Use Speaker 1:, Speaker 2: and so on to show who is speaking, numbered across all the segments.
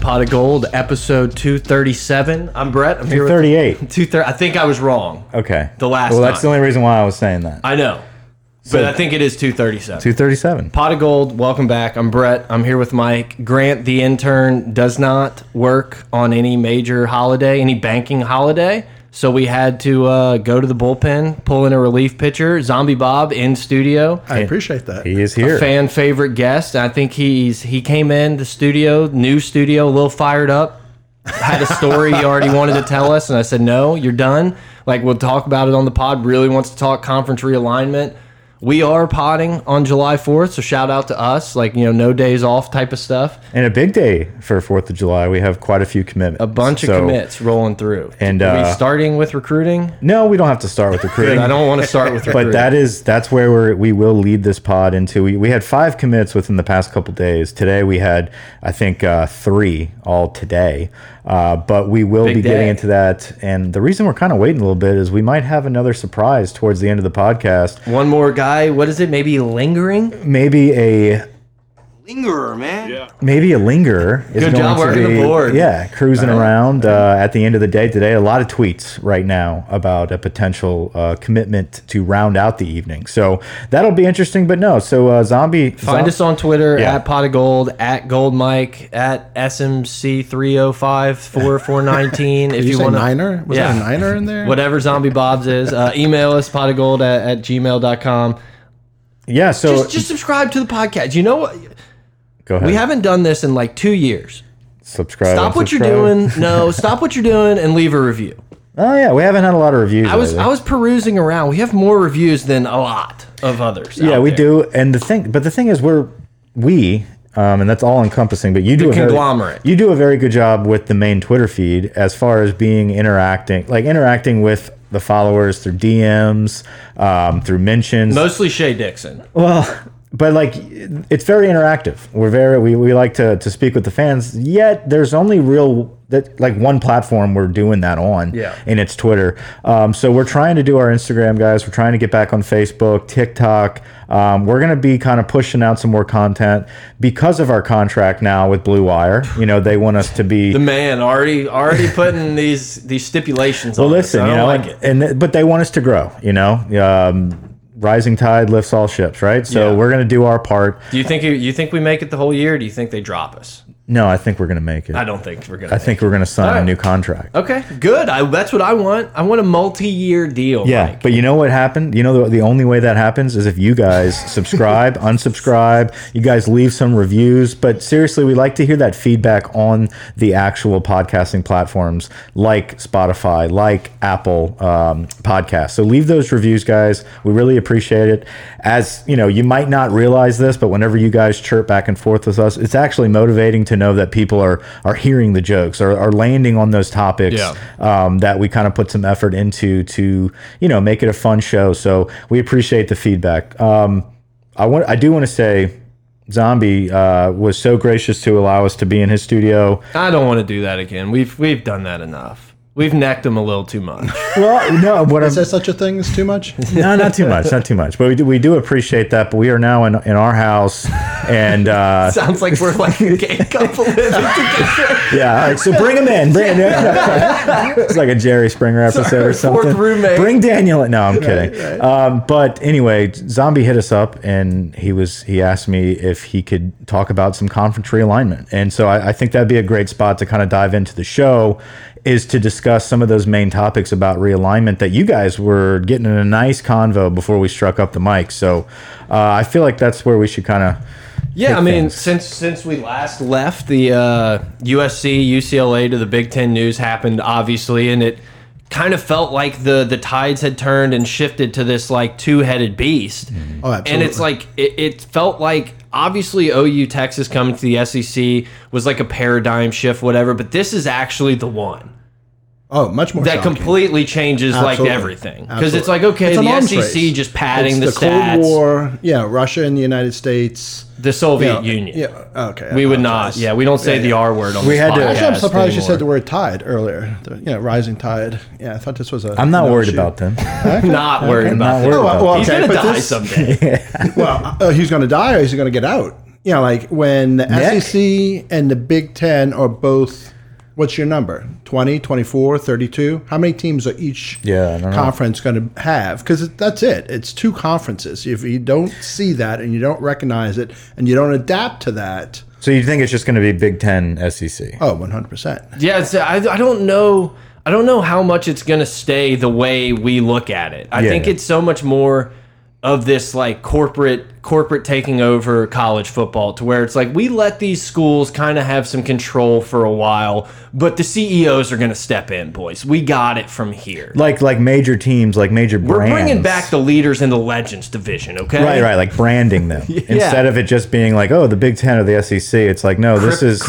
Speaker 1: Pot of Gold, episode 237. I'm Brett. I'm here with
Speaker 2: 38.
Speaker 1: 230. I think I was wrong.
Speaker 2: Okay.
Speaker 1: The last
Speaker 2: Well, that's
Speaker 1: time.
Speaker 2: the only reason why I was saying that.
Speaker 1: I know. but I think it is 237.
Speaker 2: 237.
Speaker 1: Pot of Gold, welcome back. I'm Brett. I'm here with Mike. Grant, the intern, does not work on any major holiday, any banking holiday. So we had to uh, go to the bullpen, pull in a relief pitcher. Zombie Bob in studio.
Speaker 3: I appreciate that.
Speaker 2: He is
Speaker 1: a
Speaker 2: here.
Speaker 1: fan favorite guest. I think he's he came in the studio, new studio, a little fired up. Had a story he already wanted to tell us, and I said, "No, you're done. Like we'll talk about it on the pod. Really wants to talk conference realignment. We are potting on July 4th, so shout out to us. Like you know, no days off type of stuff.
Speaker 2: And a big day for 4th of July. We have quite a few commitments.
Speaker 1: A bunch
Speaker 2: So-
Speaker 1: of commits rolling through.
Speaker 2: And,
Speaker 1: Are we
Speaker 2: uh,
Speaker 1: starting with recruiting.
Speaker 2: No, we don't have to start with recruiting.
Speaker 1: I don't want to start with recruiting.
Speaker 2: But that is that's where we're, we will lead this pod into. We, we had five commits within the past couple days. Today we had I think uh, three all today. Uh, but we will
Speaker 1: Big
Speaker 2: be getting
Speaker 1: day.
Speaker 2: into that. And the reason we're kind of waiting a little bit is we might have another surprise towards the end of the podcast.
Speaker 1: one more guy. What is it? Maybe lingering.
Speaker 2: Maybe a
Speaker 4: lingerer, man.
Speaker 2: maybe a lingerer is
Speaker 1: Good
Speaker 2: going
Speaker 1: job
Speaker 2: to
Speaker 1: working
Speaker 2: be
Speaker 1: the board.
Speaker 2: yeah cruising around uh, at the end of the day today a lot of tweets right now about a potential uh, commitment to round out the evening so that'll be interesting but no so uh, zombie
Speaker 1: Find us on Twitter
Speaker 2: Yeah.
Speaker 1: at Pot of Gold, at Gold Mike, at SMC 305 4419. If
Speaker 3: Did you,
Speaker 1: you,
Speaker 3: say
Speaker 1: want to,
Speaker 3: niner? Was
Speaker 1: Yeah.
Speaker 3: that a niner in there?
Speaker 1: whatever Zombie Bob's is, uh, email us pot of gold at, at gmail.com.
Speaker 2: yeah so
Speaker 1: Just, just subscribe to the podcast. You know what?
Speaker 2: go ahead
Speaker 1: We haven't done this in like two years.
Speaker 2: subscribe
Speaker 1: Stop what you're
Speaker 2: unsubscribe.
Speaker 1: doing. No, stop what you're doing and leave a review.
Speaker 2: oh yeah we haven't had a lot of reviews
Speaker 1: I was
Speaker 2: lately.
Speaker 1: I was perusing around. We have more reviews than a lot of others.
Speaker 2: yeah
Speaker 1: out
Speaker 2: we
Speaker 1: there.
Speaker 2: do and the thing but the thing is we're we um, and that's all encompassing but you do a very-
Speaker 1: conglomerate.
Speaker 2: you do a very good job with the main twitter feed as far as being interacting like interacting with the followers through dms um, through mentions
Speaker 1: Mostly Shay Dixon.
Speaker 2: well but like it's very interactive we're very we, we like to, to speak with the fans yet there's only real that like one platform we're doing that on
Speaker 1: Yeah.
Speaker 2: and it's twitter um, so we're trying to do our instagram guys we're trying to get back on facebook tiktok um, we're going to be kind of pushing out some more content because of our contract now with blue wire you know they want us to be
Speaker 1: The man already already putting these these stipulations
Speaker 2: well,
Speaker 1: on us.
Speaker 2: listen,
Speaker 1: I
Speaker 2: you
Speaker 1: don't
Speaker 2: know,
Speaker 1: like
Speaker 2: and-
Speaker 1: it.
Speaker 2: and th- but they want us to grow, you know. Um, rising tide lifts all ships, right? So
Speaker 1: Yeah.
Speaker 2: we're going to do our part.
Speaker 1: Do you think you, you think we make it the whole year? Or do you think they drop us?
Speaker 2: No, I think we're going to make it.
Speaker 1: I
Speaker 2: I,
Speaker 1: don't think we're gonna. I
Speaker 2: think we're going to sign
Speaker 1: All right.
Speaker 2: a new contract.
Speaker 1: Okay, good. I, that's what I want. I want a multi-year deal.
Speaker 2: Yeah,
Speaker 1: Mike.
Speaker 2: but you know what happened? You know the, the only way that happens is if you guys subscribe, unsubscribe, you guys leave some reviews, but seriously, we like to hear that feedback on the actual podcasting platforms like Spotify, like Apple um, Podcasts. So leave those reviews guys. We really appreciate it. As, you know, you might not realize this, but whenever you guys chirp back and forth with us, it's actually motivating to know that people are are hearing the jokes or are landing on those topics
Speaker 1: Yeah.
Speaker 2: um, that we kind of put some effort into to you know make it a fun show. So we appreciate the feedback. Um, I want I do want to say, Zombie uh, was so gracious to allow us to be in his studio.
Speaker 1: I don't want to do that again. We've we've done that enough. We've necked them a little too much.
Speaker 2: Well, no, what I'm
Speaker 3: Is there such a thing as too much?
Speaker 2: no, not too much, not too much. But we do, we do appreciate that. But we are now in in our house, and uh,
Speaker 1: Sounds like we're like a gay couple living together.
Speaker 2: yeah. All right, so bring him in. Bring him in. it's like a Jerry Springer episode or
Speaker 1: Sorry, fourth
Speaker 2: something.
Speaker 1: roommate.
Speaker 2: Bring Daniel. in. No, I'm kidding. Um, but anyway, Zombie hit us up and he was he asked me if he could talk about some conference realignment, and so I, I think that'd be a great spot to kind of dive into the show. Is to discuss some of those main topics about realignment that you guys were getting in a nice convo before we struck up the mic. So uh, I feel like that's where we should kind of
Speaker 1: Yeah, I
Speaker 2: Big
Speaker 1: mean,
Speaker 2: things.
Speaker 1: since since we last left, the uh, USC UCLA to the Big Ten news happened, obviously, and it kind of felt like the the tides had turned and shifted to this like two headed beast.
Speaker 2: Mm-hmm.
Speaker 3: Oh,
Speaker 1: and it's
Speaker 3: absolutely.
Speaker 1: like it, it felt like obviously OU Texas coming to the SEC was like a paradigm shift, whatever. But this is actually the one
Speaker 3: Oh, much more.
Speaker 1: that
Speaker 3: shocking.
Speaker 1: completely changes like
Speaker 3: Absolutely.
Speaker 1: everything because it's
Speaker 3: Absolutely.
Speaker 1: like okay,
Speaker 3: It's an
Speaker 1: the
Speaker 3: arms
Speaker 1: SEC
Speaker 3: race.
Speaker 1: just padding
Speaker 3: It's
Speaker 1: the,
Speaker 3: Cold
Speaker 1: stats,
Speaker 3: War. Yeah, Russia and the United States.
Speaker 1: the Soviet
Speaker 3: yeah,
Speaker 1: Union.
Speaker 3: Yeah. Okay.
Speaker 1: We
Speaker 3: I
Speaker 1: would not.
Speaker 3: apologize.
Speaker 1: Yeah, we don't say the R word on
Speaker 2: We
Speaker 1: this
Speaker 2: had to-
Speaker 1: podcast
Speaker 3: Actually, I'm surprised you
Speaker 1: anymore.
Speaker 3: said the word tide earlier. The, you know, rising tide. Yeah, I thought this was a.
Speaker 2: I'm not
Speaker 3: an
Speaker 2: worried
Speaker 3: offshoot.
Speaker 2: about them.
Speaker 1: Not worried about
Speaker 2: not
Speaker 1: that.
Speaker 2: worried
Speaker 3: Oh,
Speaker 2: about
Speaker 3: well,
Speaker 1: He's
Speaker 3: okay,
Speaker 1: gonna
Speaker 3: but
Speaker 1: die
Speaker 3: this-
Speaker 1: someday.
Speaker 3: Well, uh, he's going to die or he's going to get out. you know, like when the
Speaker 2: Nick?
Speaker 3: SEC and the Big Ten are both, what's your number? 20, 24, 32? How many teams are each
Speaker 2: Yeah, I don't know.
Speaker 3: conference going to have? Because that's it. It's two conferences. If you don't see that and you don't recognize it and you don't adapt to that,
Speaker 2: So you think it's just going to be Big Ten E SEC?
Speaker 3: oh, 100%.
Speaker 1: Yeah, it's, I, I don't know. I don't know how much it's going to stay the way we look at it. I
Speaker 2: Yeah.
Speaker 1: think it's so much more of this like corporate corporate taking over college football to where it's like we let these schools kind of have some control for a while, but the CEOs are going to step in, boys. We got it from here.
Speaker 2: Like like major teams, like major
Speaker 1: We're
Speaker 2: brands.
Speaker 1: bringing back the leaders in the legends division, okay?
Speaker 2: right, right, like branding them instead of it just being like oh the Big Ten or the SEC. It's like no, this is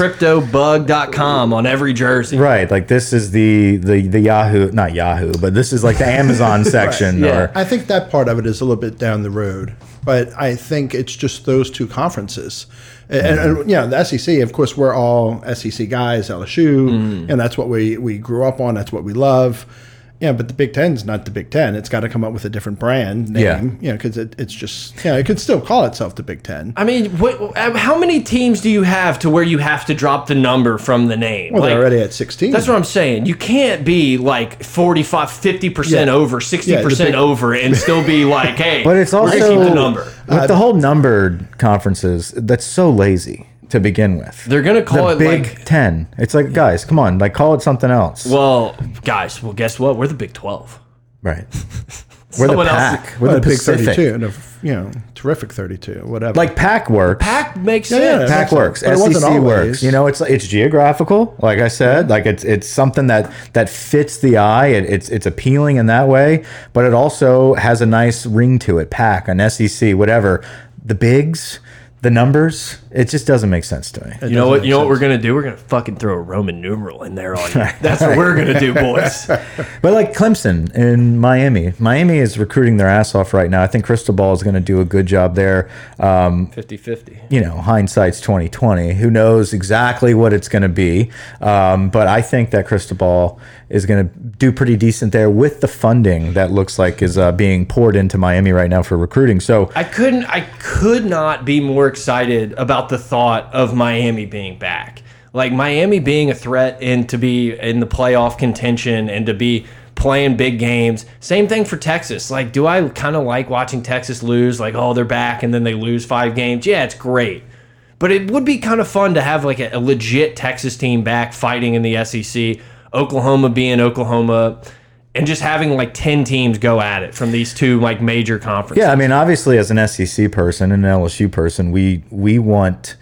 Speaker 1: CryptoBug.com on every jersey.
Speaker 2: right. Like this is the the the Yahoo, not Yahoo, but this is like the Amazon section
Speaker 1: yeah.
Speaker 2: or
Speaker 3: I think that part of it is a little bit down the road, but I think it's just those two conferences. And, and,
Speaker 1: Mm.
Speaker 3: and, you know, the SEC, of course, we're all SEC guys, LSU,
Speaker 1: Mm.
Speaker 3: and that's what we, we grew up on. That's what we love. Yeah, but the Big Ten's not the Big Ten. It's got to come up with a different brand name,
Speaker 2: Yeah.
Speaker 3: you know, because it, it's just, you know, it could still call itself the Big Ten.
Speaker 1: I mean, what, uh, how many teams do you have to where you have to drop the number from the name?
Speaker 3: Well,
Speaker 1: Like,
Speaker 3: they're already at 16.
Speaker 1: That's what I'm saying. You can't be like 45, 50%
Speaker 3: Yeah.
Speaker 1: over, 60%
Speaker 3: big-
Speaker 1: over, and still be like, hey,
Speaker 2: But it's
Speaker 1: we're
Speaker 2: also
Speaker 1: gonna keep the number. Uh,
Speaker 2: with the whole numbered conferences. That's so lazy to begin with.
Speaker 1: They're going to call
Speaker 2: the
Speaker 1: it
Speaker 2: Big
Speaker 1: like,
Speaker 2: Ten. It's like guys, come on, like call it something else.
Speaker 1: well, guys, well, guess what? We're the Big 12.
Speaker 2: right. We're the
Speaker 1: Someone else-
Speaker 2: pack. We're the
Speaker 3: a big
Speaker 2: Pacific.
Speaker 3: 32 and a, you know, terrific 32, whatever.
Speaker 2: Like pack works.
Speaker 1: Pack makes
Speaker 3: yeah,
Speaker 1: sense.
Speaker 3: yeah.
Speaker 2: Pack
Speaker 3: Pac
Speaker 2: works.
Speaker 3: but it wasn't
Speaker 2: SEC
Speaker 3: always.
Speaker 2: works. You know, it's it's geographical. Like I said, like it's it's something that that fits the eye. It, it's it's appealing in that way, but it also has a nice ring to it. Pack an SEC, whatever. The bigs, the numbers. It just doesn't make sense to me.
Speaker 1: You know what? You know what we're gonna do? We're gonna fucking throw a Roman numeral in there on you. That's what we're gonna do, boys.
Speaker 2: But like Clemson in Miami, Miami is recruiting their ass off right now. I think Cristobal is going to do a good job there. Um,
Speaker 1: 50-50.
Speaker 2: you know, hindsight's twenty twenty. Who knows exactly what it's going to be? Um, but I think that Cristobal is going to do pretty decent there with the funding that looks like is uh, being poured into Miami right now for recruiting. So
Speaker 1: I couldn't I could not be more excited about the thought of Miami being back. Like Miami being a threat and to be in the playoff contention and to be playing big games. Same thing for Texas. Like do I kind of like watching Texas lose like oh they're back and then they lose 5 games? Yeah, it's great. But it would be kind of fun to have like a, a legit Texas team back fighting in the SEC, Oklahoma being Oklahoma and just having like 10 teams go at it from these two like major conferences.
Speaker 2: Yeah, I mean, obviously, as an SEC person and an LSU person, we we want.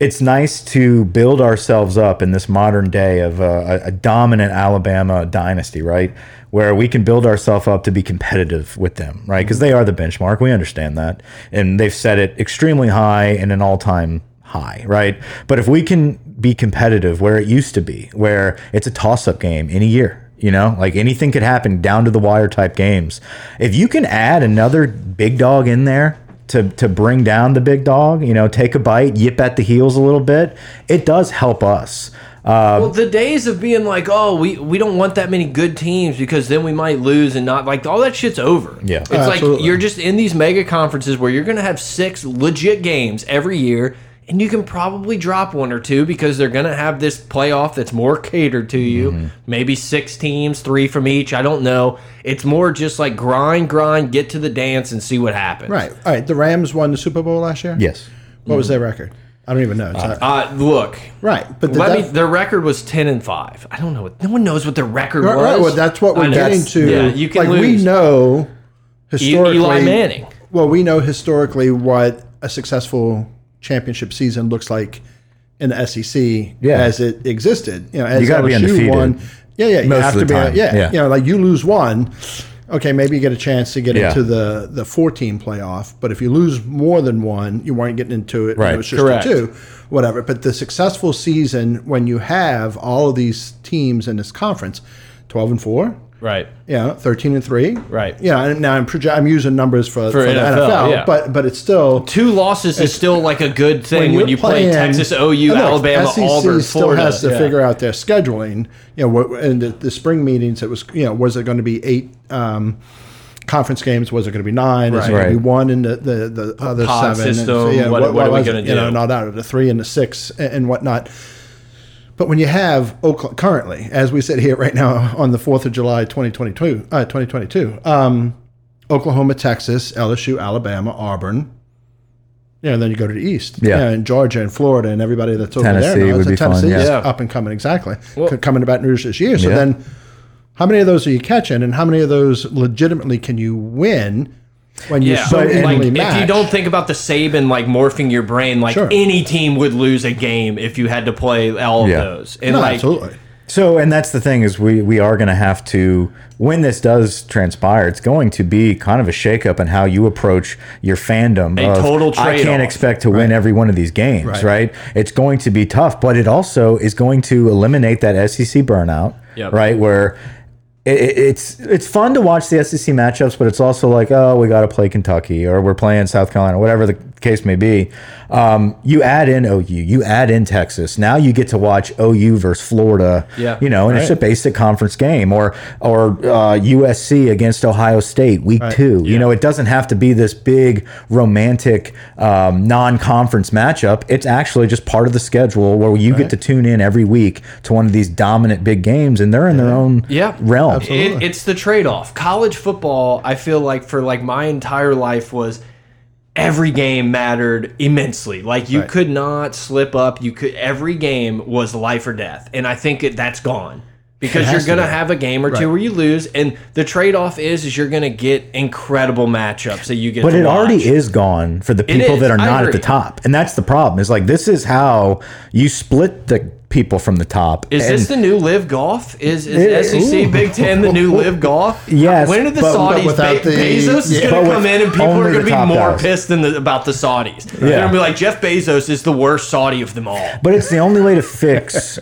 Speaker 2: It's nice to build ourselves up in this modern day of uh, a, a dominant Alabama dynasty, right? Where we can build ourselves up to be competitive with them, right? Because they are the benchmark. We understand that, and they've set it extremely high and an all-time high, right? But if we can be competitive where it used to be, where it's a toss-up game any year, you know, like anything could happen down to the wire type games. If you can add another big dog in there to to bring down the big dog, you know, take a bite, yip at the heels a little bit, it does help us. Uh,
Speaker 1: Well, the days of being like, oh, we, we don't want that many good teams because then we might lose and not like all that shit's over.
Speaker 2: Yeah.
Speaker 1: it's
Speaker 2: Oh,
Speaker 1: like
Speaker 3: absolutely.
Speaker 1: you're just in these mega conferences where you're gonna have six legit games every year, and you can probably drop one or two because they're gonna have this playoff that's more catered to you. Maybe six teams, three from each. I don't know. It's more just like grind, grind, get to the dance and see what happens.
Speaker 3: right. All right. The Rams won the Super Bowl last year?
Speaker 2: yes.
Speaker 3: What was their record? I don't even know. It's not-
Speaker 1: Uh, look.
Speaker 3: right. But the
Speaker 1: Let
Speaker 3: def-
Speaker 1: me, their record was ten and five. I don't know. What, no one knows what their record
Speaker 3: Right,
Speaker 1: was.
Speaker 3: right, well, that's what
Speaker 1: I
Speaker 3: we're
Speaker 1: know.
Speaker 3: getting to.
Speaker 1: Yeah, you can
Speaker 3: like
Speaker 1: lose.
Speaker 3: we
Speaker 1: E-
Speaker 3: know historically
Speaker 1: Eli Manning.
Speaker 3: Well, we know historically what a successful championship season looks like in the SEC
Speaker 2: Yeah.
Speaker 3: as it existed. You know, as
Speaker 2: You gotta be
Speaker 3: LSU
Speaker 2: undefeated
Speaker 3: won. Yeah, yeah, you
Speaker 2: most of
Speaker 3: have
Speaker 2: the
Speaker 3: to be.
Speaker 2: time.
Speaker 3: Yeah,
Speaker 2: Yeah.
Speaker 3: you know, like you lose one. Okay, maybe you get a chance to get
Speaker 2: Yeah.
Speaker 3: into the the four team playoff, but if you lose more than one, you weren't getting into it. and
Speaker 2: Right.
Speaker 3: it was just
Speaker 1: Correct.
Speaker 3: a two, whatever. But the successful season when you have all of these teams in this conference, twelve and four,
Speaker 1: Right.
Speaker 3: yeah, thirteen and three.
Speaker 1: Right.
Speaker 3: Yeah. and Now I'm proje- I'm using numbers for, for, the
Speaker 1: NFL,
Speaker 3: NFL,
Speaker 1: yeah.
Speaker 3: but but it's still
Speaker 1: Two losses is still like a good thing when,
Speaker 3: you're
Speaker 1: you play
Speaker 3: playing-
Speaker 1: Texas, OU,
Speaker 3: and look,
Speaker 1: Alabama,
Speaker 3: SEC
Speaker 1: Auburn,
Speaker 3: E still
Speaker 1: Florida.
Speaker 3: has to
Speaker 1: Yeah.
Speaker 3: figure out their scheduling. You know, what, and the, the spring meetings. It was you know was it going to be eight um, conference games was it going to be nine? Is it going
Speaker 2: Right.
Speaker 3: to be one and the the, the other
Speaker 1: pod
Speaker 3: seven?
Speaker 1: system,
Speaker 3: and
Speaker 1: what- what are we
Speaker 3: was it?
Speaker 1: gonna
Speaker 3: You know,
Speaker 1: do?
Speaker 3: not out of the three and the six and, and whatnot. But when you have Oakland currently, as we sit here right now on the fourth of July, twenty twenty two, uh, twenty twenty two, um, Oklahoma, Texas, LSU, Alabama, Auburn. Yeah, and then you go to the east.
Speaker 2: Yeah.
Speaker 3: and Georgia and Florida and everybody that's over there.
Speaker 2: Tennessee
Speaker 3: now.
Speaker 2: would
Speaker 3: So
Speaker 2: be fun,
Speaker 3: Tennessee is
Speaker 1: yeah.
Speaker 3: up and coming exactly,
Speaker 1: Well-
Speaker 3: C- coming to Baton Rouge this year. So
Speaker 2: Yeah.
Speaker 3: then, how many of those are you catching, and how many of those legitimately can you win when you
Speaker 1: Yeah,
Speaker 3: so
Speaker 1: but like
Speaker 3: evenly
Speaker 1: if you
Speaker 3: match?
Speaker 1: don't think about the Saban like morphing your brain, like
Speaker 3: Sure.
Speaker 1: any team would lose a game if you had to play all of
Speaker 2: Yeah.
Speaker 1: those. And
Speaker 3: No,
Speaker 1: like,
Speaker 3: absolutely.
Speaker 2: So, and that's the thing is we we are going to have to when this does transpire, it's going to be kind of a shakeup in how you approach your fandom.
Speaker 1: A
Speaker 2: of,
Speaker 1: total
Speaker 2: I can't
Speaker 1: trade-off."
Speaker 2: expect to win every one of these games, right.
Speaker 3: Right.
Speaker 2: It's going to be tough, but it also is going to eliminate that SEC burnout,
Speaker 1: Yep.
Speaker 2: right? Where it, it- it's it's fun to watch the SEC matchups, but it's also like, oh, we got to play Kentucky or we're playing South Carolina, whatever the case may be. Um, you add in OU, you add in Texas. Now you get to watch OU versus Florida.
Speaker 1: Yeah.
Speaker 2: you know, and it's a basic conference game, or or uh, USC against Ohio State week two. You know, it doesn't have to be this big romantic um, non-conference matchup. It's actually just part of the schedule where you get to tune in every week to one of these dominant big games, and they're in their own
Speaker 1: Yeah.
Speaker 2: realm.
Speaker 1: It, it's the trade-off. College football, I feel like for like my entire life was every game mattered immensely. Like you could not slip up. You could every game was life or death, and I think it, that's gone because you're gonna have a game or two where you lose, and the trade-off is is you're gonna get incredible matchups that you get.
Speaker 2: But
Speaker 1: to
Speaker 2: it
Speaker 1: watch.
Speaker 2: already is gone for the people
Speaker 1: is.
Speaker 2: that are
Speaker 1: I
Speaker 2: not at the
Speaker 1: agree.
Speaker 2: top, and that's the problem. Is like this is how you split the people from the top.
Speaker 1: Is
Speaker 2: and
Speaker 1: this the new live golf? Is, is
Speaker 2: It-
Speaker 1: SEC
Speaker 2: ooh.
Speaker 1: Big Ten the new live golf?
Speaker 2: Yes,
Speaker 1: When are the
Speaker 2: but- but
Speaker 1: Saudis?
Speaker 3: without
Speaker 1: Be-
Speaker 3: the-
Speaker 1: Bezos is
Speaker 3: yeah.
Speaker 1: going
Speaker 2: But
Speaker 1: to come
Speaker 2: with
Speaker 1: in and people
Speaker 2: only
Speaker 1: are
Speaker 2: the
Speaker 1: going to be
Speaker 2: top
Speaker 1: more
Speaker 2: guys.
Speaker 1: pissed than the, about the Saudis. They're
Speaker 2: Yeah.
Speaker 1: going to be like Jeff Bezos is the worst Saudi of them all.
Speaker 2: But it's the only way to fix.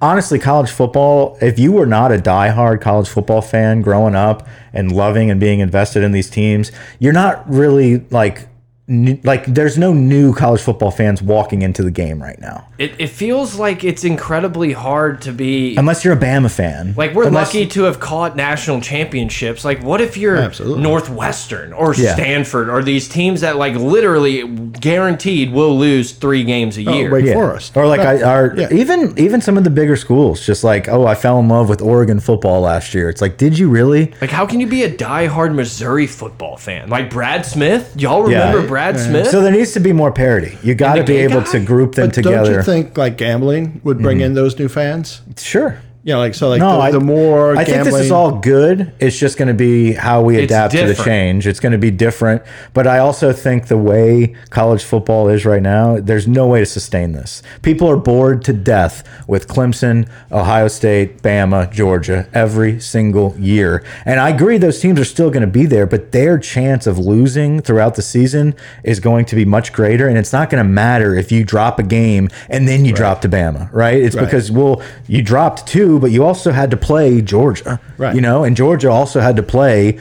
Speaker 2: Honestly, college football, if you were not a diehard college football fan growing up and loving and being invested in these teams, you're not really like n- like there's no new college football fans walking into the game right now.
Speaker 1: It, it feels like it's incredibly hard to be.
Speaker 2: Unless you're a Bama fan.
Speaker 1: like we're
Speaker 2: Um, Unless-
Speaker 1: lucky to have caught national championships. Like what if you're
Speaker 3: Absolutely.
Speaker 1: Northwestern or
Speaker 2: Yeah.
Speaker 1: Stanford or these teams that like literally guaranteed will lose three games
Speaker 2: Oh,
Speaker 1: a year?
Speaker 3: Wake Forest.
Speaker 2: Or like I are
Speaker 3: Yeah.
Speaker 2: even even some of the bigger schools, just like, oh, I fell in love with Oregon football last year. It's like, did you really?
Speaker 1: Like, how can you be a diehard Missouri football fan? Like Brad Smith? Y'all
Speaker 2: Yeah.
Speaker 1: remember Brad Smith?
Speaker 2: So there needs to be more parity. You gotta be
Speaker 1: gay
Speaker 2: able
Speaker 1: guy?
Speaker 2: to group them
Speaker 3: But
Speaker 2: together.
Speaker 3: don't you think like gambling would bring in those new fans?
Speaker 2: sure.
Speaker 3: Yeah, like so, like
Speaker 2: No,
Speaker 3: the,
Speaker 2: I,
Speaker 3: the more
Speaker 2: I think
Speaker 3: gambling,
Speaker 2: this is all good. It's just going to be how we adapt to the
Speaker 1: different.
Speaker 2: change. It's going to be different. But I also think the way college football is right now, there's no way to sustain this. People are bored to death with Clemson, Ohio State, Bama, Georgia every single year. And I agree those teams are still going to be there, but their chance of losing throughout the season is going to be much greater. And it's not going to matter if you drop a game and then you drop to Bama, right? It's because, well, you dropped two, but you also had to play Georgia,
Speaker 3: Right.
Speaker 2: You know, and Georgia also had to play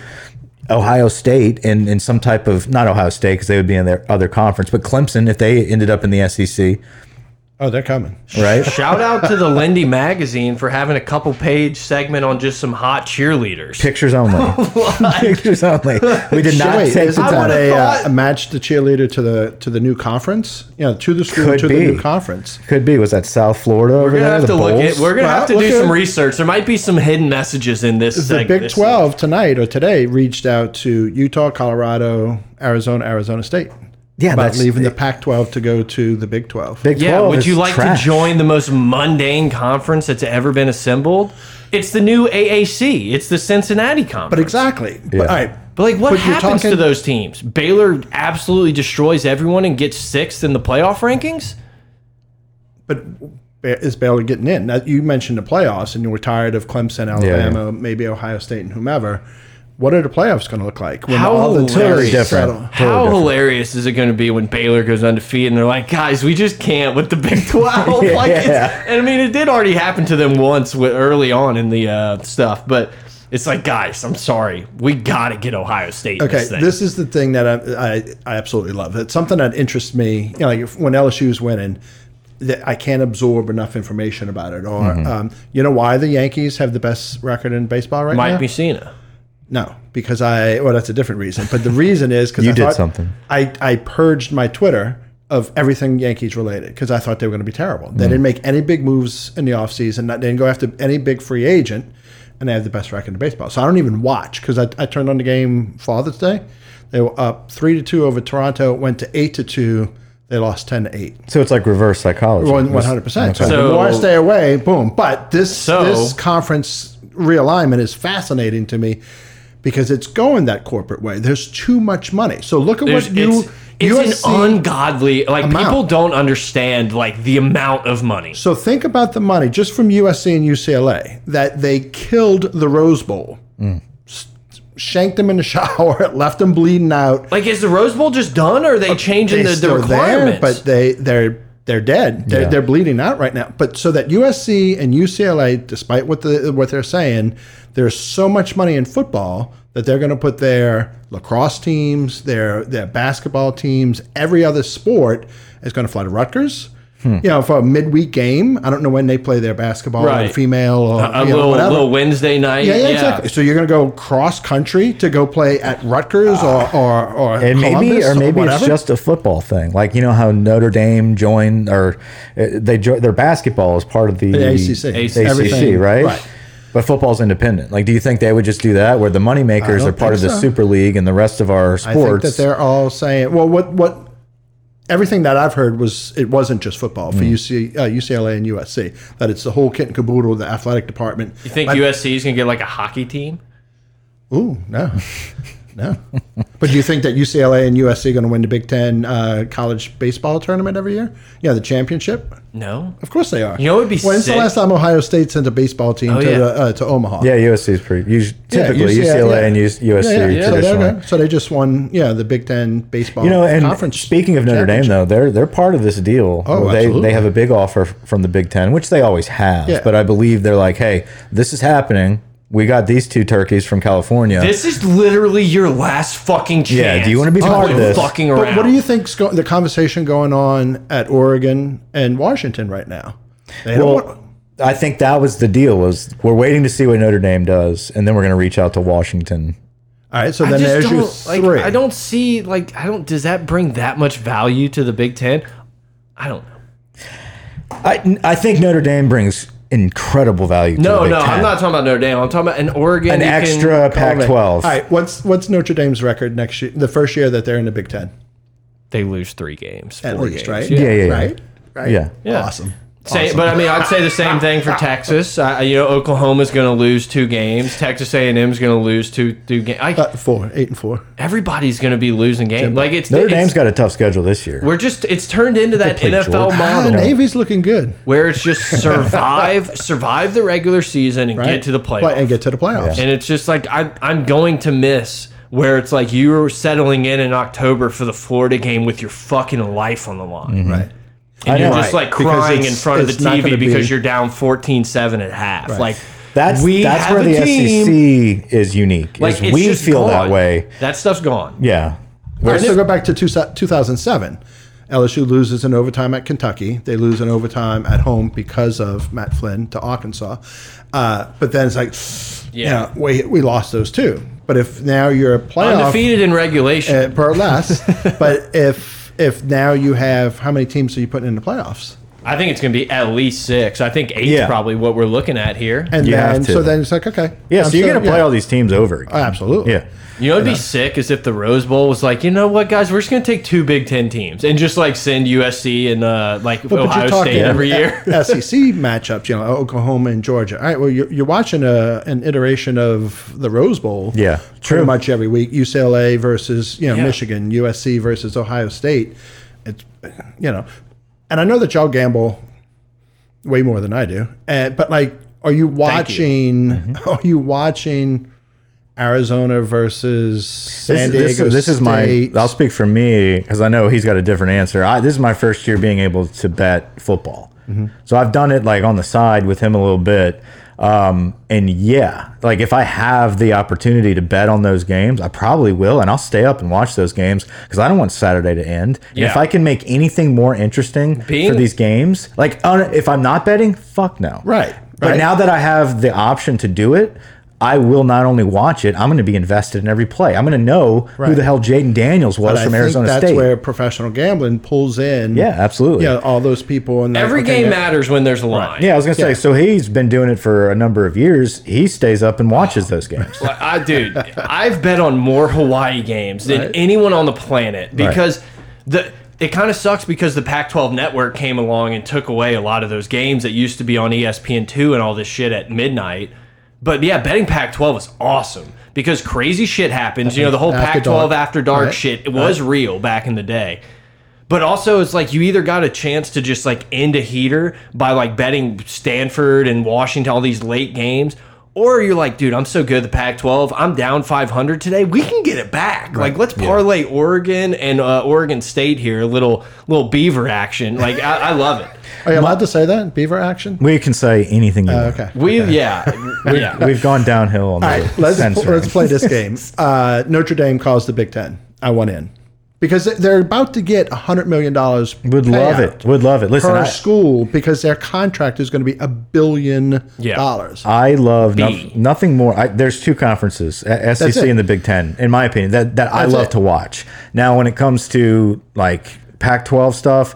Speaker 2: Ohio State in, in some type of, not Ohio State because they would be in their other conference, but Clemson if they ended up in the SEC,
Speaker 3: Oh, they're coming.
Speaker 2: right?
Speaker 1: Shout out to the Lindy magazine for having a couple page segment on just some hot cheerleaders.
Speaker 2: Pictures only.
Speaker 1: Oh
Speaker 2: Pictures only. We did not take
Speaker 3: Wait,
Speaker 2: the
Speaker 3: isn't that
Speaker 2: time.
Speaker 3: a,
Speaker 1: thought-
Speaker 3: uh, match the cheerleader to the to the new conference? You know, to the school
Speaker 2: Could
Speaker 3: to
Speaker 2: be.
Speaker 3: the new conference.
Speaker 2: Could be. Was that South Florida over
Speaker 1: We're
Speaker 2: there?
Speaker 1: gonna have
Speaker 2: the
Speaker 1: to look at.
Speaker 2: Bulls?
Speaker 1: We're gonna
Speaker 3: Well,
Speaker 1: have to
Speaker 3: look
Speaker 1: do
Speaker 3: at-
Speaker 1: some research. There might be some hidden messages in this.
Speaker 3: the
Speaker 1: seg-
Speaker 3: Big
Speaker 1: this-
Speaker 3: 12 tonight or today reached out to Utah, Colorado, Arizona, Arizona State.
Speaker 2: Yeah,
Speaker 3: about
Speaker 2: that's-
Speaker 3: leaving the Pac 12 to go to the Big 12.
Speaker 2: Big
Speaker 1: Yeah,
Speaker 2: 12
Speaker 1: would
Speaker 2: is
Speaker 1: you like
Speaker 2: trash.
Speaker 1: to join the most mundane conference that's ever been assembled? It's the new AAC. It's the Cincinnati conference.
Speaker 3: but exactly. But,
Speaker 2: Yeah.
Speaker 3: all right.
Speaker 1: But like, what
Speaker 3: But you're
Speaker 1: happens to
Speaker 3: talking-
Speaker 1: those teams? Baylor absolutely destroys everyone and gets sixth in the playoff rankings.
Speaker 3: But ba- is Baylor getting in? Now, you mentioned the playoffs and you were tired of Clemson, Alabama, maybe Ohio State, and whomever. What are the playoffs going to look like when
Speaker 1: How
Speaker 3: all the
Speaker 1: hilarious.
Speaker 2: Different.
Speaker 3: teams settle?
Speaker 2: Totally
Speaker 1: How
Speaker 2: different.
Speaker 1: hilarious is it going to be when Baylor goes undefeated and they're like, guys, we just can't with the Big Twelve. like, it's-
Speaker 2: Yeah.
Speaker 1: and I mean, it did already happen to them once with, early on in the uh, stuff, but it's like, guys, I'm sorry, we got to get Ohio State. in
Speaker 3: Okay,
Speaker 1: this, thing.
Speaker 3: this is the thing that I, I I absolutely love. It's something that interests me. You know, like if, when LSU's winning, that I can't absorb enough information about it. Or um, you know why the Yankees have the best record in baseball right
Speaker 1: Mike
Speaker 3: now?
Speaker 1: Mussina.
Speaker 3: No, because I well, that's a different reason. But the reason is because
Speaker 2: You
Speaker 3: I
Speaker 2: did
Speaker 3: thought-
Speaker 2: something.
Speaker 3: I I purged my Twitter of everything Yankees related because I thought they were going to be terrible. They
Speaker 2: Mm.
Speaker 3: didn't make any big moves in the offseason. not- They didn't go after any big free agent, and they have the best record in baseball. So I don't even watch because I, I turned on the game Father's Day. They were up three to two over Toronto. Went to eight to two. They lost ten to eight.
Speaker 2: So it's like reverse psychology.
Speaker 3: One hundred percent. So
Speaker 1: Okay.
Speaker 3: the
Speaker 1: So-
Speaker 3: more I stay away, boom. But this
Speaker 1: So-
Speaker 3: this conference realignment is fascinating to me because it's going that corporate way. There's too much money. So look at
Speaker 1: There's,
Speaker 3: what you
Speaker 1: it's, it's
Speaker 3: USC
Speaker 1: an ungodly like
Speaker 3: amount.
Speaker 1: people don't understand like the amount of money.
Speaker 3: So think about the money just from USC and UCLA that they killed the Rose Bowl, S- shanked them in the shower, left them bleeding out.
Speaker 1: Like is the Rose Bowl just done or are they changing the, the
Speaker 3: Uh, still
Speaker 1: requirements?
Speaker 3: but they they're they're dead. They're,
Speaker 2: Yeah.
Speaker 3: they're bleeding out right now. But so that USC and UCLA, despite what the what they're saying, there's so much money in football that they're going to put their lacrosse teams, their their basketball teams, every other sport is going to fly to Rutgers.
Speaker 2: Hmm.
Speaker 3: You know, for a midweek game, I don't know when they play their basketball
Speaker 1: Right.
Speaker 3: or female or
Speaker 1: a
Speaker 3: you know,
Speaker 1: little,
Speaker 3: whatever.
Speaker 1: little Wednesday night.
Speaker 3: Yeah, yeah, exactly. So you're going to go cross country to go play at Rutgers or or or
Speaker 2: And maybe,
Speaker 3: Columbus
Speaker 2: or maybe it's
Speaker 3: whatever?
Speaker 2: just a football thing. Like you know how Notre Dame joined, or uh, they jo- their basketball is part of the,
Speaker 3: The ACC.
Speaker 2: ACC,
Speaker 3: Everything.
Speaker 2: right?
Speaker 3: Right.
Speaker 2: But football's independent. Like, do you think they would just do that, where the money makers
Speaker 3: don't
Speaker 2: are part of
Speaker 3: think
Speaker 2: the
Speaker 3: so.
Speaker 2: Super League and the rest of our
Speaker 3: I think
Speaker 2: sports?
Speaker 3: that they're all saying, well, what what everything that I've heard was it wasn't just football
Speaker 2: Mm.
Speaker 3: for UC, uh, UCLA and USC that it's the whole kit and caboodle, the athletic department.
Speaker 1: You think USC is gonna get like a hockey team?
Speaker 3: Ooh, no, no. but do you think that UCLA and USC are going to win the Big Ten uh, college baseball tournament every year? Yeah, the championship.
Speaker 1: No.
Speaker 3: Of course they are.
Speaker 1: You know what would be
Speaker 3: When's
Speaker 1: sick?
Speaker 3: the last time Ohio State sent a baseball team
Speaker 1: Oh,
Speaker 3: to
Speaker 1: yeah.
Speaker 3: the, uh, to Omaha?
Speaker 2: yeah, USC is pretty us- typically
Speaker 3: UCLA,
Speaker 2: UCLA
Speaker 3: yeah.
Speaker 2: and US, USC
Speaker 3: Yeah, yeah. So, they're
Speaker 2: traditionally.
Speaker 3: good. so they just won, yeah, the Big Ten baseball.
Speaker 2: You know, and
Speaker 3: conference
Speaker 2: speaking of Notre Dame,
Speaker 3: championship.
Speaker 2: though, they're they're part of this deal.
Speaker 3: Oh,
Speaker 2: where they
Speaker 3: absolutely.
Speaker 2: they have a big offer from the Big Ten, which they always have.
Speaker 3: Yeah.
Speaker 2: But I believe they're like, hey, this is happening. We got these two turkeys from California.
Speaker 1: This is literally your last fucking chance.
Speaker 2: Yeah, do you wanna be part of
Speaker 1: quit
Speaker 2: this?
Speaker 1: Fucking around.
Speaker 3: But what do you think's go- the conversation going on at Oregon and Washington right now? They don't
Speaker 2: well,
Speaker 3: want-
Speaker 2: I think that was the deal. Was we're waiting to see what Notre Dame does, and then we're going to reach out to Washington.
Speaker 3: all right, so
Speaker 1: I
Speaker 3: then
Speaker 1: just
Speaker 3: there's your
Speaker 1: don't, like,
Speaker 3: three.
Speaker 1: I don't see like I don't. Does that bring that much value to the Big Ten? I don't know.
Speaker 2: I I think Notre Dame brings incredible value. to the
Speaker 1: No,
Speaker 2: Big
Speaker 1: no,
Speaker 2: Ten.
Speaker 1: I'm not talking about Notre Dame. I'm talking about an Oregon.
Speaker 2: An
Speaker 1: you can-
Speaker 2: extra
Speaker 3: All
Speaker 2: Pac-12.
Speaker 3: right, what's what's Notre Dame's record next year? The first year that they're in the Big Ten,
Speaker 1: They lose three games,
Speaker 3: at
Speaker 1: four
Speaker 3: least,
Speaker 1: games.
Speaker 3: right?
Speaker 1: Yeah.
Speaker 2: Yeah, yeah, yeah.
Speaker 3: right, right.
Speaker 2: Yeah.
Speaker 1: Yeah.
Speaker 3: awesome.
Speaker 1: Same, but I mean, I'd say the same thing for Texas. I, you know, Oklahoma's going to lose two games. Texas A&M's going to lose two two games.
Speaker 3: Uh, four, eight, and four.
Speaker 1: everybody's going to be losing games. Like it's
Speaker 2: Notre
Speaker 1: it's,
Speaker 2: Dame's got a tough schedule this year.
Speaker 1: We're just it's turned into that
Speaker 2: play
Speaker 1: NFL
Speaker 2: Georgia.
Speaker 3: Ah,
Speaker 1: model
Speaker 3: Navy's looking good.
Speaker 1: where it's just survive survive the regular season and
Speaker 3: Right?
Speaker 1: get to the
Speaker 3: Play-
Speaker 1: playoffs.
Speaker 3: and get to the playoffs.
Speaker 1: And it's just like I'm I'm going to miss where it's like you're settling in in October for the Florida game with your fucking life on the line.
Speaker 3: Right.
Speaker 1: And you're
Speaker 2: know.
Speaker 1: just like
Speaker 3: Because
Speaker 1: crying in
Speaker 3: it's-
Speaker 1: front of the
Speaker 3: it's not
Speaker 1: TV
Speaker 3: gonna
Speaker 1: because
Speaker 3: be-
Speaker 1: you're down 14-7 at half. Like
Speaker 2: That's
Speaker 1: we
Speaker 2: that's
Speaker 1: have
Speaker 2: where
Speaker 1: a
Speaker 2: the
Speaker 1: team.
Speaker 2: SEC is unique.
Speaker 1: Like
Speaker 2: Like
Speaker 1: it's
Speaker 2: we
Speaker 1: just
Speaker 2: feel that
Speaker 1: gone.
Speaker 2: way.
Speaker 1: That stuff's gone.
Speaker 2: Yeah.
Speaker 3: All right, so go back to two, 2007. LSU loses in overtime at Kentucky. They lose in overtime at home because of Matt Flynn to Arkansas. Uh, but then it's like,
Speaker 1: Yeah.
Speaker 3: yeah, we, we lost those two. But if now you're a playoff
Speaker 1: Undefeated in regulation.
Speaker 3: uh, per less, but if if now you have how many teams are you putting in the playoffs?
Speaker 1: I think it's going to be at least 6. I think 8 is
Speaker 2: Yeah.
Speaker 1: probably what we're looking at here.
Speaker 3: And
Speaker 2: You
Speaker 3: then
Speaker 2: have to.
Speaker 3: so then it's like okay,
Speaker 2: Yeah, so
Speaker 3: I'm
Speaker 2: you're
Speaker 3: still-
Speaker 2: gonna play
Speaker 3: yeah.
Speaker 2: all these teams over.
Speaker 3: Oh,
Speaker 2: Again.
Speaker 3: absolutely.
Speaker 2: Yeah.
Speaker 1: You know what'd be
Speaker 3: uh,
Speaker 1: sick is if the Rose Bowl was like, you know what, guys, we're just gonna take two Big Ten teams and just like send USC and uh, like
Speaker 3: But
Speaker 1: Ohio State every year.
Speaker 3: SEC E matchups, you know, Oklahoma and Georgia. All right, well, you're, you're watching a, an iteration of the Rose Bowl.
Speaker 2: Yeah, true.
Speaker 3: Pretty much every week. UCLA versus, you know,
Speaker 1: Yeah.
Speaker 3: Michigan, USC versus Ohio State. It's, you know, and I know that y'all gamble way more than I do. And, but like, are you watching,
Speaker 2: Mm-hmm.
Speaker 3: are you watching Arizona versus San Diego?
Speaker 2: this, this is my.
Speaker 3: State?
Speaker 2: I'll speak for me because I know he's got a different answer. I, this is my first year being able to bet football, so I've done it like on the side with him a little bit. Um, and yeah, like if I have the opportunity to bet on those games, I probably will, and I'll stay up and watch those games because I don't want Saturday to end. And if
Speaker 1: Yeah.
Speaker 2: I can make anything more interesting for
Speaker 1: Being-
Speaker 2: these games, like on, if I'm not betting, fuck no,
Speaker 3: Right,
Speaker 2: But
Speaker 3: right.
Speaker 2: now that I have the option to do it, I will not only watch it, I'm going to be invested in every play. I'm going to know who the hell Jaden Daniels was
Speaker 3: But I
Speaker 2: from
Speaker 3: think
Speaker 2: Arizona
Speaker 3: that's
Speaker 2: State.
Speaker 3: where professional gambling pulls in.
Speaker 2: yeah, absolutely.
Speaker 3: Yeah, all those people and
Speaker 1: Every game matters when there's a line.
Speaker 2: Yeah, I was gonna say. So he's been doing it for a number of years. He stays up and watches those games.
Speaker 1: Like, I dude, I've bet on more Hawaii games than anyone on the planet because the it kind of sucks because the Pac-12 network came along and took away a lot of those games that used to be on E ESPN2 and all this shit at midnight. But yeah, betting Pac-12 is awesome because crazy shit happens. You know, the whole
Speaker 3: After
Speaker 1: Pac-12
Speaker 3: dark.
Speaker 1: after dark
Speaker 3: Right.
Speaker 1: shit it was real back in the day. But also, it's like you either got a chance to just like end a heater by like betting Stanford and Washington, all these late games, or you're like, dude, I'm so good at the Pac 12. I'm down 500 today. We can get it back. Like, let's parlay Oregon and uh, Oregon State here. A little, little beaver action. Like, I, I love it.
Speaker 3: Are you allowed to say that? Beaver action?
Speaker 2: We can say anything you want.
Speaker 3: Oh, Okay.
Speaker 1: We, yeah. yeah.
Speaker 2: We've gone downhill on the
Speaker 3: All right, let's,
Speaker 2: censoring.
Speaker 3: let's play this game. Uh, Notre Dame calls the Big Ten. I want in because they- they're about to get $100 million.
Speaker 2: Would
Speaker 3: uh,
Speaker 2: love it. Would love it. Listen,
Speaker 3: Per
Speaker 2: I,
Speaker 3: school because their contract is going to be a billion
Speaker 1: Yeah.
Speaker 3: dollars.
Speaker 2: I love no,
Speaker 1: B.
Speaker 2: nothing more. I, there's two conferences, a- SEC
Speaker 3: it.
Speaker 2: and the Big Ten, in my opinion, that that I
Speaker 3: That's
Speaker 2: love
Speaker 3: it.
Speaker 2: to watch. Now, when it comes to like Pac-12 stuff.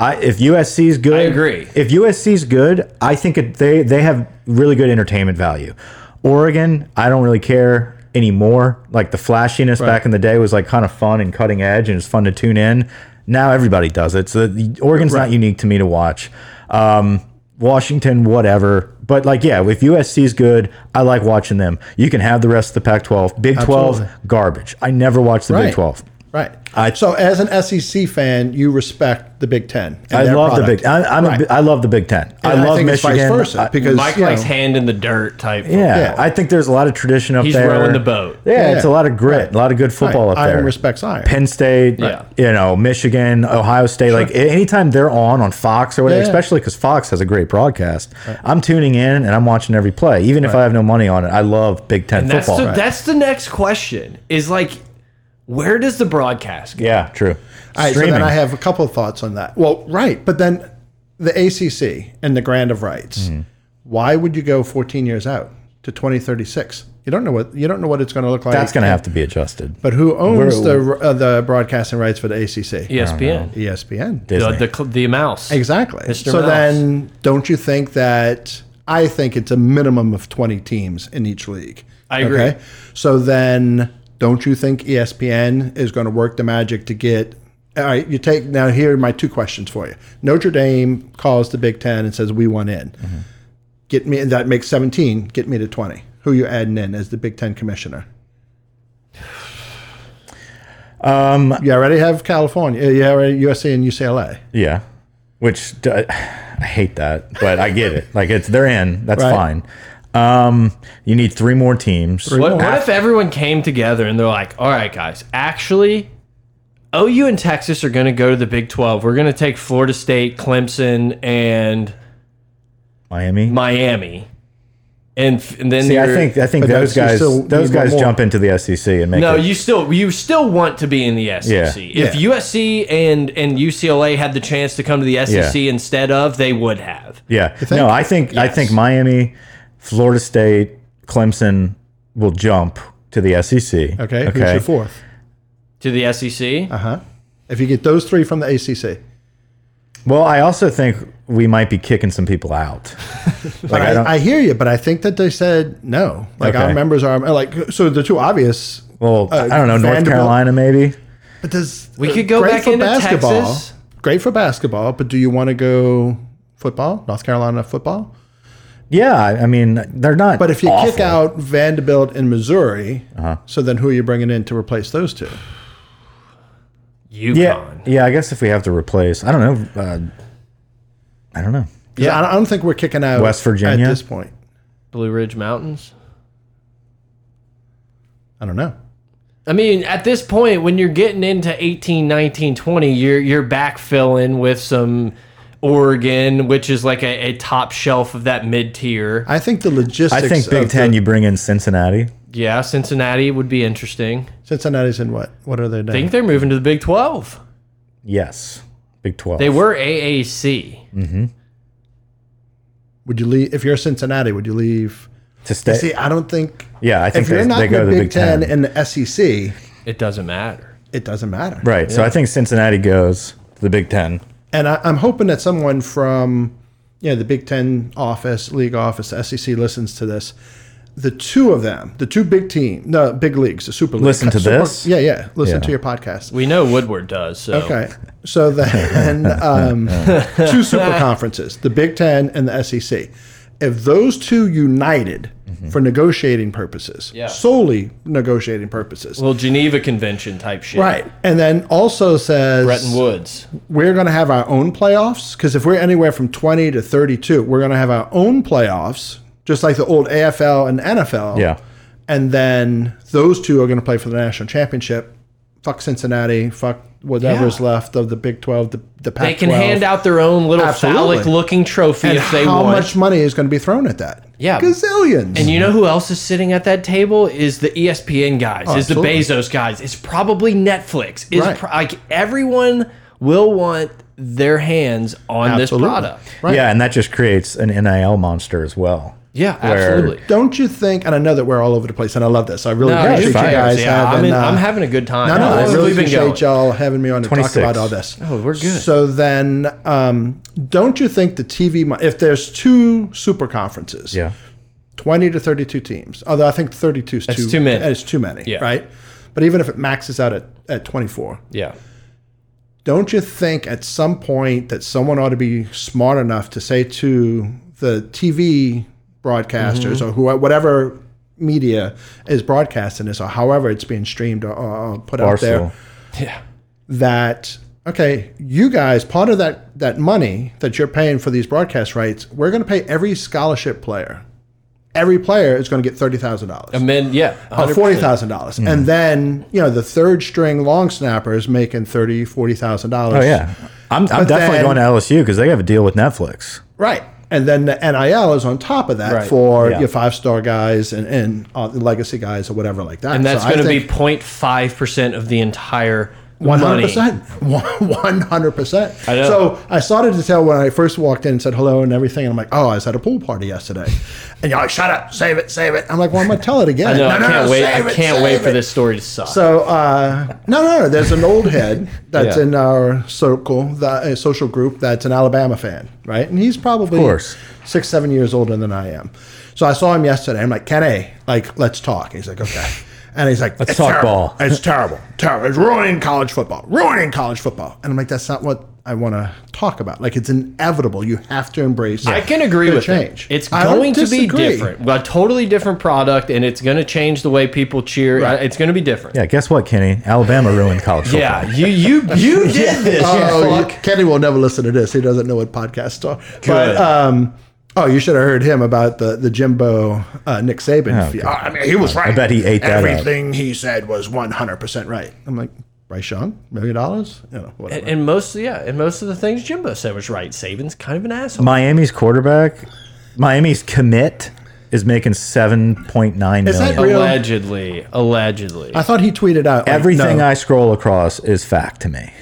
Speaker 2: I, if USC is good, I
Speaker 1: agree.
Speaker 2: If USC is good, I think it, they they have really good entertainment value. Oregon, I don't really care anymore. Like the flashiness back in the day was like kind of fun and cutting edge, and it's fun to tune in. Now everybody does it. So the- Oregon's not unique to me to watch. Um, Washington, whatever. But like, yeah, if USC is good, I like watching them. You can have the rest of the Pac-12. Big 12
Speaker 3: Absolutely.
Speaker 2: garbage. I never watched the Big
Speaker 3: Right.
Speaker 2: 12.
Speaker 3: Right.
Speaker 2: I-
Speaker 3: so, as an SEC fan, you respect the Big Ten. and
Speaker 2: I
Speaker 3: their
Speaker 2: love the
Speaker 3: product.
Speaker 2: Big. I, I'm a bi- I love the Big Ten. I
Speaker 3: And
Speaker 2: love
Speaker 3: think it's
Speaker 2: Michigan.
Speaker 3: vice versa,
Speaker 2: I-
Speaker 3: because
Speaker 1: Mike
Speaker 3: you know,
Speaker 1: likes hand in the dirt type.
Speaker 2: Yeah,
Speaker 3: Yeah.
Speaker 2: I think there's a lot of tradition up
Speaker 1: He's
Speaker 2: there.
Speaker 1: rowing the boat.
Speaker 2: Yeah,
Speaker 3: Yeah,
Speaker 2: it's a lot of grit,
Speaker 3: right.
Speaker 2: a lot of good
Speaker 3: right,
Speaker 2: football up
Speaker 3: iron
Speaker 2: there.
Speaker 3: respects iron.
Speaker 2: Penn State,
Speaker 1: Yeah.
Speaker 2: you know, Michigan, Ohio State. Like a- anytime they're on on Fox or whatever,
Speaker 3: Yeah.
Speaker 2: especially because Fox has a great broadcast. I'm tuning in and I'm watching every play, even if I have no money on it. I love Big Ten
Speaker 1: And that's,
Speaker 2: football.
Speaker 1: the, that's the next question is like, where does the broadcast go?
Speaker 2: yeah, true.
Speaker 3: All right, so
Speaker 2: Streaming.
Speaker 3: then I have a couple of thoughts on that. Well, right, but then the ACC and the grant of rights.
Speaker 2: Hmm.
Speaker 3: Why would you go 14 years out to 2036? You don't know what you don't know what it's going to look like.
Speaker 2: that's going to have to be adjusted.
Speaker 3: But who owns
Speaker 2: We're-
Speaker 3: the uh, the broadcasting rights for the ACC?
Speaker 1: E ESPN.
Speaker 3: E ESPN.
Speaker 1: The,
Speaker 2: Oh, Disney.
Speaker 1: the, cl- the mouse.
Speaker 3: Exactly.
Speaker 1: Mr.
Speaker 3: So
Speaker 1: Mouse.
Speaker 3: then, don't you think that I think it's a minimum of 20 teams in each league?
Speaker 1: I agree.
Speaker 3: So then, don't you think E ESPN is going to work the magic to get? All right, you take now. Here are my two questions for you. Notre Dame calls the Big Ten and says we want in.
Speaker 1: Mm-hmm.
Speaker 3: Get me that makes 17. Get me to 20. Who you adding in as the Big Ten commissioner? Um, you already have California. You already USC and UCLA.
Speaker 2: Yeah, which d- I hate that, but I get it. Like it's they're in. That's
Speaker 3: Right.
Speaker 2: fine. Um, you need three more teams.
Speaker 1: What, what if everyone came together and they're like, all right, guys, actually, OU and Texas are going to go to the Big 12. We're going to take Florida State, Clemson, and
Speaker 2: Miami.
Speaker 1: Miami. And, f- and then
Speaker 2: See, I
Speaker 1: you're-
Speaker 2: think I think
Speaker 3: But
Speaker 2: those
Speaker 3: that's- you
Speaker 2: guys
Speaker 3: still
Speaker 2: those
Speaker 3: need one
Speaker 2: guys
Speaker 3: more.
Speaker 2: jump into the SEC and make
Speaker 1: No,
Speaker 2: it.
Speaker 1: you still you still want to be in the SEC.
Speaker 2: Yeah.
Speaker 1: If USC and and UCLA had the chance to come to the SEC instead of, they would have.
Speaker 2: yeah. No, I think I think
Speaker 1: Yes.
Speaker 2: Miami, Florida State, Clemson will jump to the E SEC.
Speaker 3: Okay, who's your fourth?
Speaker 1: To the E SEC,
Speaker 3: Uh
Speaker 2: Uh-huh.
Speaker 3: huh. If you get those three from the ACC,
Speaker 2: Well, I also think we might be kicking some people out.
Speaker 3: like
Speaker 2: I don't-
Speaker 3: I, I hear you, but I think that they said no. Like
Speaker 2: Okay.
Speaker 3: our members are like so the two obvious.
Speaker 2: Well,
Speaker 3: Uh,
Speaker 2: I don't know North
Speaker 3: Vanderbilt-
Speaker 2: Carolina maybe.
Speaker 3: But does
Speaker 1: We could go
Speaker 3: great
Speaker 1: back
Speaker 3: for
Speaker 1: into
Speaker 3: basketball?
Speaker 1: Texas.
Speaker 3: Great for basketball, but do you want to go football? North Carolina football.
Speaker 2: Yeah, I I mean they're not.
Speaker 3: But if you kick
Speaker 2: awful. Uh-huh.
Speaker 3: out Vanderbilt and Missouri, so then who are you bringing in to replace those two?
Speaker 1: UConn.
Speaker 2: Yeah, yeah. I guess if we have to replace, I don't know. Uh, I don't know.
Speaker 3: Yeah, I don't- I don't think we're kicking out
Speaker 2: West Virginia?
Speaker 3: at this point.
Speaker 1: Blue Ridge Mountains.
Speaker 3: I don't know.
Speaker 1: I mean, at this point, when you're getting into 18, 19, 20, you're, you're backfilling with some Oregon, which is like a, a top shelf of that mid tier.
Speaker 3: I think the logistics.
Speaker 2: I think Big
Speaker 3: of
Speaker 2: Ten.
Speaker 3: the-
Speaker 2: you bring in Cincinnati.
Speaker 1: Yeah, Cincinnati would be interesting.
Speaker 3: Cincinnati's in what? What are they
Speaker 1: I
Speaker 3: doing?
Speaker 1: think they're moving to the Big 12.
Speaker 2: Yes, Big Twelve.
Speaker 1: They were AAC.
Speaker 3: Would you leave if you're Cincinnati? Would you leave
Speaker 2: to stay.
Speaker 3: See, I don't think.
Speaker 2: Yeah, I think
Speaker 3: if you're
Speaker 2: they-
Speaker 3: not
Speaker 2: they
Speaker 3: in
Speaker 2: go
Speaker 3: the
Speaker 2: to the
Speaker 3: Big
Speaker 2: Big
Speaker 3: Ten,
Speaker 2: Ten.
Speaker 3: and the SEC,
Speaker 1: It doesn't matter.
Speaker 3: it doesn't matter.
Speaker 2: right. So I think Cincinnati goes to the Big Ten.
Speaker 3: And I, I'm hoping that someone from you know the Big Ten office, league office, SEC listens to this. The two of them, the two big team, no big leagues, the Super League.
Speaker 2: Listen to
Speaker 3: Super-
Speaker 2: this?
Speaker 3: Yeah, yeah. Listen
Speaker 2: Yeah.
Speaker 3: to your podcast.
Speaker 1: We know Woodward does. So.
Speaker 3: Okay. So then, um, two super conferences, the Big Ten and the SEC. If those two united for negotiating purposes,
Speaker 1: Mm-hmm. Yeah.
Speaker 3: solely negotiating purposes,
Speaker 1: Little Geneva Convention type shit.
Speaker 3: right? And then also says
Speaker 1: Bretton Woods.
Speaker 3: we're going to have our own playoffs because if we're anywhere from 20 to 32, we're going to have our own playoffs, just like the old AFL and NFL.
Speaker 2: Yeah.
Speaker 3: And then those two are going to play for the national championship. Fuck Cincinnati. Fuck whatever's
Speaker 1: Yeah.
Speaker 3: left of the Big 12, the, the Pac
Speaker 1: They can hand out their own little
Speaker 3: Absolutely.
Speaker 1: phallic looking trophy
Speaker 3: and
Speaker 1: if they
Speaker 3: how
Speaker 1: want.
Speaker 3: much money is going to be thrown at that?
Speaker 1: Yeah.
Speaker 3: Gazillions.
Speaker 1: And you know who else is sitting at that table is the E ESPN guys, is the
Speaker 3: Oh, absolutely.
Speaker 1: Bezos guys, it's probably Netflix. Is
Speaker 3: Right.
Speaker 1: pro- like everyone will want their hands on
Speaker 3: Absolutely.
Speaker 1: this product.
Speaker 3: Right.
Speaker 2: Yeah, and that just creates an NIL monster as well.
Speaker 1: Yeah,
Speaker 2: Where-
Speaker 1: absolutely.
Speaker 3: don't you think, and I know that we're all over the place, and I love this. I really
Speaker 1: No,
Speaker 3: appreciate you
Speaker 1: it's fine.
Speaker 3: guys
Speaker 1: Yeah, I'm,
Speaker 3: having.
Speaker 1: in- I'm
Speaker 3: uh,
Speaker 1: having a good time.
Speaker 3: No, no, I
Speaker 1: That's
Speaker 3: really
Speaker 1: where we've been going.
Speaker 3: appreciate y'all having me on to talk
Speaker 2: 26.
Speaker 3: about all this.
Speaker 1: Oh, we're good.
Speaker 3: So then, um, don't you think the TV, mo- if there's two super conferences,
Speaker 2: Yeah.
Speaker 3: 20 to 32 teams, although I think 32 is
Speaker 1: That's too many.
Speaker 3: It's too many,
Speaker 1: Yeah.
Speaker 3: right? But even if it maxes out at, at 24,
Speaker 1: Yeah.
Speaker 3: don't you think at some point that someone ought to be smart enough to say to the TV broadcasters or who, whatever media is broadcasting this or however it's being streamed or, or put out there
Speaker 2: Arsenal.
Speaker 1: Yeah.
Speaker 3: that okay, you guys, part of that that money that you're paying for these broadcast rights, we're going to pay every scholarship player. Every player is going to get thirty thousand
Speaker 1: I
Speaker 3: dollars.
Speaker 1: mean, yeah.
Speaker 3: Or
Speaker 1: 100%.
Speaker 3: forty thousand dollars,
Speaker 1: Mm-hmm.
Speaker 3: and then you know the third string long snapper is making thirty, forty thousand dollars.
Speaker 2: Oh yeah, I'm, I'm
Speaker 3: But
Speaker 2: definitely
Speaker 3: then-
Speaker 2: going to LSU because they have a deal with Netflix.
Speaker 3: right. And then the NIL is on top of that
Speaker 1: Right.
Speaker 3: for
Speaker 2: Yeah.
Speaker 3: your five star guys and and uh, the legacy guys or whatever like that.
Speaker 1: And that's
Speaker 3: So I
Speaker 1: going to be
Speaker 3: think
Speaker 1: 0.5% of the entire
Speaker 3: One hundred
Speaker 1: money.
Speaker 3: percent, one hundred percent.
Speaker 1: know.
Speaker 3: So I started to tell when I first walked in and said hello and everything, and I'm like, "Oh, I was at a pool party yesterday," and you're like, "Shut up, save it, save it." I'm like, "Well, I'm gonna tell it again."
Speaker 1: No, I can't wait.
Speaker 3: save
Speaker 1: I
Speaker 3: it,
Speaker 1: can't
Speaker 3: save
Speaker 1: wait for
Speaker 3: it."
Speaker 1: this story to suck.
Speaker 3: So uh, no, no, no. There's an old head that's
Speaker 1: Yeah.
Speaker 3: in our circle, that uh, social group, that's an Alabama fan, right? And he's probably
Speaker 2: course.
Speaker 3: six, seven years older than I am. So I saw him yesterday. I'm like, Kenny, like, let's talk. He's like, okay. And he's like, let's
Speaker 2: talk ball."
Speaker 3: It's terrible, terrible. It's ruining college football, ruining college football. And I'm like, that's not what I want to talk about. Like, it's inevitable. You have to embrace.
Speaker 1: I can agree
Speaker 3: the
Speaker 1: with change.
Speaker 3: change.
Speaker 1: It. It's
Speaker 3: I don't
Speaker 1: going to be
Speaker 3: disagree.
Speaker 1: different, a totally different product, and it's going to change the way people cheer.
Speaker 3: Right.
Speaker 1: It's going to be different.
Speaker 2: Yeah, guess what, Kenny? Alabama ruined college football.
Speaker 1: Yeah, you you you did this.
Speaker 3: Oh,
Speaker 1: you
Speaker 3: you-
Speaker 1: fuck.
Speaker 3: Kenny will never listen to this. He doesn't know what podcasts are. But um, oh, you should have heard him about the the Jimbo uh, Nick Saban.
Speaker 1: Oh,
Speaker 3: fe-
Speaker 2: God.
Speaker 3: I mean, he was right.
Speaker 2: bet he ate that up.
Speaker 3: Everything he said was one hundred percent Ah, right. I'm like, Bryce Young, million dollars, you know, whatever.
Speaker 1: And most yeah, and most of the things Jimbo said was right. Saban's kind of an asshole.
Speaker 2: Miami's quarterback, Miami's commit is making seven point nine
Speaker 3: Is that
Speaker 2: million.
Speaker 3: real?
Speaker 1: allegedly, allegedly.
Speaker 3: I thought he tweeted out like,
Speaker 2: Everything
Speaker 3: no.
Speaker 2: I scroll across is fact to me.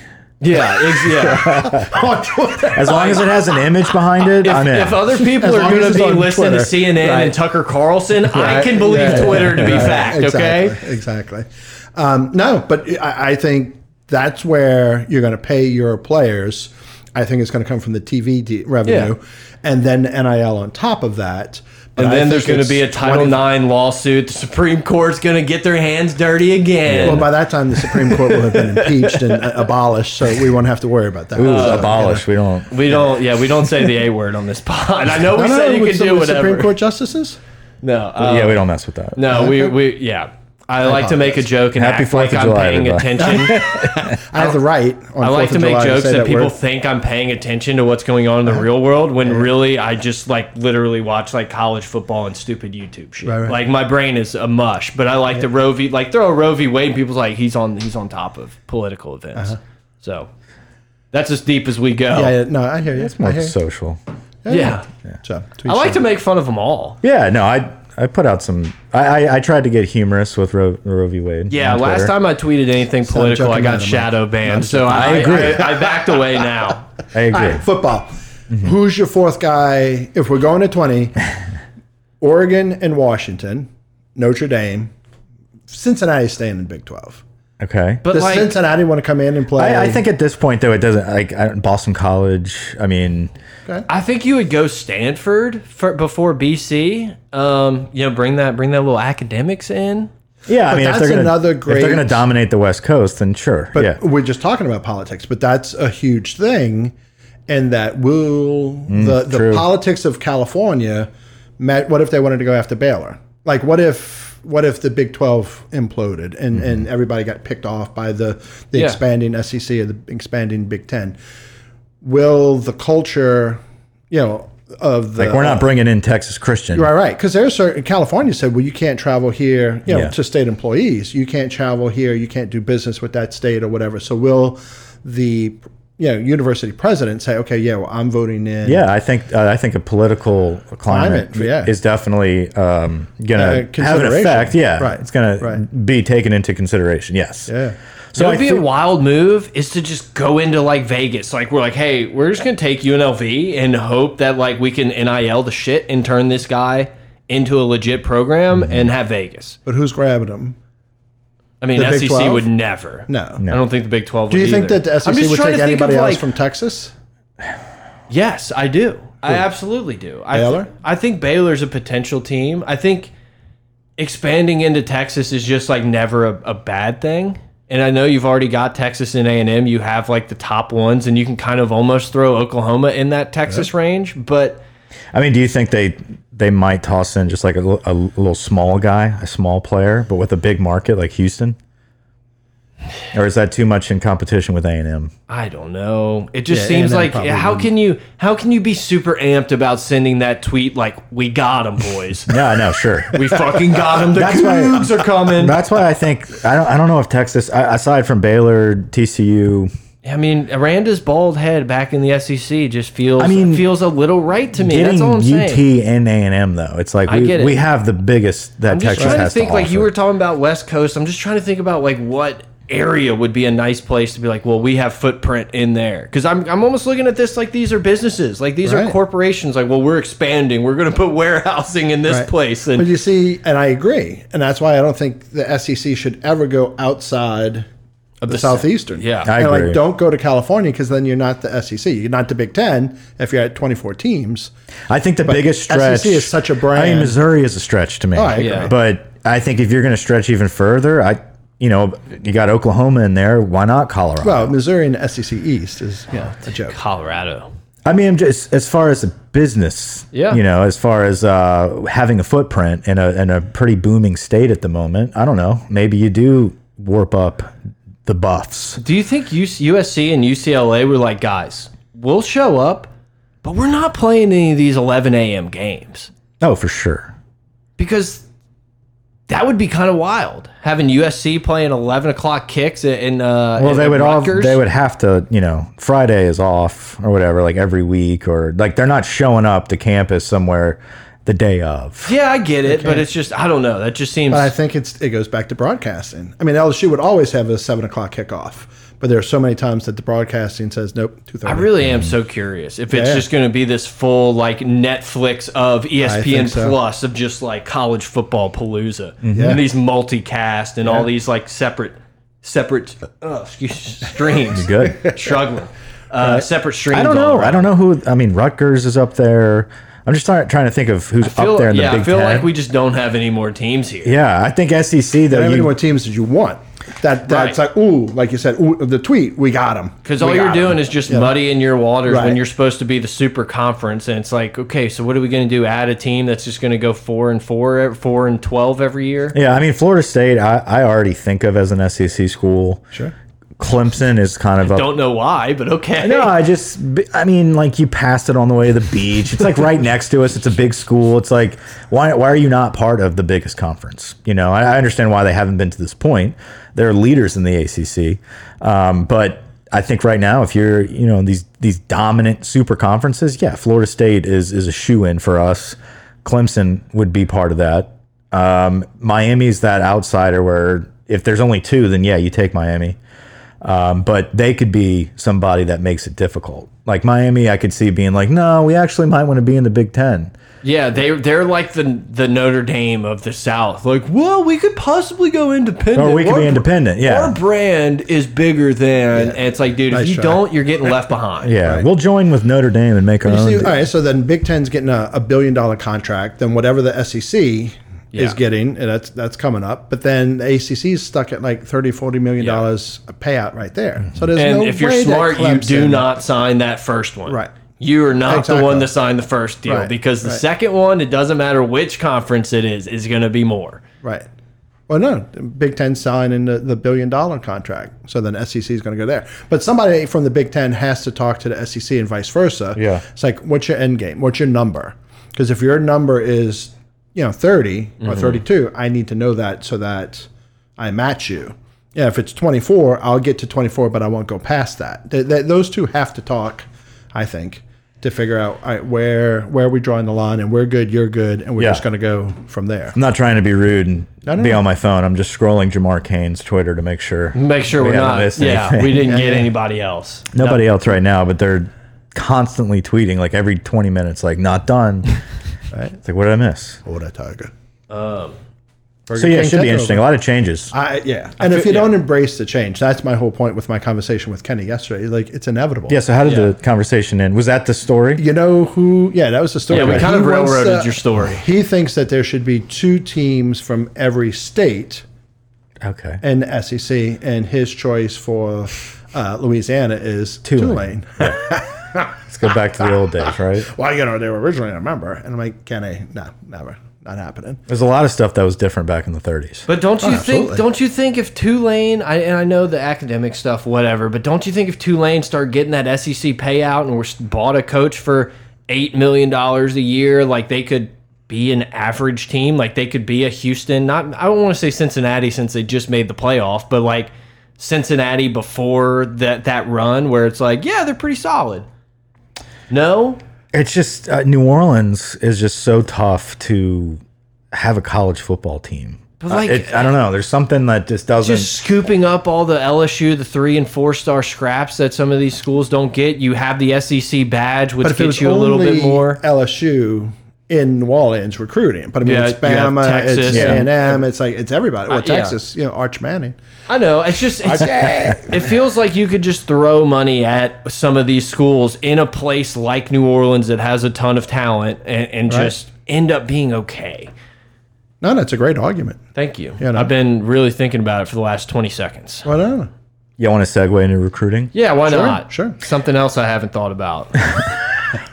Speaker 1: yeah, ex- yeah.
Speaker 3: on Twitter.
Speaker 2: As long as it has an image behind it, I'm in.
Speaker 1: If other people
Speaker 3: As
Speaker 1: are
Speaker 3: long as
Speaker 1: going to
Speaker 3: it's
Speaker 1: be
Speaker 3: on
Speaker 1: listening
Speaker 3: Twitter.
Speaker 1: to CNN and Tucker Carlson, I
Speaker 3: Right.
Speaker 1: can believe
Speaker 3: Yeah, yeah,
Speaker 1: Twitter to be
Speaker 3: yeah,
Speaker 1: fact.
Speaker 3: exactly,
Speaker 1: Okay.
Speaker 3: Exactly. Um, no, but I, I think that's where you're going to pay your players. I think it's going to come from the TV de- revenue, and then NIL on top of that. But
Speaker 1: And
Speaker 3: I
Speaker 1: then
Speaker 3: think
Speaker 1: there's going to
Speaker 3: it's
Speaker 1: be a Title
Speaker 3: 20
Speaker 1: IX lawsuit. The Supreme Court's going to get their hands dirty again.
Speaker 3: Well, by that time, the Supreme Court will have been impeached and uh, abolished, so we won't have to worry about that.
Speaker 2: Ooh,
Speaker 3: So,
Speaker 2: abolish. We don't.
Speaker 1: We don't. Yeah, we don't say the a word on this pod. I know
Speaker 3: you
Speaker 1: we
Speaker 3: know. No, no,
Speaker 1: said you
Speaker 3: with
Speaker 1: could
Speaker 3: some
Speaker 1: do
Speaker 3: of the Supreme
Speaker 1: whatever.
Speaker 3: Court justices.
Speaker 1: No. uh,
Speaker 2: yeah, we don't mess with that.
Speaker 1: No. We. We. Yeah. I like to make a joke and
Speaker 2: Happy
Speaker 1: act like
Speaker 2: Fourth of
Speaker 1: I'm
Speaker 2: July,
Speaker 1: paying
Speaker 2: everybody.
Speaker 1: attention.
Speaker 3: I have the right. On
Speaker 1: I like
Speaker 3: 4th
Speaker 1: to
Speaker 3: of
Speaker 1: make
Speaker 3: July
Speaker 1: jokes
Speaker 3: say
Speaker 1: and
Speaker 3: that
Speaker 1: people
Speaker 3: word.
Speaker 1: think I'm paying attention to what's going on in the real world when really I just like literally watch like college football and stupid YouTube shit.
Speaker 3: Right, right.
Speaker 1: Like my brain is a mush, but I like the Roe v. Like throw a Roe v. Wade and people's like he's on he's on top of political events. So that's as deep as we go.
Speaker 3: Yeah, yeah, no, I hear you. It's
Speaker 2: More social.
Speaker 1: Yeah.
Speaker 3: So,
Speaker 1: I like to make fun of them all.
Speaker 2: Yeah, no, I I put out some. I I, I tried to get humorous with Roe, Roe v. Wade.
Speaker 1: Yeah,
Speaker 2: on
Speaker 1: last
Speaker 2: Twitter.
Speaker 1: time I tweeted anything political, I
Speaker 3: joking
Speaker 1: got
Speaker 3: about it, Mike.
Speaker 1: shadow banned. So I, I
Speaker 2: agree.
Speaker 1: I, backed away now.
Speaker 2: I agree.
Speaker 3: Mm-hmm. All right, football. Who's your fourth guy? If we're going to 20, Oregon and Washington, Notre Dame, Cincinnati's staying in Big Twelve.
Speaker 2: Okay.
Speaker 1: But
Speaker 3: Does
Speaker 1: like,
Speaker 3: Cincinnati want to come in and play?
Speaker 2: I, I think at this point though it doesn't like I, Boston College. I mean,
Speaker 1: I think you would go Stanford for, before BC. Um, you know, bring that bring that little academics in.
Speaker 2: yeah. I mean,
Speaker 3: that's
Speaker 2: if they're gonna,
Speaker 3: another
Speaker 2: if
Speaker 3: great-
Speaker 2: they're going to dominate the West Coast, then sure.
Speaker 3: But
Speaker 2: yeah.
Speaker 3: we're just talking about politics, but that's a huge thing, and that will the
Speaker 2: Mm,
Speaker 3: the
Speaker 2: true.
Speaker 3: politics of California. Met, what if they wanted to go after Baylor? Like, what if what if the Big Twelve imploded and
Speaker 2: Mm-hmm.
Speaker 3: and everybody got picked off by the the
Speaker 1: Yeah.
Speaker 3: expanding SEC or the expanding Big Ten? Will the culture, you know, of the
Speaker 2: Like we're not bringing in Texas Christian.
Speaker 3: Right, right. Because there's certain California said, well, you can't travel here, you know,
Speaker 2: Yeah.
Speaker 3: to state employees. You can't travel here. You can't do business with that state or whatever. So will the you know university president say, okay, yeah, well, I'm voting in.
Speaker 2: Yeah, I think uh, I think a political climate,
Speaker 3: Climate, yeah. Uh,
Speaker 2: is definitely um, going to have an
Speaker 3: consideration.
Speaker 2: effect. Yeah,
Speaker 3: Right,
Speaker 2: it's going to
Speaker 3: right.
Speaker 2: be taken into consideration. Yes.
Speaker 3: Yeah.
Speaker 1: It
Speaker 2: So I
Speaker 1: would be a
Speaker 2: feel,
Speaker 1: wild move is to just go into like Vegas. Like we're like, hey, we're just gonna take UNLV and hope that like we can NIL the shit and turn this guy into a legit program and have Vegas.
Speaker 3: But who's grabbing them?
Speaker 1: I mean,
Speaker 3: The Big
Speaker 1: SEC
Speaker 3: 12?
Speaker 1: would never.
Speaker 3: No.
Speaker 1: I don't think the Big Twelve.
Speaker 3: Do you
Speaker 1: would
Speaker 3: think
Speaker 1: either.
Speaker 3: that the SEC
Speaker 1: I'm just
Speaker 3: would
Speaker 1: trying
Speaker 3: take
Speaker 1: to think
Speaker 3: anybody
Speaker 1: of,
Speaker 3: else
Speaker 1: like,
Speaker 3: from Texas?
Speaker 1: Yes, I do. I absolutely do. I th-
Speaker 3: Baylor?
Speaker 1: I think Baylor's a potential team. I think expanding into Texas is just like never a, a bad thing. And I know you've already got Texas and A and M. You have like the top ones, and you can kind of almost throw Oklahoma in that Texas range. But
Speaker 2: I mean, do you think they they might toss in just like a, li- a little small guy, a small player, but with a big market like Houston? Or is that too much in competition with A and M?
Speaker 1: I don't know. It just
Speaker 3: Yeah,
Speaker 1: seems
Speaker 3: A&M
Speaker 1: like
Speaker 3: probably
Speaker 1: how can you how can you be super amped about sending that tweet like we got them boys,
Speaker 2: Yeah, I know, sure.
Speaker 1: we fucking got them. The
Speaker 2: That's why-
Speaker 1: Cougs are coming.
Speaker 2: That's why I think I don't. I don't know if Texas, I- aside from Baylor, TCU,
Speaker 1: I mean, Aranda's bald head back in the SEC just feels. I
Speaker 2: mean,
Speaker 1: mean, feels a little right to me. That's
Speaker 2: getting
Speaker 1: all I'm
Speaker 2: UT
Speaker 1: saying.
Speaker 2: and A and M though, it's like
Speaker 1: I
Speaker 2: we,
Speaker 1: get it.
Speaker 2: we have the biggest that
Speaker 1: I'm just
Speaker 2: Texas
Speaker 1: trying to
Speaker 2: has
Speaker 1: think.
Speaker 2: to
Speaker 1: like you
Speaker 2: offer.
Speaker 1: were talking about West Coast, I'm just trying to think about like what area would be a nice place to be like. Well, we have footprint in there because I'm I'm almost looking at this like these are businesses, like these
Speaker 3: Right.
Speaker 1: are corporations. Like, well, we're expanding. We're going to put warehousing in this
Speaker 3: Right.
Speaker 1: place,
Speaker 3: But
Speaker 1: and
Speaker 3: you see, and I agree, and that's why I don't think the SEC should ever go outside of the, southeastern.
Speaker 1: yeah.
Speaker 2: I
Speaker 3: And,
Speaker 2: agree.
Speaker 3: like, don't go to California because then you're not the SEC. You're not the Big Ten if you're at 24 teams.
Speaker 2: I think the biggest stretch
Speaker 3: SEC E is such a
Speaker 2: I mean,
Speaker 3: brand. Oh,
Speaker 2: Missouri is a stretch to me.
Speaker 3: I agree.
Speaker 1: Yeah.
Speaker 2: But I think if you're going to stretch even further, I you know you got Oklahoma in there. Why not Colorado?
Speaker 3: Well, Missouri and SEC East is you know,
Speaker 1: Oh,
Speaker 3: a joke.
Speaker 1: Colorado.
Speaker 2: I mean, I'm just as far as a business,
Speaker 1: Yeah.
Speaker 2: You know, as far as uh, having a footprint in a in a pretty booming state at the moment. I don't know. Maybe you do warp up the buffs.
Speaker 1: Do you think UC USC and UCLA were like, guys, we'll show up, but we're not playing any of these 11 a.m. games?
Speaker 2: Oh, for sure.
Speaker 1: because that would be kind of wild having USC playing eleven o'clock kicks in- in. Uh,
Speaker 2: Well,
Speaker 1: in
Speaker 2: they would all
Speaker 1: Rutgers.
Speaker 2: they would have to, you know, Friday is off or whatever, like every week or like they're not showing up to campus somewhere the day of.
Speaker 1: Yeah, I get it, but it's just I don't know. That just seems.
Speaker 3: But I think it's it goes back to broadcasting. I mean, LSU would always have a seven o'clock kickoff, but there are so many times that the broadcasting says nope, two
Speaker 1: I
Speaker 3: thirty.
Speaker 1: really am so curious if it's
Speaker 3: Yeah.
Speaker 1: just going to be this full like Netflix of E ESPN
Speaker 3: so.
Speaker 1: Plus of just like college football palooza
Speaker 2: Mm-hmm.
Speaker 1: and these multicast and all these like separate separate uh, excuse streams.
Speaker 2: Good.
Speaker 1: struggling. Uh, Separate streams.
Speaker 2: I don't
Speaker 1: all
Speaker 2: know. I
Speaker 1: around.
Speaker 2: don't know who I mean Rutgers is up there. I'm just trying, trying to think of who's
Speaker 1: Feel-
Speaker 2: up there in the
Speaker 1: yeah,
Speaker 2: Big
Speaker 1: I feel
Speaker 2: 10.
Speaker 1: like we just don't have any more teams here.
Speaker 2: yeah, I think SEC
Speaker 3: How
Speaker 2: though
Speaker 3: many
Speaker 2: you,
Speaker 3: more teams did you want? That that's
Speaker 1: Right.
Speaker 3: like ooh, like you said, ooh, the tweet we got them
Speaker 1: Because all you're doing is just muddying your waters when
Speaker 3: Right.
Speaker 1: you're supposed to be the super conference, and it's like, okay, so what are we going to do? Add a team that's just going to go four and four, ev- four and twelve every year?
Speaker 2: Yeah, I mean Florida State I, I already think of as an SEC school. Sure. Clemson is kind of up
Speaker 1: Don't know why, but okay.
Speaker 2: No, I just, I mean, like you passed it on the way to the beach. It's like right next to us. It's a big school. It's like, why, why are you not part of the biggest conference? You know, I, I understand why they haven't been to this point. They're leaders in the ACC, um, but I think right now, if you're, you know, these these dominant super conferences, yeah, Florida State is is a shoe in for us. Clemson would be part of that. Um, Miami's that outsider where if there's only two, then yeah, you take Miami. Um, but they could be somebody that makes it difficult. Like Miami, I could see being like, no, we actually might want to be in the Big Ten.
Speaker 1: Yeah, they they're like the the Notre Dame of the South. Like, well, we could possibly go independent,
Speaker 2: Or we could
Speaker 1: Our
Speaker 2: be
Speaker 1: br-
Speaker 2: independent, yeah.
Speaker 1: our brand is bigger than. And it's like, dude, if
Speaker 3: Nice
Speaker 1: you
Speaker 3: try.
Speaker 1: don't, you're getting left behind.
Speaker 2: Yeah, we'll join with Notre Dame and make our
Speaker 3: You
Speaker 2: own.
Speaker 3: see, all right, so then Big Ten's getting a, a billion dollar contract, then whatever the SEC
Speaker 1: Yeah.
Speaker 3: is getting, and that's that's coming up. But then the ACC is stuck at like 30, 40 million dollars a payout right there. So there's
Speaker 1: And
Speaker 3: no
Speaker 1: if you're
Speaker 3: way that
Speaker 1: smart, you do
Speaker 3: Clemson-
Speaker 1: not sign that first one.
Speaker 3: Right.
Speaker 1: You are not the
Speaker 3: Exactly.
Speaker 1: one to sign the first deal
Speaker 3: Right,
Speaker 1: because the
Speaker 3: right.
Speaker 1: second one, it doesn't matter which conference it is, is going to be more.
Speaker 3: Right. Well, no, Big Ten signing the, the billion dollar contract. So then SEC is going to go there. But somebody from the Big Ten has to talk to the SEC and vice versa.
Speaker 2: Yeah.
Speaker 3: It's like, what's your end game? What's your number? Because if your number is, you know, 30
Speaker 2: Mm-hmm.
Speaker 3: or 32, I need to know that so that I match you. Yeah, if it's 24, I'll get to 24, but I won't go past that. Th- th- those two have to talk, I think, to figure out all right, where where are we drawing the line and we're good, you're good, and we're
Speaker 2: Yeah.
Speaker 3: just going to go from there.
Speaker 2: I'm not trying to be rude and
Speaker 3: no,
Speaker 2: be
Speaker 3: no.
Speaker 2: on my phone. I'm just scrolling Jamar Kane's Twitter to make sure.
Speaker 1: Make sure
Speaker 2: we
Speaker 1: we are
Speaker 2: haven't
Speaker 1: not.
Speaker 2: missed
Speaker 1: Yeah,
Speaker 2: anything.
Speaker 1: we didn't get anybody else.
Speaker 2: Nobody else right now, but they're constantly tweeting like every 20 minutes, like not done. right? It's like, what did I miss?
Speaker 3: What a tiger.
Speaker 1: Um,
Speaker 2: So yeah, it
Speaker 3: King
Speaker 2: should be
Speaker 3: takeover.
Speaker 2: interesting. A lot of changes.
Speaker 3: I, yeah. And if you don't embrace the change, that's my whole point with my conversation with Kenny yesterday. Like, it's inevitable.
Speaker 2: Yeah. So how did the conversation end? Was that the story?
Speaker 3: You know who? Yeah, that was the story.
Speaker 1: Yeah, we
Speaker 3: Like,
Speaker 1: kind
Speaker 3: he
Speaker 1: of
Speaker 3: wants
Speaker 1: railroaded
Speaker 3: to-
Speaker 1: your story.
Speaker 3: He thinks that there should be two teams from every state
Speaker 2: Okay.
Speaker 3: in the SEC, and his choice for uh, Louisiana is Tulane.
Speaker 2: Let's go back to the old days, right?
Speaker 3: Well, you know, they were originally a member. And I'm like, Kenny, no, never. Not happening.
Speaker 2: There's a lot of stuff that was different back in the 30s.
Speaker 1: But don't you think?
Speaker 3: absolutely.
Speaker 1: Don't you think if Tulane? I, and I know the academic stuff, whatever. But don't you think if Tulane start getting that SEC payout and we're s- bought a coach for eight million dollars a year, like they could be an average team, like they could be a Houston. Not I don't want to say Cincinnati since they just made the playoff, but like Cincinnati before that that run where it's like, yeah, they're pretty solid. No,
Speaker 2: It's just uh, New Orleans is just so tough to have a college football team.
Speaker 1: But, like-
Speaker 2: Uh, it- I don't know. There's something that just doesn't.
Speaker 1: just scooping up all the LSU, the three and four star scraps that some of these schools don't get. You have the SEC badge, which
Speaker 3: But if it
Speaker 1: gets
Speaker 3: was
Speaker 1: you a little
Speaker 3: only
Speaker 1: bit more.
Speaker 3: LSU in New Orleans recruiting, but I mean,
Speaker 1: Yeah,
Speaker 3: it's
Speaker 1: you have
Speaker 3: Bama,
Speaker 1: Texas
Speaker 3: it's
Speaker 1: and- Uh,
Speaker 3: A&M, it's like it's everybody. Well,
Speaker 1: yeah.
Speaker 3: Texas, you know, Arch Manning.
Speaker 1: I know. It's just it's, it feels like you could just throw money at some of these schools in a place like New Orleans that has a ton of talent and, and just end up being okay.
Speaker 3: No, that's a great argument.
Speaker 1: Thank you.
Speaker 3: no.
Speaker 1: I've been really thinking about it for the last twenty seconds.
Speaker 3: Why not?
Speaker 2: you want to segue into recruiting?
Speaker 1: Yeah, why not?
Speaker 3: sure.
Speaker 1: Something else I haven't thought about.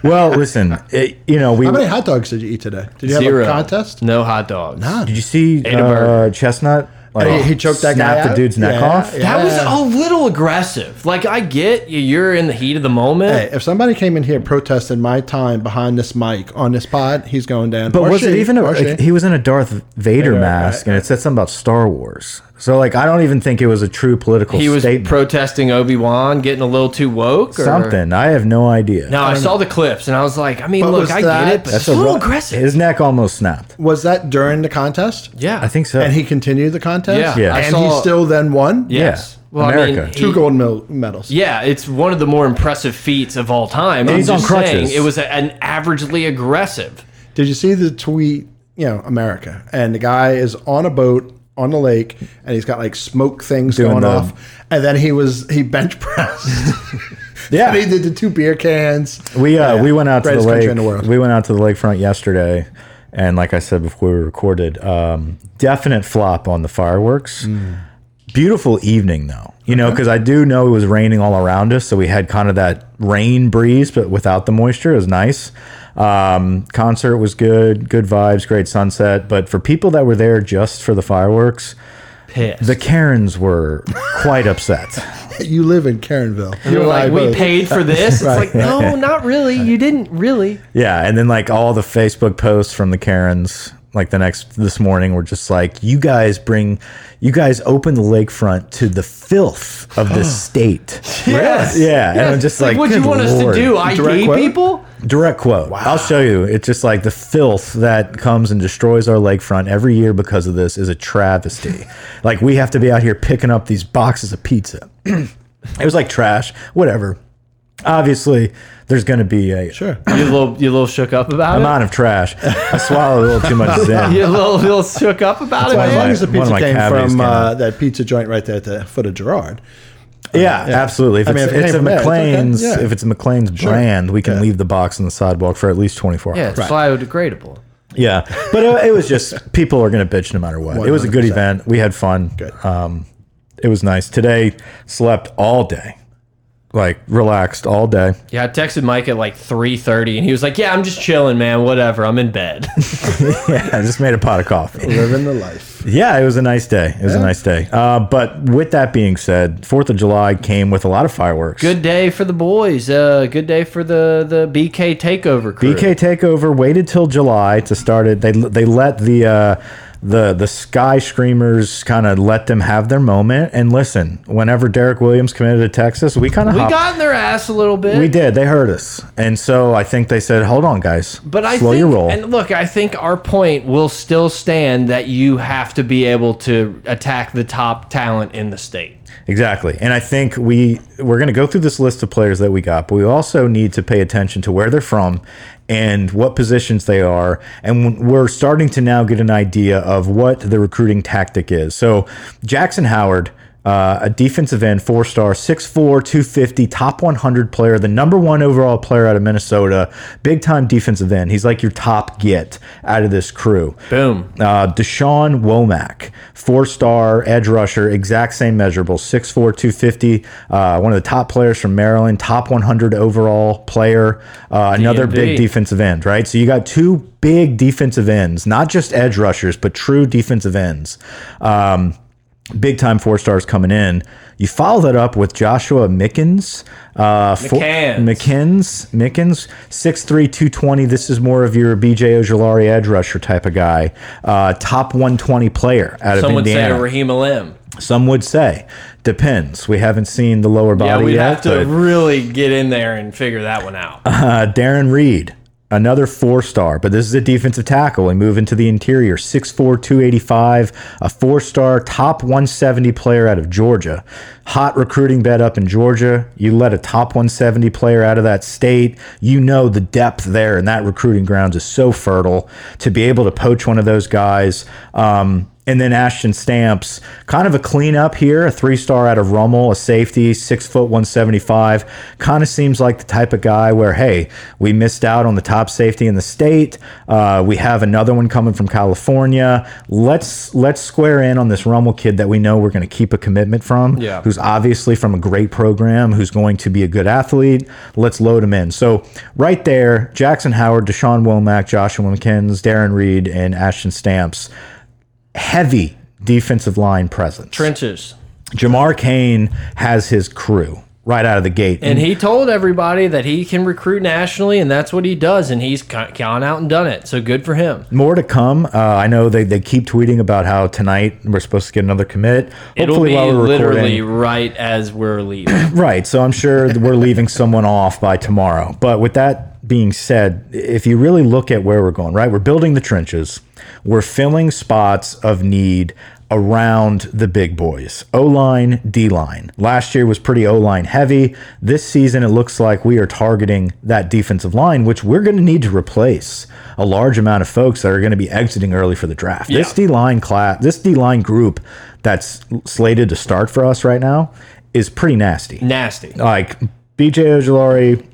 Speaker 2: Well, listen, it, you know, we.
Speaker 3: How many hot dogs did you eat today? Did you
Speaker 1: Zero
Speaker 3: have a contest?
Speaker 1: No hot dogs.
Speaker 2: Did you see
Speaker 1: a
Speaker 2: uh, Chestnut? Like,
Speaker 3: He- he choked that guy
Speaker 2: snapped the
Speaker 3: out?
Speaker 2: dude's neck
Speaker 3: Yeah,
Speaker 2: off.
Speaker 3: yeah.
Speaker 1: That was a little aggressive. Like I get you, you're in the heat of the moment.
Speaker 3: Hey, if somebody came in here protesting my time behind this mic on this pod, he's going down.
Speaker 2: But
Speaker 3: Or
Speaker 2: was it
Speaker 3: she,
Speaker 2: even a,
Speaker 3: or
Speaker 2: like,
Speaker 3: she.
Speaker 2: he was in a Darth Vader
Speaker 3: right,
Speaker 2: mask, and it said something about Star Wars. So like, I don't even think it was a true political
Speaker 1: he was
Speaker 2: statement.
Speaker 1: protesting Obi Wan, getting a little too woke. Or?
Speaker 2: something. I have no idea.
Speaker 1: No, I, saw the clips and I was like, I mean,
Speaker 3: But
Speaker 1: look,
Speaker 3: was
Speaker 1: I get
Speaker 3: that-
Speaker 1: it, but it's
Speaker 2: So
Speaker 1: a little
Speaker 2: Ro-
Speaker 1: aggressive.
Speaker 2: His neck almost snapped.
Speaker 3: was that during the contest?
Speaker 1: yeah,
Speaker 2: I think so.
Speaker 3: And he continued the contest?
Speaker 1: Yeah,
Speaker 2: Yeah.
Speaker 1: I
Speaker 3: And
Speaker 1: saw.
Speaker 3: he still then won?
Speaker 1: yes.
Speaker 2: Yeah,
Speaker 1: Well, I
Speaker 2: America.
Speaker 1: mean,
Speaker 3: Two
Speaker 1: he-
Speaker 3: gold mel- medals.
Speaker 1: Yeah, it's one of the more impressive feats of all time. I'm
Speaker 2: he's on
Speaker 1: just saying
Speaker 2: crutches.
Speaker 1: it was a, an averagely aggressive.
Speaker 3: Did you see the tweet? You know, America, and the guy is on a boat on the lake, and he's got like smoke things
Speaker 2: Doing
Speaker 3: going
Speaker 2: the-
Speaker 3: off, and then he was he bench pressed.
Speaker 2: Yeah.
Speaker 3: and he did the two beer cans.
Speaker 2: We uh, we went out to the
Speaker 3: Greatest country
Speaker 2: lake.
Speaker 3: in the world.
Speaker 2: We went out to the lakefront yesterday, and like I said before we recorded, um, definite flop on the fireworks.
Speaker 3: Mm.
Speaker 2: Beautiful evening though, you know, because I do know it was raining all around us, so we had kind of that rain breeze, but without the moisture. It was nice. Um, concert was good, good vibes, great sunset. But for people that were there just for the fireworks,
Speaker 1: Piss.
Speaker 2: the Karens were quite upset.
Speaker 3: You live in Karenville.
Speaker 1: You're
Speaker 3: and I
Speaker 1: like, we
Speaker 3: both.
Speaker 1: paid for this. It's like, no, not really. You didn't really.
Speaker 2: Yeah, and then like all the Facebook posts from the Karens, like the next this morning, were just like, "You guys bring, you guys open the lakefront to the filth of this state."
Speaker 1: Yes.
Speaker 2: Yeah, and I'm
Speaker 1: Yes.
Speaker 2: just like,
Speaker 1: what do you
Speaker 2: "Good
Speaker 1: want us to
Speaker 2: Lord."
Speaker 1: do? ID
Speaker 3: Direct quote?
Speaker 1: people?
Speaker 2: Direct quote. I'll show you. It's just like the filth that comes and destroys our lakefront every year because of this is a travesty. like we have to be out here picking up these boxes of pizza. it was like trash. Whatever. Obviously, there's going to be a
Speaker 3: Sure.
Speaker 1: You a little, you a little shook up about it.
Speaker 2: amount of trash. I swallowed a little too much zen.
Speaker 1: You a little, little shook up about it.
Speaker 3: Well, as
Speaker 1: Man?
Speaker 3: long as the
Speaker 2: One of
Speaker 3: pizza
Speaker 2: my
Speaker 3: came
Speaker 2: cavities
Speaker 3: from
Speaker 2: came
Speaker 3: uh,
Speaker 2: out.
Speaker 3: that pizza joint right there at the foot of Gerard.
Speaker 2: Yeah, absolutely. If
Speaker 3: I mean,
Speaker 2: it's,
Speaker 3: if it
Speaker 2: it's
Speaker 3: came
Speaker 2: a
Speaker 3: from there, it's okay.
Speaker 2: McLean's,
Speaker 3: Yeah.
Speaker 2: if it's a McLean's brand, we can leave the box on the sidewalk for at least 24
Speaker 1: Yeah,
Speaker 2: hours.
Speaker 1: it's biodegradable.
Speaker 2: Yeah, but it, it was just people are going to bitch no matter what. It was a good
Speaker 3: 100%.
Speaker 2: event. We had fun.
Speaker 3: Good.
Speaker 2: Um, it was nice. Today slept all day, like relaxed all day.
Speaker 1: Yeah, I texted Mike at like 3:30, and he was like, "Yeah, I'm just chilling, man. Whatever. I'm in bed."
Speaker 2: I just made a pot of coffee.
Speaker 3: Living the life.
Speaker 2: Yeah, it was a nice day. It was a nice day. Uh, but with that being said, Fourth of July came with a lot of fireworks.
Speaker 1: good day for the boys. Uh, good day for the the BK takeover crew.
Speaker 2: BK E Takeover waited till July to start it. They they let the uh, the the Sky Screamers kind of let them have their moment. And listen, whenever Derek Williams committed to Texas, we kind of
Speaker 1: we got in their ass a little bit.
Speaker 2: we did. They heard us, and so I think they said, "Hold on, guys,
Speaker 1: But I
Speaker 2: slow
Speaker 1: think,
Speaker 2: your roll."
Speaker 1: and look, I think our point will still stand that you have to be able to attack the top talent in the state.
Speaker 2: Exactly. And I think we we're going to go through this list of players that we got, but we also need to pay attention to where they're from and what positions they are. And we're starting to now get an idea of what the recruiting tactic is. So Jackson Howard uh, a defensive end, four star, 6'4, 250, top 100 player, the number one overall player out of Minnesota, big time defensive end. He's like your top get out of this crew.
Speaker 1: Boom.
Speaker 2: Uh, Deshaun Womack, four star edge rusher, exact same measurable, 6'4, 250, uh, one of the top players from Maryland, top 100 overall player, uh, another
Speaker 1: DNB.
Speaker 2: big defensive end, right? So you got two big defensive ends, not just edge rushers, but true defensive ends. Um, big time four stars coming in. You follow that up with Joshua Mickens. Uh, four-
Speaker 1: McCanns.
Speaker 2: Mickens. Mickens. 6'3", 220. This is more of your BJ Ojolari edge rusher type of guy. Uh, top 120 player out
Speaker 1: Some
Speaker 2: of
Speaker 1: would say
Speaker 2: Indiana.
Speaker 1: a Raheem Alim.
Speaker 2: Some would say. Depends. We haven't seen the lower body
Speaker 1: Yeah, we'd
Speaker 2: yet.
Speaker 1: have to
Speaker 2: but-
Speaker 1: really get in there and figure that one out.
Speaker 2: uh, Darren Reed, another four star, but this is a defensive tackle. We move into the interior 6'4, 285, a four star, top 170 player out of Georgia. Hot recruiting bed up in Georgia. You let a top 170 player out of that state. You know the depth there, and that recruiting grounds is so fertile to be able to poach one of those guys. Um, and then Ashton Stamps, kind of a cleanup here, a three star out of Rummel, a safety, six foot 175. Kind of seems like the type of guy where, hey, we missed out on the top safety in the state. Uh, we have another one coming from California. Let's let's square in on this Rummel kid that we know we're going to keep a commitment from,
Speaker 1: Yeah.
Speaker 2: who's obviously from a great program, who's going to be a good athlete. Let's load him in. So right there, Jackson Howard, Deshaun Womack, Joshua McKins, Darren Reed, and Ashton Stamps heavy defensive line presence.
Speaker 1: Trenches.
Speaker 2: Jamar Kane has his crew right out of the gate.
Speaker 1: And he told everybody that he can recruit nationally, and that's what he does, and he's co- gone out and done it. So good for him.
Speaker 2: more to come. Uh, I know they, they keep tweeting about how tonight we're supposed to get another commit.
Speaker 1: It'll be
Speaker 2: we're
Speaker 1: literally
Speaker 2: recording.
Speaker 1: right as we're leaving.
Speaker 2: Right. So I'm sure that we're leaving someone off by tomorrow. But with that being said, if you really look at where we're going, right, we're building the trenches, we're filling spots of need around the big boys O line, D line. Last year was pretty O line heavy. This season, it looks like we are targeting that defensive line, which we're going to need to replace a large amount of folks that are going to be exiting early for the draft. This D line class, this D line group that's slated to start for us right now is pretty nasty
Speaker 1: Nasty.
Speaker 2: like BJ Ojolari,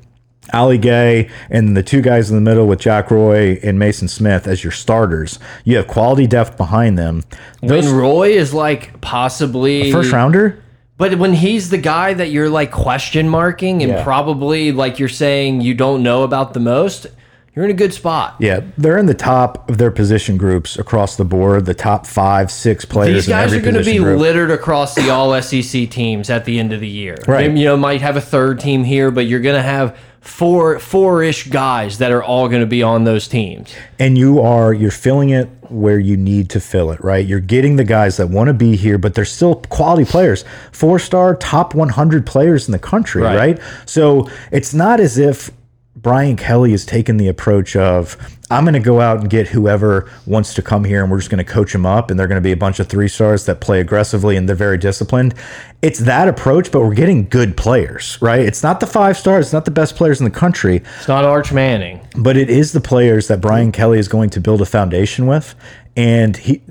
Speaker 2: Ali Gay, and the two guys in the middle with Jack Roy and Mason Smith as your starters. You have quality depth behind them.
Speaker 1: When
Speaker 2: Those
Speaker 1: Roy is like possibly
Speaker 2: first rounder,
Speaker 1: But when he's the guy that you're like question marking and
Speaker 2: Yeah.
Speaker 1: probably like you're saying you don't know about the most, you're in a good spot.
Speaker 2: yeah, they're in the top of their position groups across the board. The top five, six players.
Speaker 1: These guys
Speaker 2: in every
Speaker 1: are going to be
Speaker 2: position group.
Speaker 1: littered across the all SEC teams at the end of the year.
Speaker 2: Right.
Speaker 1: They, you know, might have a third team here, but you're going to have four four ish guys that are all going to be on those teams.
Speaker 2: and you are you're filling it where you need to fill it right you're getting the guys that want to be here but they're still quality players four star top 100 players in the country right, so it's not as if Brian Kelly has taken the approach of I'm going to go out and get whoever wants to come here and we're just going to coach them up and they're going to be a bunch of three stars that play aggressively and they're very disciplined. It's that approach, but we're getting good players, right? It's not the five stars, it's not the best players in the country,
Speaker 1: It's not Arch Manning.
Speaker 2: but it is the players that Brian Kelly is going to build a foundation with. And he,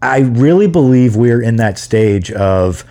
Speaker 2: I really believe we're in that stage of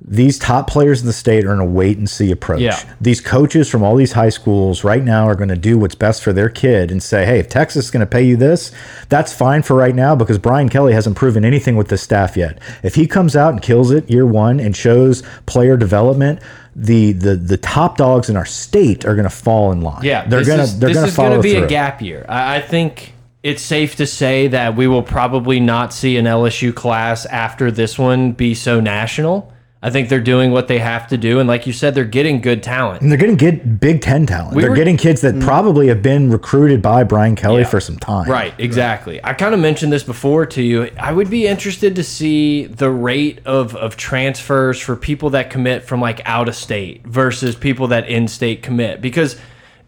Speaker 2: these top players in the state are in a wait and see approach.
Speaker 1: Yeah.
Speaker 2: These coaches from all these high schools right now are going to do what's best for their kid and say, hey, if Texas is going to pay you this, that's fine for right now because Brian Kelly hasn't proven anything with this staff yet. If he comes out and kills it year one and shows player development, the the the top dogs in our state are going to fall in line.
Speaker 1: Yeah,
Speaker 2: they're
Speaker 1: this
Speaker 2: going to
Speaker 1: is-
Speaker 2: they're
Speaker 1: this
Speaker 2: going to
Speaker 1: is gonna
Speaker 2: follow
Speaker 1: be
Speaker 2: through.
Speaker 1: a gap year. I, I think it's safe to say that we will probably not see an LSU class after this one be so national. I think they're doing what they have to do, and like you said, they're getting good talent.
Speaker 2: And they're getting good Big Ten talent. they're
Speaker 1: were- Mm.
Speaker 2: getting kids that probably have been recruited by Brian Kelly for some time.
Speaker 1: Right, exactly. I kind of mentioned this before to you. I would be interested to see the rate of of transfers for people that commit from like out of state versus people that in state commit because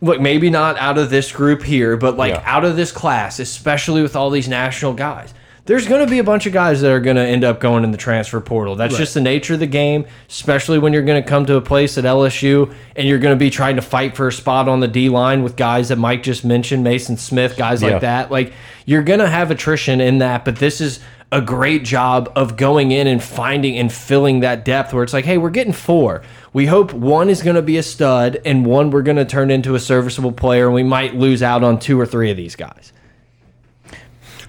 Speaker 1: look, maybe not out of this group here, but like out of this class, especially with all these national guys. There's going to be a bunch of guys that are going to end up going in the transfer portal. That's just the nature of the game, especially when you're going to come to a place at LSU and you're going to be trying to fight for a spot on the D line with guys that Mike just mentioned, Mason Smith, guys
Speaker 2: Yeah.
Speaker 1: like that. Like you're going to have attrition in that, but this is a great job of going in and finding and filling that depth where it's like, hey, we're getting four. We hope one is going to be a stud and one we're going to turn into a serviceable player and we might lose out on two or three of these guys.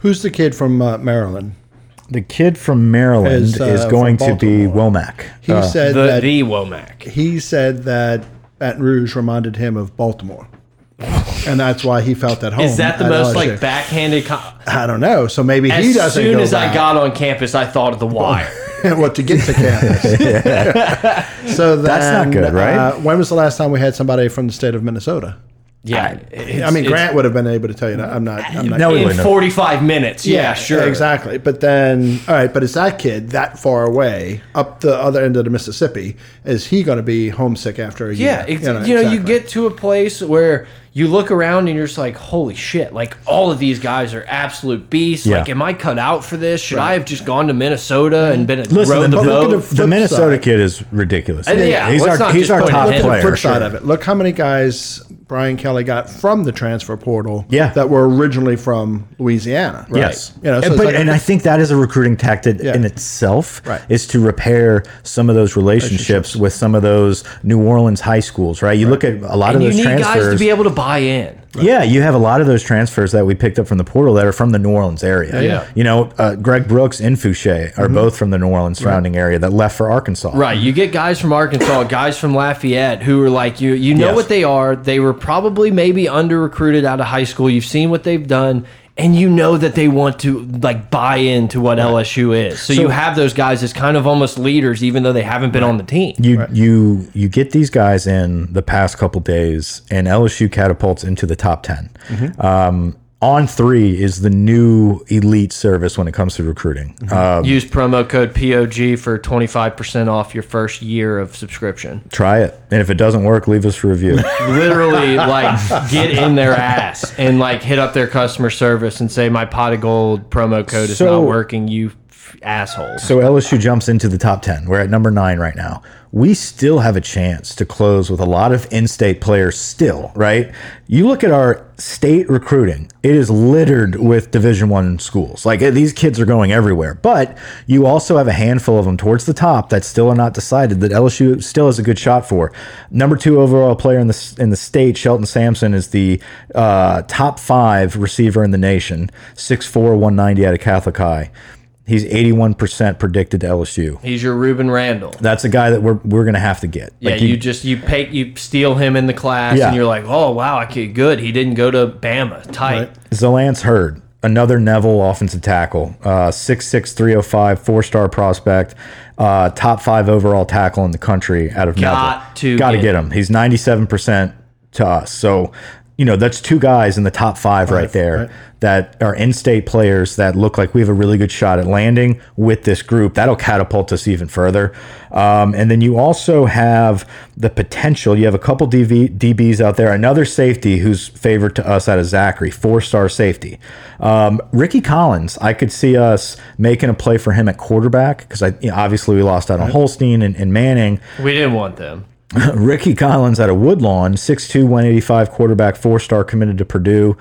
Speaker 3: Who's the kid from uh, Maryland?
Speaker 2: The kid from Maryland
Speaker 3: Is,
Speaker 2: is,
Speaker 3: uh,
Speaker 2: going
Speaker 3: from
Speaker 2: to be
Speaker 3: Baltimore.
Speaker 2: Womack.
Speaker 3: He
Speaker 2: Uh,
Speaker 3: said
Speaker 1: The,
Speaker 3: that
Speaker 1: the Womack.
Speaker 3: he said that Baton Rouge reminded him of Baltimore, and that's why he felt at home.
Speaker 1: Is that the
Speaker 3: at
Speaker 1: most
Speaker 3: LSU.
Speaker 1: like backhanded? Com-
Speaker 3: I don't know. So maybe he
Speaker 1: as
Speaker 3: doesn't.
Speaker 1: soon
Speaker 3: go
Speaker 1: as I
Speaker 3: back.
Speaker 1: got on campus, I thought of the wire.
Speaker 3: what to get to campus. so then,
Speaker 2: That's not good, right?
Speaker 3: Uh, when was the last time we had somebody from the state of Minnesota?
Speaker 1: Yeah,
Speaker 3: I mean, Grant would have been able to tell you. That. I'm not. I'm not
Speaker 2: No,
Speaker 1: in
Speaker 2: wouldn't have.
Speaker 1: 45 minutes. Yeah, sure,
Speaker 3: exactly. But then, all right, but is that kid that far away up the other end of the Mississippi? Is he going to be homesick after a
Speaker 1: Yeah,
Speaker 3: year?
Speaker 1: ex- you know, you, get to a place where you look around and you're just like, holy shit! Like all of these guys are absolute beasts.
Speaker 2: Yeah.
Speaker 1: Like, am I cut out for this? Should I have just gone to Minnesota and been a
Speaker 2: Listen,
Speaker 1: rowed the
Speaker 2: the, but
Speaker 1: boat?
Speaker 2: look at the, the
Speaker 3: flip
Speaker 2: Minnesota
Speaker 3: side.
Speaker 2: kid is ridiculous.
Speaker 1: And yeah,
Speaker 2: he's
Speaker 1: let's
Speaker 2: our
Speaker 1: not
Speaker 2: he's
Speaker 1: just
Speaker 2: our
Speaker 1: put it
Speaker 2: top
Speaker 1: in.
Speaker 3: the
Speaker 2: player.
Speaker 3: flip side
Speaker 2: sure.
Speaker 3: of it. Look how many guys Brian Kelly got from the transfer portal
Speaker 2: Yeah.
Speaker 3: that were originally from Louisiana.
Speaker 2: Yes.
Speaker 3: You know, so
Speaker 2: and,
Speaker 3: it's
Speaker 2: but,
Speaker 3: like-
Speaker 2: and I think that is a recruiting tactic in itself
Speaker 3: Right.
Speaker 2: is to repair some of those relationships, with some of those New Orleans high schools, right? You look at a lot
Speaker 1: and
Speaker 2: of
Speaker 1: you
Speaker 2: those
Speaker 1: need
Speaker 2: transfers.
Speaker 1: guys to be able to buy in.
Speaker 2: Yeah, you have a lot of those transfers that we picked up from the portal that are from the New Orleans area.
Speaker 1: yeah. Mm-hmm.
Speaker 2: You know, uh, Greg Brooks and Fouché are both from the New Orleans surrounding area that left for Arkansas.
Speaker 1: Right. You get guys from Arkansas, guys from Lafayette who are like you you know
Speaker 2: Yes.
Speaker 1: what they are. They were probably maybe under recruited out of high school. You've seen what they've done and you know that they want to like buy into what LSU is. So, you have those guys as kind of almost leaders even though they haven't been on the team.
Speaker 2: You you you get these guys in the past couple days, and LSU catapults into the top 10
Speaker 1: Mm-hmm.
Speaker 2: Um, on three is the new elite service when it comes to recruiting.
Speaker 1: Mm-hmm.
Speaker 2: Uh,
Speaker 1: Use promo code POG for 25% off your first year of subscription.
Speaker 2: try it, and if it doesn't work, leave us a review.
Speaker 1: Literally like get in their ass and like hit up their customer service and say my pot of gold promo code is
Speaker 2: So-
Speaker 1: not working, you f- assholes.
Speaker 2: So LSU jumps into the top 10. We're at number nine right now. We still have a chance to close with a lot of in state players, still, right? You look at our state recruiting, it is littered with Division One schools. Like eh, these kids are going everywhere. But you also have a handful of them towards the top that still are not decided that LSU still has a good shot for. Number two overall player in the, s- in the state, Shelton Sampson, is the uh, top five receiver in the nation, 6'4, 190 out of Catholic High. He's 81% predicted to LSU.
Speaker 1: He's your Reuben Randall.
Speaker 2: That's a guy that we're, we're going to have to get.
Speaker 1: Yeah, you, just you pay you steal him in the class,
Speaker 2: Yeah.
Speaker 1: and you're like, oh wow, I could good. He didn't go to Bama. Tight.
Speaker 2: Zalance Hurd, another Neville offensive tackle, uh, 6'6", 305, four-star prospect, uh, top five overall tackle in the country out of
Speaker 1: Got
Speaker 2: Neville.
Speaker 1: to
Speaker 2: Gotta
Speaker 1: get
Speaker 2: get him. He's 97% to us. So you know, that's two guys in the top five right,
Speaker 3: Right,
Speaker 2: there
Speaker 3: right.
Speaker 2: that are in-state players that look like we have a really good shot at landing with this group. That'll catapult us even further. Um, and then you also have the potential. You have a couple DV, DBs out there. Another safety who's favored to us out of Zachary, four-star safety. Um, Ricky Collins. I could see us making a play for him at quarterback because I you know, obviously we lost out on Holstein and, and Manning.
Speaker 1: We didn't want them.
Speaker 2: Ricky Collins out of Woodlawn, 6'2, 185 quarterback, four star committed to Purdue.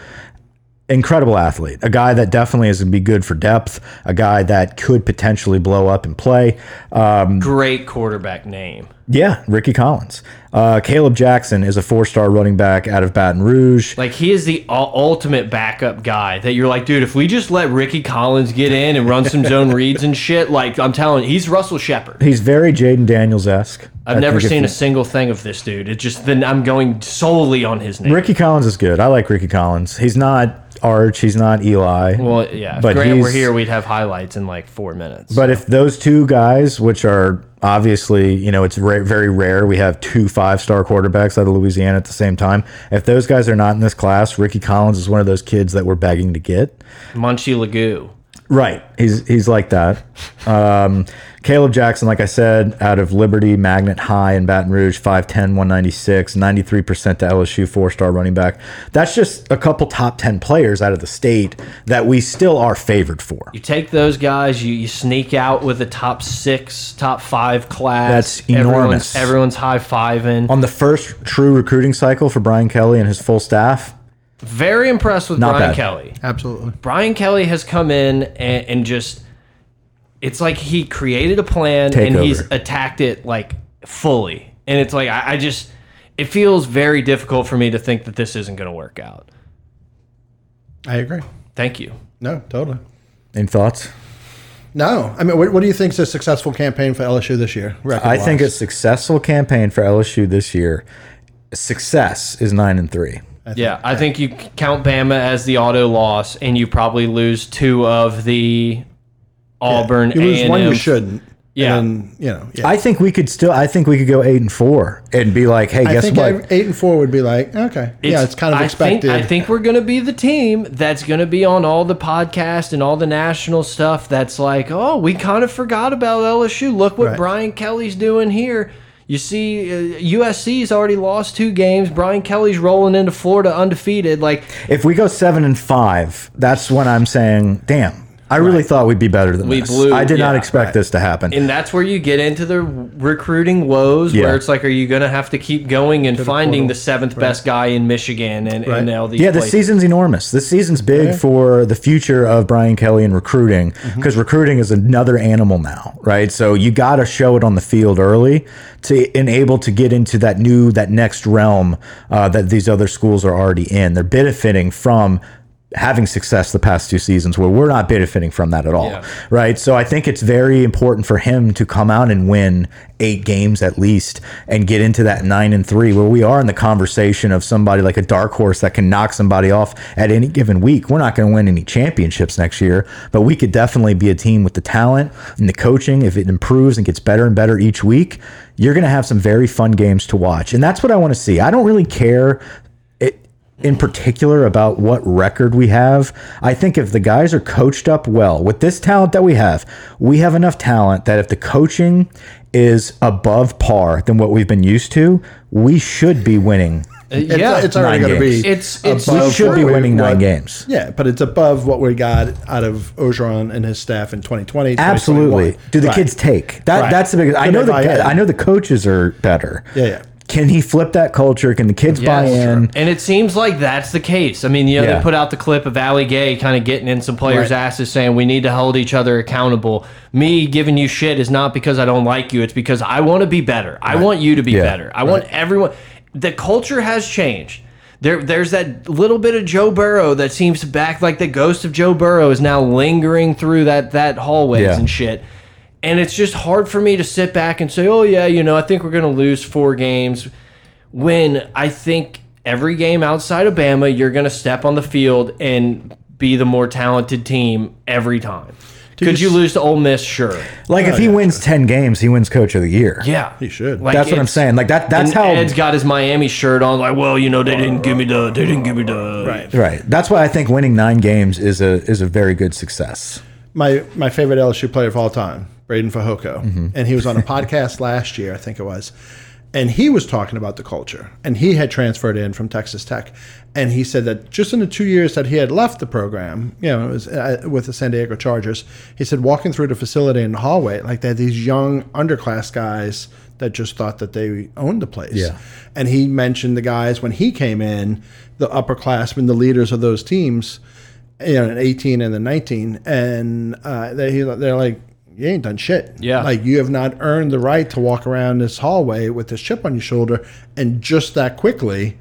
Speaker 2: Incredible athlete. A guy that definitely is going to be good for depth, a guy that could potentially blow up and play. Uh,
Speaker 1: Great quarterback name.
Speaker 2: Yeah, Ricky Collins. Uh, Caleb Jackson is a four star running back out of Baton Rouge.
Speaker 1: Like he is the u- ultimate backup guy that you're like, dude, if we just let Ricky Collins get in and run some zone reads and shit, like I'm telling you, he's Russell Shepard.
Speaker 2: He's very Jaden Daniels esque.
Speaker 1: I've never seen a single thing of this dude. It's just then I'm going solely on his name.
Speaker 2: Ricky Collins is good. I like Ricky Collins. He's not Arch, he's not Eli.
Speaker 1: well, yeah. If
Speaker 2: But
Speaker 1: Grant were
Speaker 2: he's-
Speaker 1: here, we'd have highlights in like four minutes.
Speaker 2: But if those two guys, which are obviously, you know, it's ra very rare we have two five star quarterbacks out of Louisiana at the same time. If those guys are not in this class, Ricky Collins is one of those kids that we're begging to get.
Speaker 1: Munchie Lagoo.
Speaker 2: Right. He's he's like that. Um, Caleb Jackson, like I said, out of Liberty Magnet High in Baton Rouge, 5'10, 196, 93% to LSU, four star running back. That's just a couple top 10 players out of the state that we still are favored for.
Speaker 1: You take those guys, you, you sneak out with the top six, top five class.
Speaker 2: That's enormous. Um,
Speaker 1: Everyone's, everyone's high fiving.
Speaker 2: on the first true recruiting cycle for Brian Kelly and his full staff.
Speaker 1: Very impressed with
Speaker 2: Not
Speaker 1: Brian
Speaker 2: bad.
Speaker 1: Kelly.
Speaker 3: Absolutely.
Speaker 1: Brian Kelly has come in and, and just it's like he created a plan
Speaker 2: Take
Speaker 1: and he's
Speaker 2: over.
Speaker 1: attacked it like fully. And it's like I, I just it feels very difficult for me to think that this isn't gonna work out.
Speaker 3: I agree.
Speaker 1: Thank you.
Speaker 3: No, totally.
Speaker 2: Any thoughts?
Speaker 3: No, I mean, what, what do you think is a successful campaign for LSU this year?
Speaker 2: I think a
Speaker 3: record-wise?
Speaker 2: successful campaign for LSU this year. Success is nine and three.
Speaker 1: yeah, I think you c- count Bama as the auto loss and you probably lose two of the Auburn
Speaker 3: you lose one you
Speaker 1: A&M.
Speaker 3: shouldn't.
Speaker 1: Yeah.
Speaker 3: and then, you know. Yeah.
Speaker 2: I think we could still. I think we could go eight and four and be like, hey,
Speaker 3: I
Speaker 2: guess
Speaker 3: think
Speaker 2: what?
Speaker 3: I- eight and four would be like okay, yeah, it's kind of
Speaker 1: I
Speaker 3: expected.
Speaker 1: Think, I think we're going to be the team that's going to be on all the podcast and all the national stuff. That's like, oh, we kind of forgot about LSU. Look what
Speaker 3: Right.
Speaker 1: Brian Kelly's doing here. You see, uh, USC's already lost two games. Brian Kelly's rolling into Florida undefeated. Like,
Speaker 2: if we go seven and five, that's when I'm saying, damn. I really thought we'd be better than
Speaker 1: We
Speaker 2: this.
Speaker 1: blew-
Speaker 2: I did not
Speaker 1: yeah,
Speaker 2: expect this to happen.
Speaker 1: and that's where you get into the recruiting woes,
Speaker 2: Yeah.
Speaker 1: where it's like, are you going to have to keep going and finding
Speaker 3: portal.
Speaker 1: the seventh best guy in Michigan and, and
Speaker 3: Right.
Speaker 1: all these?
Speaker 2: Yeah, the
Speaker 1: places?
Speaker 2: season's enormous. This season's big for the future of Brian Kelly and recruiting because recruiting is another animal now, right? So you got to show it on the field early to enable to get into that new, that next realm uh, that these other schools are already in. They're benefiting from having success the past two seasons where we're not benefiting from that at all, right?
Speaker 1: Yeah.
Speaker 2: So I think it's very important for him to come out and win eight games at least and get into that nine and three where we are in the conversation of somebody like a dark horse that can knock somebody off at any given week. We're not going to win any championships next year, but we could definitely be a team with the talent and the coaching. If it improves and gets better and better each week, you're going to have some very fun games to watch. And that's what I want to see. I don't really care it, in particular about what record we have. I think if the guys are coached up well with this talent that we have, we have enough talent that if the coaching is above par than what we've been used to, we should be winning.
Speaker 1: Uh,
Speaker 3: it's,
Speaker 1: yeah,
Speaker 3: it's already
Speaker 2: nine
Speaker 3: going to
Speaker 2: games.
Speaker 3: be
Speaker 1: It's- it's-
Speaker 2: We
Speaker 1: Uh,
Speaker 2: should be
Speaker 3: what we-
Speaker 2: winning nine
Speaker 3: what-
Speaker 2: games.
Speaker 3: Yeah, but it's above what we got out of Ogeron and his staff in 2020. 2021.
Speaker 2: Absolutely. Do the
Speaker 3: Right.
Speaker 2: kids take that?
Speaker 3: Right.
Speaker 2: That's the biggest. I
Speaker 3: Do
Speaker 2: know
Speaker 3: they
Speaker 2: the
Speaker 3: buy in?
Speaker 2: I know the coaches are better.
Speaker 3: Yeah, yeah.
Speaker 2: Can he flip that culture? Can the kids buy
Speaker 1: Yes.
Speaker 2: in?
Speaker 1: And it seems like that's the case. I mean, you know,
Speaker 2: Yeah.
Speaker 1: they put out the clip of Allie Gay kind of getting in some players'
Speaker 3: Right.
Speaker 1: asses saying, we need to hold each other accountable. Me giving you shit is not because I don't like you. It's because I want to be better. I want you to be
Speaker 2: Yeah.
Speaker 1: better. I want everyone. The culture has changed. There, there's that little bit of Joe Burrow that seems to back like the ghost of Joe Burrow is now lingering through that that hallways
Speaker 2: Yeah.
Speaker 1: and shit. And it's just hard for me to sit back and say, "Oh yeah, you know, I think we're going to lose four games." when I think every game outside of Bama, you're going to step on the field and be the more talented team every time. Could you lose to Ole Miss? Sure.
Speaker 2: Like
Speaker 3: Oh,
Speaker 2: if he wins ten games, he wins coach of the year.
Speaker 1: Yeah,
Speaker 3: He should.
Speaker 1: Like,
Speaker 2: that's what I'm
Speaker 1: it's-
Speaker 2: saying. Like that. That's
Speaker 1: and
Speaker 2: how.
Speaker 1: Ed's got his Miami shirt on. Like, well, you know, they didn't give me the. They didn't give me the.
Speaker 3: Right.
Speaker 2: right. That's why I think winning nine games is a is a very good success.
Speaker 3: my my favorite LSU player of all time, Braden Fajoko, and he was on a podcast last year, I think it was, and he was talking about the culture, and he had transferred in from Texas Tech, and he said that just in the two years that he had left the program, you know, it was uh, with the San Diego Chargers, he said walking through the facility in the hallway, like they had these young underclass guys that just thought that they owned the place.
Speaker 2: Yeah.
Speaker 3: And he mentioned the guys when he came in, the upperclassmen, the leaders of those teams, you know, an 18 and a 19, and uh, they, he- they're like, you ain't done shit.
Speaker 1: Yeah.
Speaker 3: Like, you have not earned the right to walk around this hallway with this chip on your shoulder. And just that quickly,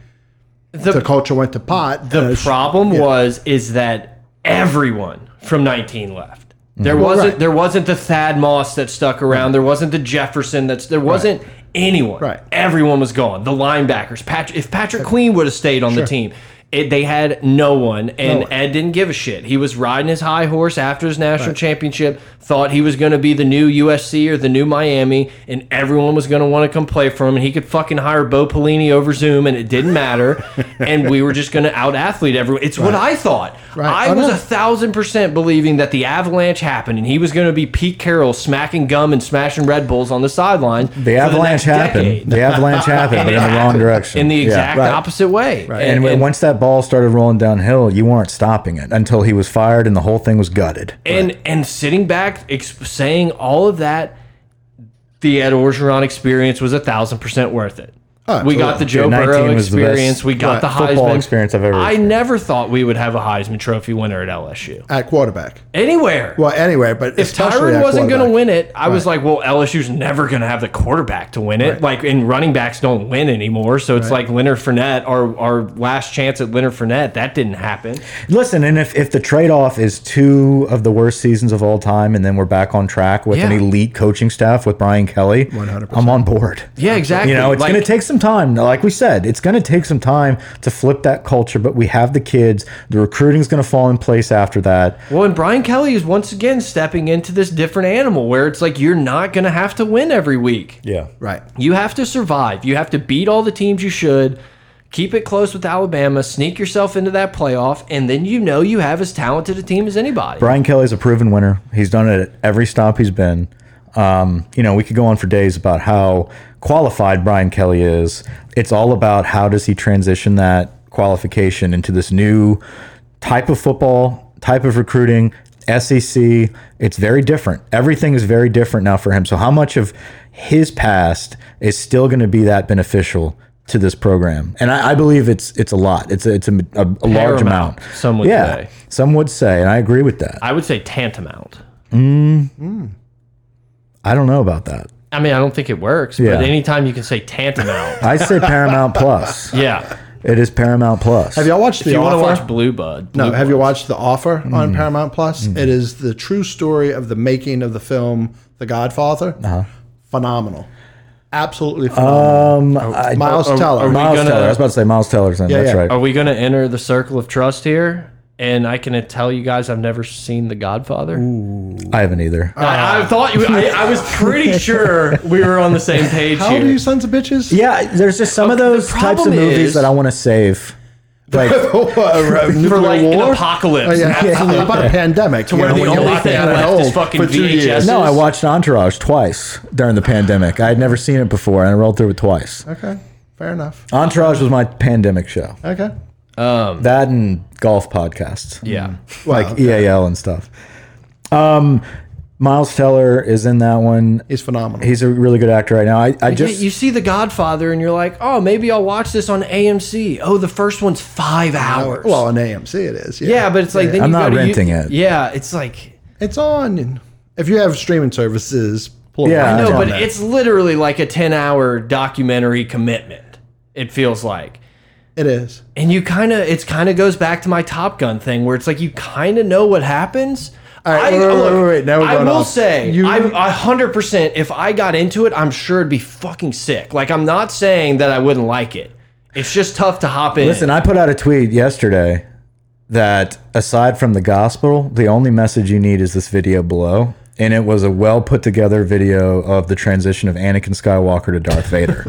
Speaker 1: The-
Speaker 3: the, culture went to pot.
Speaker 1: The
Speaker 3: Uh,
Speaker 1: problem was is that everyone from 19 left. There wasn't
Speaker 3: Mm-hmm. right.
Speaker 1: there wasn't the Thad Moss that stuck around. There wasn't the Jefferson that's there wasn't anyone.
Speaker 3: Right.
Speaker 1: Everyone was gone. The linebackers. Patrick, if Patrick Queen would have stayed on the team, it, they had no one, and Ed didn't give a shit. He was riding his high horse after his national championship. Thought he was going to be the new USC or the new Miami, and everyone was going to want to come play for him. And he could fucking hire Bo Pelini over Zoom, and it didn't matter. and we were just going to out athlete everyone. It's what I thought. I
Speaker 3: I
Speaker 1: was
Speaker 3: know.
Speaker 1: a thousand percent believing that the avalanche happened, and he was going to be Pete Carroll smacking gum and smashing Red Bulls on the sideline. for
Speaker 2: The
Speaker 1: next
Speaker 2: avalanche happened.
Speaker 1: decade.
Speaker 2: The avalanche happened, but in the wrong direction.
Speaker 1: in the
Speaker 2: Yeah.
Speaker 1: exact
Speaker 2: Right.
Speaker 1: opposite way.
Speaker 2: And, when once that ball started rolling downhill, you weren't stopping it until he was fired and the whole thing was gutted.
Speaker 1: and and sitting back exp- saying all of that the ed orgeron experience was a thousand percent worth it
Speaker 2: Oh,
Speaker 1: we got the Joe
Speaker 2: Yeah, 19
Speaker 1: Burrow
Speaker 2: was the
Speaker 1: experience.
Speaker 2: best
Speaker 1: we got the
Speaker 2: football
Speaker 1: Heisman
Speaker 2: experience I've ever
Speaker 1: I
Speaker 2: experienced.
Speaker 1: never thought we would have a Heisman Trophy winner at LSU
Speaker 3: At quarterback.
Speaker 1: anywhere.
Speaker 3: Well, anyway, but
Speaker 1: if
Speaker 3: especially
Speaker 1: Tyron
Speaker 3: at
Speaker 1: wasn't going to
Speaker 3: quarterback.
Speaker 1: win it, I was like, well, LSU's never going to have the quarterback to win it. Like, and running backs don't win anymore, so it's like Leonard Fournette. Our our last chance at Leonard Fournette that didn't happen.
Speaker 2: Listen, and if, if the trade off is two of the worst seasons of all time, and then we're back on track with an
Speaker 1: Yeah.
Speaker 2: elite coaching staff with Brian Kelly, 100%. I'm on board.
Speaker 1: Yeah, exactly.
Speaker 2: You know, it's
Speaker 1: Like-
Speaker 2: going to take some time. Like we said, it's going to take some time to flip that culture, but we have the kids. The recruiting's going to fall in place after that.
Speaker 1: Well, and Brian Kelly is once again stepping into this different animal where it's like you're not going to have to win every week.
Speaker 2: Yeah.
Speaker 3: Right.
Speaker 1: You have to survive. You have to beat all the teams you should, keep it close with Alabama, sneak yourself into that playoff, and then you know you have as talented a team as anybody.
Speaker 2: Brian Kelly's a proven winner. He's done it at every stop he's been. Um, you know, we could go on for days about how qualified Brian Kelly is. It's all about how does he transition that qualification into this new type of football, type of recruiting, SEC. It's very different. Everything is very different now for him. So how much of his past is still going to be that beneficial to this program? And I, I believe it's it's a lot. It's a, it's a, a, a large
Speaker 1: Paramount,
Speaker 2: amount.
Speaker 1: some would
Speaker 2: yeah,
Speaker 1: say.
Speaker 2: some would say, and I agree with that.
Speaker 1: I would say tantamount.
Speaker 2: I don't know about that.
Speaker 1: I mean, I don't think it works,
Speaker 2: Yeah.
Speaker 1: but anytime you can say tantamount,
Speaker 2: I say Paramount Plus.
Speaker 1: yeah.
Speaker 2: It is Paramount Plus.
Speaker 3: Have y'all watched
Speaker 1: If
Speaker 3: The
Speaker 1: you want to
Speaker 3: Offer?
Speaker 1: watch Blue Bud,
Speaker 3: No, have you watched The Offer
Speaker 2: Mm-hmm.
Speaker 3: on Paramount Plus? It is the true story of the making of the film The Godfather.
Speaker 2: Uh-huh.
Speaker 3: Phenomenal. Absolutely phenomenal. Oh,
Speaker 2: um, I, oh,
Speaker 3: Miles Teller.
Speaker 1: are we
Speaker 2: Miles
Speaker 1: gonna-
Speaker 2: Teller. I was about to say Miles Teller's in. That's
Speaker 3: yeah.
Speaker 2: right.
Speaker 1: Are we going to enter the circle of trust here? And I can tell you guys, I've never seen The Godfather.
Speaker 2: I haven't either.
Speaker 3: Uh,
Speaker 1: I, I thought you. I, I was pretty sure we were on the same page
Speaker 3: How
Speaker 1: here.
Speaker 3: old are Oh, you sons of bitches?
Speaker 2: yeah, there's just some of
Speaker 1: Okay, Oh, the
Speaker 2: those types of
Speaker 1: problem
Speaker 2: movies
Speaker 1: is-
Speaker 2: that I want to save. Like,
Speaker 3: For uh, Oh,
Speaker 1: for like an apocalypse,
Speaker 3: yeah, how about a pandemic. To
Speaker 1: where the only thing left is fucking VHS.
Speaker 2: no, I watched Entourage twice during the pandemic. I had never seen it before, and I rolled through it twice.
Speaker 3: Okay, fair enough.
Speaker 2: Entourage was my pandemic show.
Speaker 3: Okay.
Speaker 2: That and golf podcasts.
Speaker 1: yeah.
Speaker 2: like EAL and stuff. Um, Miles Teller is in that one.
Speaker 3: He's phenomenal.
Speaker 2: He's a really good actor right now. I, I
Speaker 1: Yeah,
Speaker 2: just
Speaker 1: you see The Godfather, and you're like, oh, maybe I'll watch this on AMC. Oh, the first one's five hours.
Speaker 3: Uh, well, on AMC it is. Yeah,
Speaker 1: yeah, but it's like then you
Speaker 2: I'm not
Speaker 1: gotta u-
Speaker 2: renting it.
Speaker 1: Yeah, it's like
Speaker 3: it's on. If you have streaming services, plural,
Speaker 2: Yeah, I
Speaker 3: it's
Speaker 1: no,
Speaker 2: know,
Speaker 3: on
Speaker 1: but
Speaker 3: there.
Speaker 1: it's literally like a ten hour documentary commitment. It feels like.
Speaker 3: it is.
Speaker 1: And you kind of, it's kind of goes back to my Top Gun thing, where it's like you kind of know what happens.
Speaker 3: All right, wait, wait, wait, wait, now we're
Speaker 1: I
Speaker 3: going
Speaker 1: will
Speaker 3: off.
Speaker 1: say,
Speaker 3: You-
Speaker 1: I'm a hundred percent. If I got into it, I'm sure it'd be fucking sick. Like I'm not saying that I wouldn't like it. It's just tough to hop in.
Speaker 2: listen. I put out a tweet yesterday that aside from the gospel, the only message you need is this video below. And it was a well put together video of the transition of Anakin Skywalker to Darth Vader.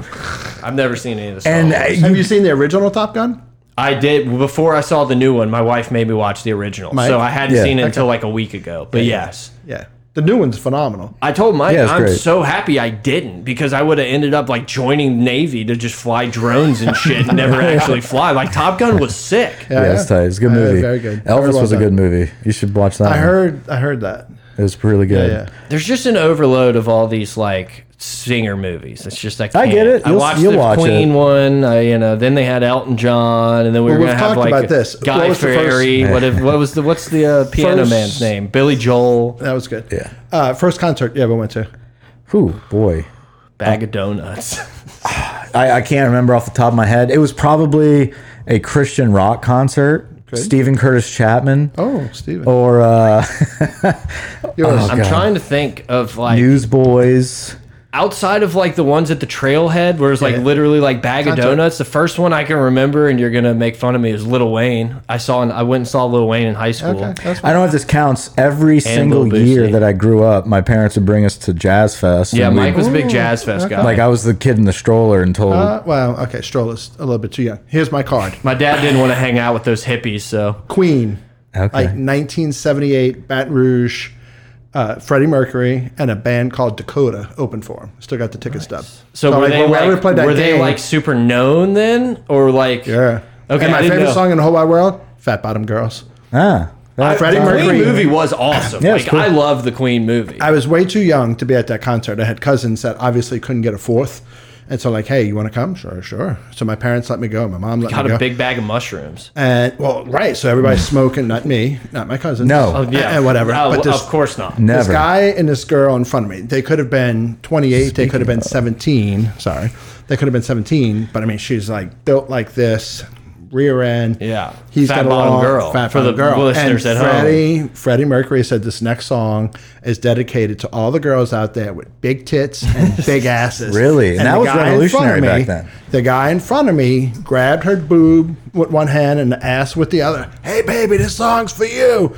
Speaker 1: I've never seen any of this.
Speaker 2: and uh,
Speaker 3: Have you seen the original Top Gun?
Speaker 1: I did before I saw the new one. My wife made me watch the original,
Speaker 3: Mike?
Speaker 1: so I hadn't
Speaker 2: Yeah.
Speaker 1: seen it until like a week ago. But yes,
Speaker 3: Yeah, the new one's phenomenal.
Speaker 1: I told Mike
Speaker 2: Yeah, it's
Speaker 1: I'm
Speaker 2: great.
Speaker 1: so happy I didn't because I would have ended up like joining Navy to just fly drones and shit and never actually fly. Like Top Gun was sick.
Speaker 2: yeah, it's tight. It's a good
Speaker 3: Yeah,
Speaker 2: movie.
Speaker 3: very good.
Speaker 2: Elvis
Speaker 3: Very well
Speaker 2: was a
Speaker 3: done.
Speaker 2: good movie. You should watch that.
Speaker 3: I
Speaker 2: one.
Speaker 3: heard. I heard that.
Speaker 2: it was really good.
Speaker 3: Yeah.
Speaker 1: There's just an overload of all these like singer movies. It's just like
Speaker 2: I get it.
Speaker 1: I
Speaker 2: You'll-
Speaker 1: watched
Speaker 2: you'll
Speaker 1: the
Speaker 2: watch
Speaker 1: Queen
Speaker 2: it.
Speaker 1: one. I, you know, then they had Elton John, and then we
Speaker 3: Well,
Speaker 1: were
Speaker 3: we've
Speaker 1: gonna have
Speaker 3: talked
Speaker 1: like
Speaker 3: about this.
Speaker 1: Guy
Speaker 3: What was the first-
Speaker 1: Fieri. What, if, what was the what's the uh, piano
Speaker 3: First-
Speaker 1: man's name? Billy Joel.
Speaker 3: That was good.
Speaker 2: Yeah.
Speaker 3: Uh, first concert you ever went to?
Speaker 2: Whew, boy.
Speaker 1: Bag of donuts.
Speaker 2: I, I can't remember off the top of my head. It was probably a Christian rock concert. Stephen Curtis Chapman.
Speaker 3: Oh, Steven.
Speaker 2: Or uh, oh,
Speaker 3: Yours.
Speaker 2: uh-huh.
Speaker 1: I'm trying to think of like
Speaker 2: Newsboys.
Speaker 1: outside of like the ones at the trailhead where it's like literally like bag of
Speaker 3: Concert.
Speaker 1: donuts the first one i can remember and you're gonna make fun of me is little wayne i saw and i went and saw little wayne in high school
Speaker 3: okay, that's
Speaker 2: I don't know if this counts. Every single
Speaker 1: Lil Boosie.
Speaker 2: year that I grew up, my parents would bring us to Jazz Fest.
Speaker 1: yeah
Speaker 2: and we'd-
Speaker 1: mike was a big jazz fest guy
Speaker 2: like uh, I was the kid in the stroller and told
Speaker 3: Uh, well, okay. Stroller's a little bit too young. Here's my card.
Speaker 1: my dad didn't want to hang out with those hippies so
Speaker 3: Queen,
Speaker 2: Okay.
Speaker 3: like 1978, Baton Rouge, uh, Freddie Mercury, and a band called Dakota opened for him. Still got the ticket stub.
Speaker 1: so, were
Speaker 3: like,
Speaker 1: they
Speaker 3: when we
Speaker 1: like,
Speaker 3: ever played that
Speaker 1: were they
Speaker 3: game-
Speaker 1: like super known then or like
Speaker 3: yeah.
Speaker 1: Okay,
Speaker 3: And
Speaker 1: I
Speaker 3: my
Speaker 1: didn't
Speaker 3: favorite
Speaker 1: know.
Speaker 3: song in the whole wide world, Fat Bottom Girls.
Speaker 2: ah.
Speaker 1: I-
Speaker 3: Freddie
Speaker 1: the Queen
Speaker 3: Mercury-
Speaker 1: movie was awesome
Speaker 2: Yeah, it's
Speaker 1: like
Speaker 2: cool.
Speaker 1: i love the queen movie
Speaker 3: I was way too young to be at that concert. I had cousins that obviously couldn't get a fourth. And so, like, hey, you want to come? Sure, sure. So my parents let me go. My mom let
Speaker 1: got
Speaker 3: me go.
Speaker 1: a big bag of mushrooms
Speaker 3: and well, right. So everybody's smoking. Not me. Not my cousins.
Speaker 2: No. Oh,
Speaker 1: Oh, yeah
Speaker 3: And Eh, whatever.
Speaker 1: Oh,
Speaker 3: but this,
Speaker 1: of course not
Speaker 3: this
Speaker 2: never.
Speaker 3: guy and this girl in front of me. They could have been 28. they could have been 17. Sorry, they could have been 17. But I mean, she's like built like this, rear end.
Speaker 1: Yeah.
Speaker 3: he's
Speaker 1: Fat
Speaker 3: got a
Speaker 1: bottom
Speaker 3: long,
Speaker 1: girl.
Speaker 3: Fat
Speaker 1: For
Speaker 3: bottom
Speaker 1: the
Speaker 3: girl.
Speaker 1: listeners
Speaker 3: and
Speaker 1: at home.
Speaker 3: Freddie, Freddie Mercury said this next song is dedicated to all the girls out there with big tits and big asses.
Speaker 2: Really? And that
Speaker 3: the
Speaker 2: was
Speaker 3: guy in front of
Speaker 2: revolutionary
Speaker 3: me-
Speaker 2: back then.
Speaker 3: The guy in front of me grabbed her boob with one hand and the ass with the other. Hey, baby, this song's for you.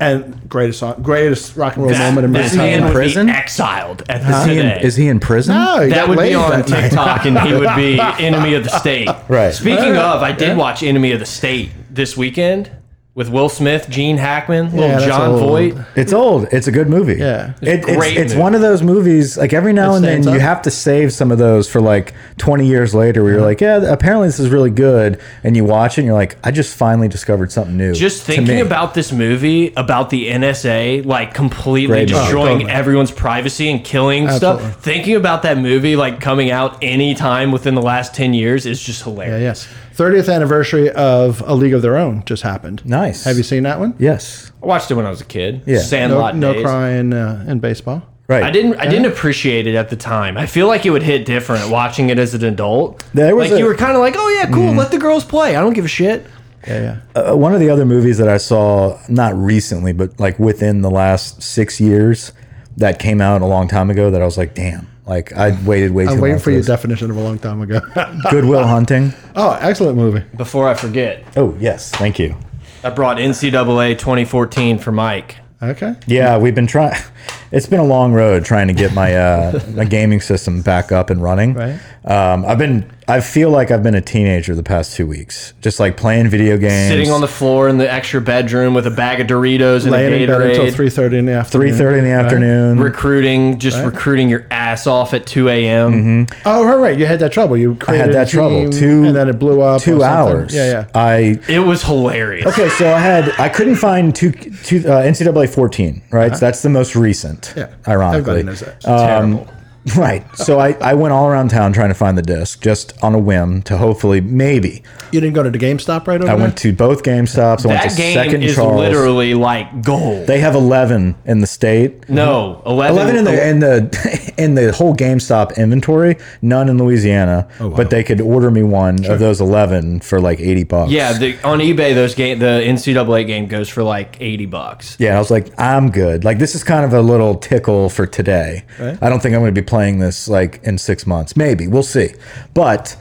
Speaker 3: And greatest song, greatest rock and roll
Speaker 1: that,
Speaker 3: moment in my
Speaker 1: that man
Speaker 3: time.
Speaker 1: would
Speaker 2: prison?
Speaker 1: be exiled at the
Speaker 2: Is he, in,
Speaker 1: today.
Speaker 2: is he in prison?
Speaker 3: No, he
Speaker 1: that
Speaker 3: Oh, got
Speaker 1: would
Speaker 3: laid
Speaker 1: be on
Speaker 3: that night.
Speaker 1: TikTok, and he would be enemy of the state.
Speaker 2: Right.
Speaker 1: Speaking of, I did watch Enemy of the State this weekend with Will Smith, Gene Hackman,
Speaker 3: Yeah,
Speaker 1: little
Speaker 3: that's
Speaker 1: John
Speaker 3: old.
Speaker 1: Voight.
Speaker 2: It's old. It's a good movie.
Speaker 3: Yeah.
Speaker 2: It, it's
Speaker 1: Great
Speaker 2: it's
Speaker 1: movie.
Speaker 2: one of those movies. Like every now
Speaker 3: It
Speaker 2: and then,
Speaker 3: stands
Speaker 2: you
Speaker 3: up.
Speaker 2: have to save some of those for like 20 years later, where you're
Speaker 3: Uh-huh.
Speaker 2: like, yeah, apparently this is really good, and you watch it, and you're like, I just finally discovered something new.
Speaker 1: Just
Speaker 2: to
Speaker 1: thinking
Speaker 2: me.
Speaker 1: about this movie about the NSA, like completely
Speaker 2: Great movie.
Speaker 1: destroying
Speaker 3: Totally.
Speaker 1: everyone's privacy and killing
Speaker 3: Oh, Absolutely.
Speaker 1: stuff. Thinking about that movie, like coming out any time within the last ten years, is just hilarious.
Speaker 3: Yes. 30th anniversary of A League of Their Own just happened.
Speaker 2: Nice.
Speaker 3: Have you seen that one?
Speaker 2: Yes.
Speaker 1: I watched it when I was a kid.
Speaker 2: Yeah.
Speaker 3: No,
Speaker 1: Sandlot
Speaker 3: no
Speaker 1: days.
Speaker 3: crying uh, in baseball.
Speaker 2: Right.
Speaker 1: I didn't. I didn't appreciate it at the time. I feel like it would hit different watching it as an adult.
Speaker 2: There was
Speaker 1: like
Speaker 2: a- Mm-hmm.
Speaker 1: you were kind of like, oh yeah, cool. Let the girls play. I don't give a shit.
Speaker 3: Yeah, yeah.
Speaker 2: Uh, one of the other movies that I saw, not recently, but like within the last six years, that came out a long time ago, that I was like, damn, like I waited way too long.
Speaker 3: I'm waiting for your
Speaker 2: this.
Speaker 3: definition of a long time ago.
Speaker 2: Goodwill Hunting.
Speaker 3: oh, excellent movie.
Speaker 1: Before I forget,
Speaker 2: Oh yes, thank you.
Speaker 1: I brought NCAA 2014 for Mike.
Speaker 3: Okay.
Speaker 2: Yeah, we've been trying. It's been a long road trying to get my uh, my gaming system back up and running.
Speaker 3: Right.
Speaker 2: Um, I've been. I feel like I've been a teenager the past two weeks, just like playing video games,
Speaker 1: Sitting on the floor in the extra bedroom with a bag of Doritos and
Speaker 3: Laying
Speaker 1: a
Speaker 3: in bed until
Speaker 1: Gatorade.
Speaker 3: three thirty in the afternoon.
Speaker 2: three thirty in the afternoon.
Speaker 1: recruiting, just recruiting your ass off at 2 a.m.
Speaker 2: Mm-hmm.
Speaker 3: Oh, right, right. You had that trouble. You
Speaker 2: I
Speaker 3: created
Speaker 2: had
Speaker 3: a
Speaker 2: that trouble.
Speaker 3: team,
Speaker 2: Two
Speaker 3: and then it blew up. or
Speaker 2: Two
Speaker 3: something.
Speaker 2: hours.
Speaker 3: Yeah, yeah.
Speaker 2: I
Speaker 1: It was hilarious.
Speaker 2: Okay, so I had I couldn't find two two uh, NCAA fourteen right. So that's the most recent.
Speaker 3: Uh-huh. Yeah.
Speaker 2: ironically, Uh,
Speaker 3: Everybody knows that.
Speaker 1: Terrible.
Speaker 2: right. So I I went all around town trying to find the disc just on a whim to hopefully maybe
Speaker 3: You didn't go to the GameStop right over
Speaker 2: I went to both Game Stops. I went
Speaker 1: that
Speaker 2: to
Speaker 1: game
Speaker 2: Second
Speaker 1: is
Speaker 2: Charles.
Speaker 1: literally like gold.
Speaker 2: they have eleven in the state.
Speaker 1: no, 11,
Speaker 2: Mm-hmm. Eleven in the in the in the whole GameStop inventory, none in Louisiana,
Speaker 3: Oh,
Speaker 2: but they could order me one of those eleven for like eighty bucks.
Speaker 1: Yeah, the, on eBay those game the NCAA game goes for like eighty bucks.
Speaker 2: Yeah, I was like, I'm good. Like, this is kind of a little tickle for today. I don't think I'm going to be playing this like in six months. Maybe we'll see. But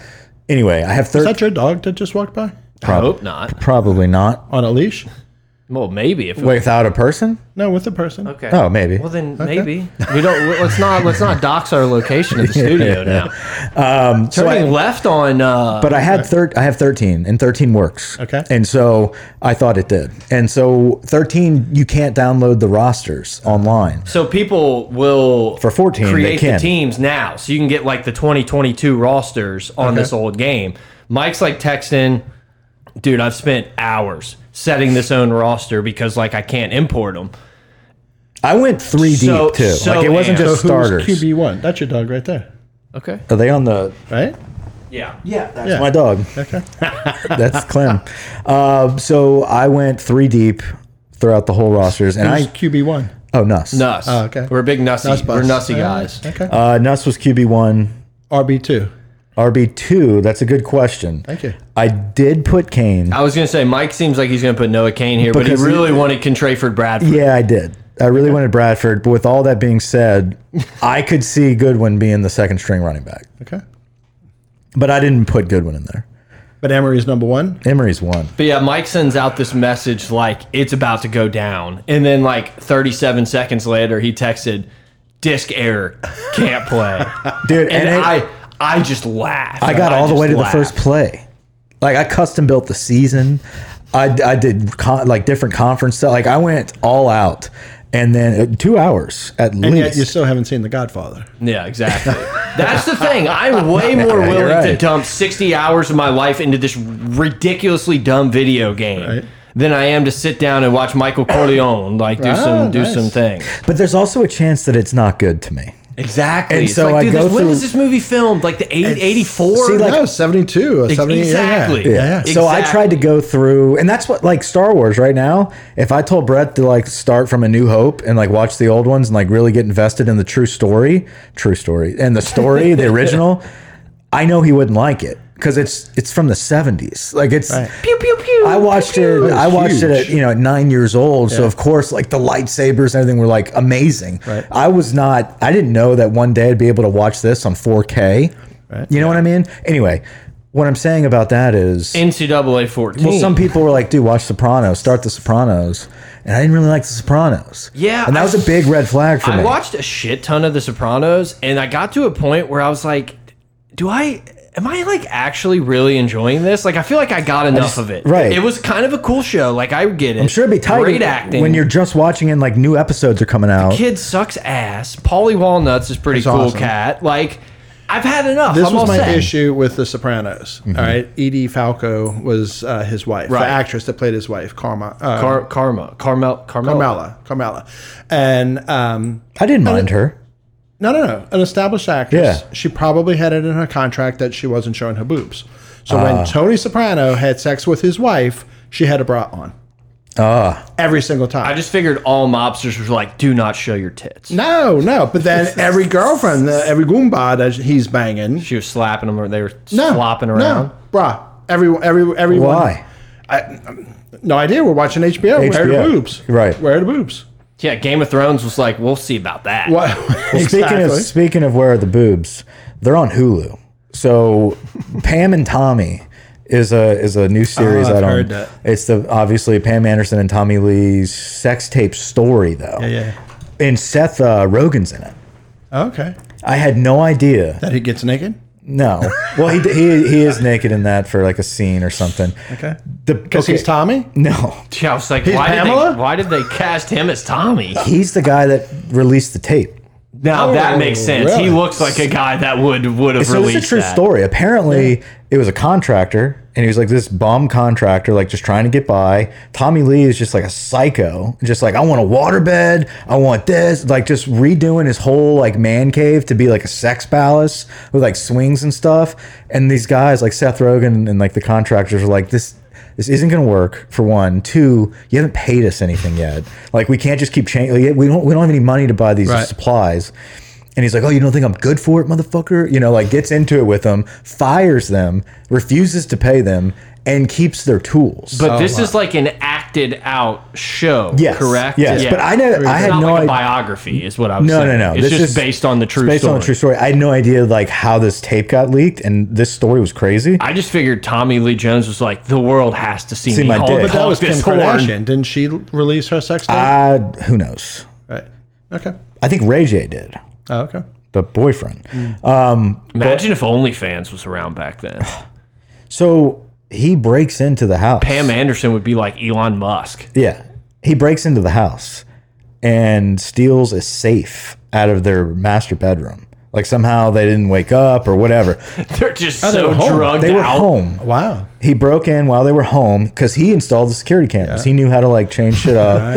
Speaker 2: anyway, I have
Speaker 3: Is
Speaker 2: thirty.
Speaker 3: that your dog that just walked by?
Speaker 1: I hope not.
Speaker 2: Probably not.
Speaker 3: on a leash?
Speaker 1: Well, maybe if
Speaker 2: Without a person?
Speaker 3: No, with a person.
Speaker 1: okay.
Speaker 2: Oh, maybe.
Speaker 1: Well, then maybe we don't. Let's not. Let's not dox our location of the studio now. Um, Turning left on. Uh,
Speaker 2: But I had thir- I have thirteen, and thirteen works.
Speaker 3: Okay.
Speaker 2: And so I thought it did. And so thirteen, you can't download the rosters online.
Speaker 1: so people will
Speaker 2: For 14, they
Speaker 1: create
Speaker 2: can.
Speaker 1: the teams now, so you can get like the 2022 rosters on this old game. Mike's like texting, dude. I've spent hours setting this own roster because like I can't import them.
Speaker 2: I went three
Speaker 1: So-
Speaker 2: deep too.
Speaker 1: so
Speaker 2: like it wasn't
Speaker 1: am-
Speaker 2: just
Speaker 3: So
Speaker 2: starters.
Speaker 3: who's QB one? That's your dog right there,
Speaker 1: Okay.
Speaker 2: Are they on the?
Speaker 3: right?
Speaker 1: Yeah.
Speaker 2: Yeah, that's
Speaker 3: Yeah.
Speaker 2: my dog. that's Clem. Uh, so I went three deep throughout the whole rosters, and
Speaker 3: Who's
Speaker 2: I
Speaker 3: QB one?
Speaker 2: oh Nuss.
Speaker 1: Nuss.
Speaker 3: Oh, okay.
Speaker 1: We're big Nussy.
Speaker 3: Nuss
Speaker 1: We're
Speaker 3: bus.
Speaker 1: Nussy
Speaker 3: All right,
Speaker 1: guys.
Speaker 3: Okay.
Speaker 2: Uh, Nuss was QB one.
Speaker 3: RB two.
Speaker 2: RB two. That's a good question.
Speaker 3: Thank you.
Speaker 2: I did put Kane.
Speaker 1: I was gonna say Mike seems like he's gonna put Noah Kane here, but
Speaker 2: Because
Speaker 1: he
Speaker 2: he-
Speaker 1: really wanted Contrayford Bradford.
Speaker 2: Yeah, I did. I really wanted Bradford, but with all that being said, I could see Goodwin being the second string running back.
Speaker 3: Okay.
Speaker 2: But I didn't put Goodwin in there.
Speaker 3: But Emery's number one.
Speaker 2: Emery's one.
Speaker 1: But yeah, Mike sends out this message like it's about to go down, and then like 37 seconds later, he texted, "Disc error, can't play."
Speaker 2: Dude,
Speaker 1: and
Speaker 2: and, it-
Speaker 1: I, I just laughed.
Speaker 2: I got all the
Speaker 1: just
Speaker 2: way to
Speaker 1: laughed.
Speaker 2: the first play. Like I custom built the season. I, I did con, like different conference stuff. Like I went all out, and then uh, two hours at
Speaker 3: And
Speaker 2: least.
Speaker 3: yet you still haven't seen The Godfather.
Speaker 1: Yeah, exactly. That's the thing. I'm way more
Speaker 2: You're
Speaker 1: willing to
Speaker 2: right.
Speaker 1: dump 60 hours of my life into this ridiculously dumb video game.
Speaker 3: Right.
Speaker 1: Than I am to sit down and watch Michael Corleone like do some
Speaker 3: Ah,
Speaker 1: do
Speaker 3: nice.
Speaker 1: some things.
Speaker 2: but there's also a chance that it's not good to me.
Speaker 1: Exactly.
Speaker 2: And
Speaker 1: it's
Speaker 2: so
Speaker 1: like,
Speaker 2: I
Speaker 1: dude,
Speaker 2: go
Speaker 1: this, when
Speaker 2: through-
Speaker 1: was this movie filmed? Like the eight, 84?
Speaker 2: see, like-
Speaker 3: no, seventy two or seventy.
Speaker 1: exactly.
Speaker 3: Yeah, yeah. yeah.
Speaker 2: So I tried to go through, and that's what like Star Wars right now. If I told Brett to like start from A New Hope and like watch the old ones and like really get invested in the true story, true story, and the story, the original, I know he wouldn't like it because it's it's from the seventies. Like it's.
Speaker 1: pew pew pew.
Speaker 2: I watched it.
Speaker 3: was
Speaker 2: I watched it at
Speaker 3: huge.
Speaker 2: you know at nine years old. So of course, like the lightsabers and everything were like amazing.
Speaker 3: Right.
Speaker 2: I was not. I didn't know that one day I'd be able to watch this on 4K. Right. You know what I mean? Anyway, what I'm saying about that is
Speaker 1: NCAA 14.
Speaker 2: well, some people were like, "Dude, watch Sopranos. Start The Sopranos," and I didn't really like The Sopranos.
Speaker 1: Yeah,
Speaker 2: and that
Speaker 1: I-
Speaker 2: was a big red flag for
Speaker 1: I
Speaker 2: me.
Speaker 1: watched a shit ton of The Sopranos, and I got to a point where I was like, do I. Am I like actually really enjoying this? Like, I feel like I got enough of it.
Speaker 2: right.
Speaker 1: It was kind of a cool show. Like, I get it.
Speaker 2: I'm sure it'd be tight
Speaker 1: Great acting.
Speaker 2: when you're just watching and like new episodes are coming out.
Speaker 1: Kid sucks ass. Polly Walnuts is pretty
Speaker 3: He's
Speaker 1: cool
Speaker 3: awesome.
Speaker 1: cat. Like, I've had enough.
Speaker 3: This
Speaker 1: I'm all
Speaker 3: was my
Speaker 1: set.
Speaker 3: issue with The Sopranos. all right, Edie Falco was uh, his wife,
Speaker 1: Right.
Speaker 3: the actress that played his wife, Karma. Uh,
Speaker 1: Car Karma. Carmel. Carmel.
Speaker 3: Carmela, Carmela, and um,
Speaker 2: I didn't mind her.
Speaker 3: No, no, no. An established actress.
Speaker 2: Yeah.
Speaker 3: She probably had it in her contract that she wasn't showing her boobs. So
Speaker 2: Ah.
Speaker 3: when Tony Soprano had sex with his wife, she had a bra on. Ah. every single time.
Speaker 1: I just figured all mobsters was like, do not show your tits.
Speaker 3: no, no. But then every girlfriend, uh, every goomba that he's banging,
Speaker 1: She was slapping them, or they were
Speaker 3: no,
Speaker 1: flopping around.
Speaker 3: no, bra. Every, every, everyone.
Speaker 2: Why?
Speaker 3: No idea. We're watching HBO. Where are
Speaker 2: HBO.
Speaker 3: the boobs?
Speaker 2: Right.
Speaker 3: Where are the boobs?
Speaker 1: Yeah, Game of Thrones was like, we'll see about that.
Speaker 3: What?
Speaker 2: Speaking of speaking of where are the boobs, they're on Hulu. So Pam and Tommy is a is a new series.
Speaker 3: Oh, I've
Speaker 2: I don't.
Speaker 3: heard that.
Speaker 2: It's the obviously Pam Anderson and Tommy Lee's sex tape story though.
Speaker 3: yeah.
Speaker 2: And Seth uh, Rogen's in it.
Speaker 3: Okay.
Speaker 2: I had no idea.
Speaker 3: That he gets naked.
Speaker 2: No. Well, he he, he is naked in that for like a scene or something.
Speaker 3: Okay.
Speaker 2: The
Speaker 3: Because
Speaker 2: okay,
Speaker 3: he's Tommy.
Speaker 2: no.
Speaker 1: Yeah, I was like,
Speaker 3: He's
Speaker 1: why
Speaker 3: Pamela?
Speaker 1: did, they, why did they cast him as Tommy?
Speaker 2: He's the guy that released the tape.
Speaker 1: Now that makes sense.
Speaker 3: really?
Speaker 1: He looks like a guy that would would have
Speaker 2: Oh, So
Speaker 1: released
Speaker 2: it's a true
Speaker 1: that.
Speaker 2: story. Apparently, it was a contractor, and he was like this bum contractor, like just trying to get by. Tommy Lee is just like a psycho, just like I want a waterbed, I want this, like just redoing his whole like man cave to be like a sex palace with like swings and stuff. And these guys, like Seth Rogen and like the contractors, are like this. This isn't going to work for one. Two, you haven't paid us anything yet. Like we can't just keep changing. We don't. We don't have any money to buy these
Speaker 3: Right.
Speaker 2: supplies. And he's like, "Oh, you don't think I'm good for it, motherfucker?" You know, like gets into it with them, fires them, refuses to pay them, and keeps their tools.
Speaker 1: But this is like an act acted out show.
Speaker 2: Yes,
Speaker 1: correct.
Speaker 2: yes, but I know-
Speaker 1: It's
Speaker 2: I had
Speaker 1: not
Speaker 2: no
Speaker 1: like a
Speaker 2: idea-
Speaker 1: biography is what I was.
Speaker 2: No, no,
Speaker 1: saying.
Speaker 2: no.
Speaker 1: It's
Speaker 2: This
Speaker 1: just
Speaker 2: is-
Speaker 1: based on the
Speaker 2: it's
Speaker 1: true
Speaker 2: based
Speaker 1: story.
Speaker 2: on a true story. I had no idea like how this tape got leaked, and this story was crazy.
Speaker 1: I just figured Tommy Lee Jones was like, the world has to see,
Speaker 2: See
Speaker 1: me.
Speaker 2: my
Speaker 1: Hulk
Speaker 2: dick."
Speaker 3: But that
Speaker 1: Hulk
Speaker 3: was Kim
Speaker 1: this horn.
Speaker 3: Kardashian. Didn't she l- release her sex tape?
Speaker 2: Uh, who knows?
Speaker 3: right. Okay.
Speaker 2: I think Ray J did
Speaker 3: Oh, okay.
Speaker 2: the boyfriend.
Speaker 1: Imagine if OnlyFans was around back then.
Speaker 2: So he breaks into the house.
Speaker 1: Pam Anderson would be like Elon Musk.
Speaker 2: Yeah. He breaks into the house and steals a safe out of their master bedroom. Like somehow they didn't wake up or whatever.
Speaker 1: They're just
Speaker 3: they
Speaker 1: so
Speaker 3: were home.
Speaker 1: drugged
Speaker 2: They were
Speaker 1: out.
Speaker 2: home.
Speaker 3: Wow.
Speaker 2: He broke in while they were home because he installed the security cameras. He knew how to like change shit up.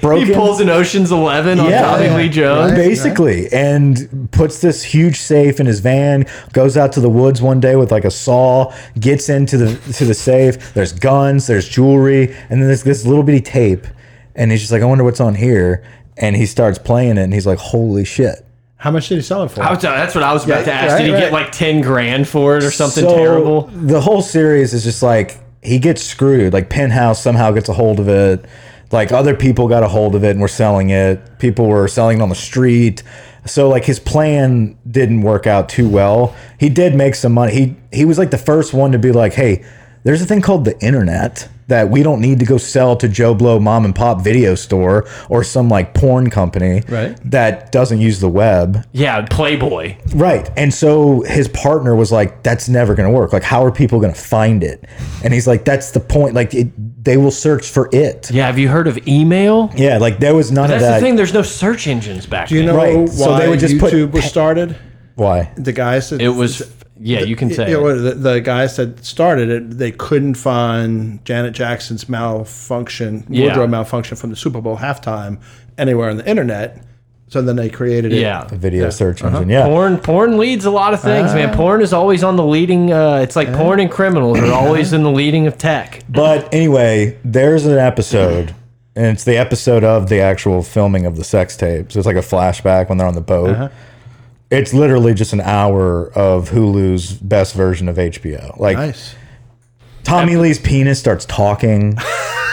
Speaker 2: broke
Speaker 1: He
Speaker 2: in-
Speaker 1: pulls an Ocean's Eleven on
Speaker 2: Yeah.
Speaker 1: Tommy
Speaker 2: Yeah.
Speaker 1: Lee Jones.
Speaker 2: basically and puts this huge safe in his van goes out to the woods one day with like a saw gets into the to the safe there's guns there's jewelry and then there's this little bitty tape and he's just like i wonder what's on here and he starts playing it and he's like holy shit
Speaker 3: How much did he sell it for?
Speaker 1: I was- uh, that's what I was about
Speaker 3: Yeah,
Speaker 1: to ask.
Speaker 3: right,
Speaker 1: Did he get
Speaker 3: right.
Speaker 1: like ten grand for it or something
Speaker 2: So,
Speaker 1: terrible?
Speaker 2: the whole series is just like he gets screwed like penthouse somehow gets a hold of it like other people got a hold of it and were selling it people were selling it on the street so like his plan didn't work out too well he did make some money he he was like the first one to be like hey there's a thing called the internet that we don't need to go sell to Joe Blow mom and pop video store or some like porn company
Speaker 3: Right.
Speaker 2: that doesn't use the web
Speaker 1: Yeah, Playboy.
Speaker 2: Right. And so his partner was like, that's never going to work. Like, how are people going to find it? And he's like, that's the point. Like, it, they will search for it.
Speaker 1: Yeah, have you heard of email?
Speaker 2: Yeah. Like, there was none
Speaker 1: That's
Speaker 2: of that.
Speaker 1: the thing. There's no search engines back
Speaker 3: Do you
Speaker 1: then.
Speaker 3: know
Speaker 2: Right.
Speaker 3: why
Speaker 2: So they would just put-
Speaker 3: YouTube was started?
Speaker 2: Why?
Speaker 3: The guys that
Speaker 1: It was. Yeah, you can say.
Speaker 3: Yeah,
Speaker 1: it.
Speaker 3: well, the, the guys that started it, they couldn't find Janet Jackson's malfunction,
Speaker 1: Yeah.
Speaker 3: wardrobe malfunction from the Super Bowl halftime anywhere on the internet. So then they created it.
Speaker 1: Yeah. Uh-huh.
Speaker 2: The video search engine. Yeah.
Speaker 1: Porn, porn leads a lot of things, man. Porn is always on the leading. Uh, it's like porn and criminals are always in the leading of tech.
Speaker 2: But anyway, there's an episode, and it's the episode of the actual filming of the sex tape. So it's like a flashback when they're on the boat.
Speaker 1: Uh-huh.
Speaker 2: It's literally just an hour of Hulu's best version of HBO. Like,
Speaker 3: Nice.
Speaker 2: Tommy Lee's penis starts talking.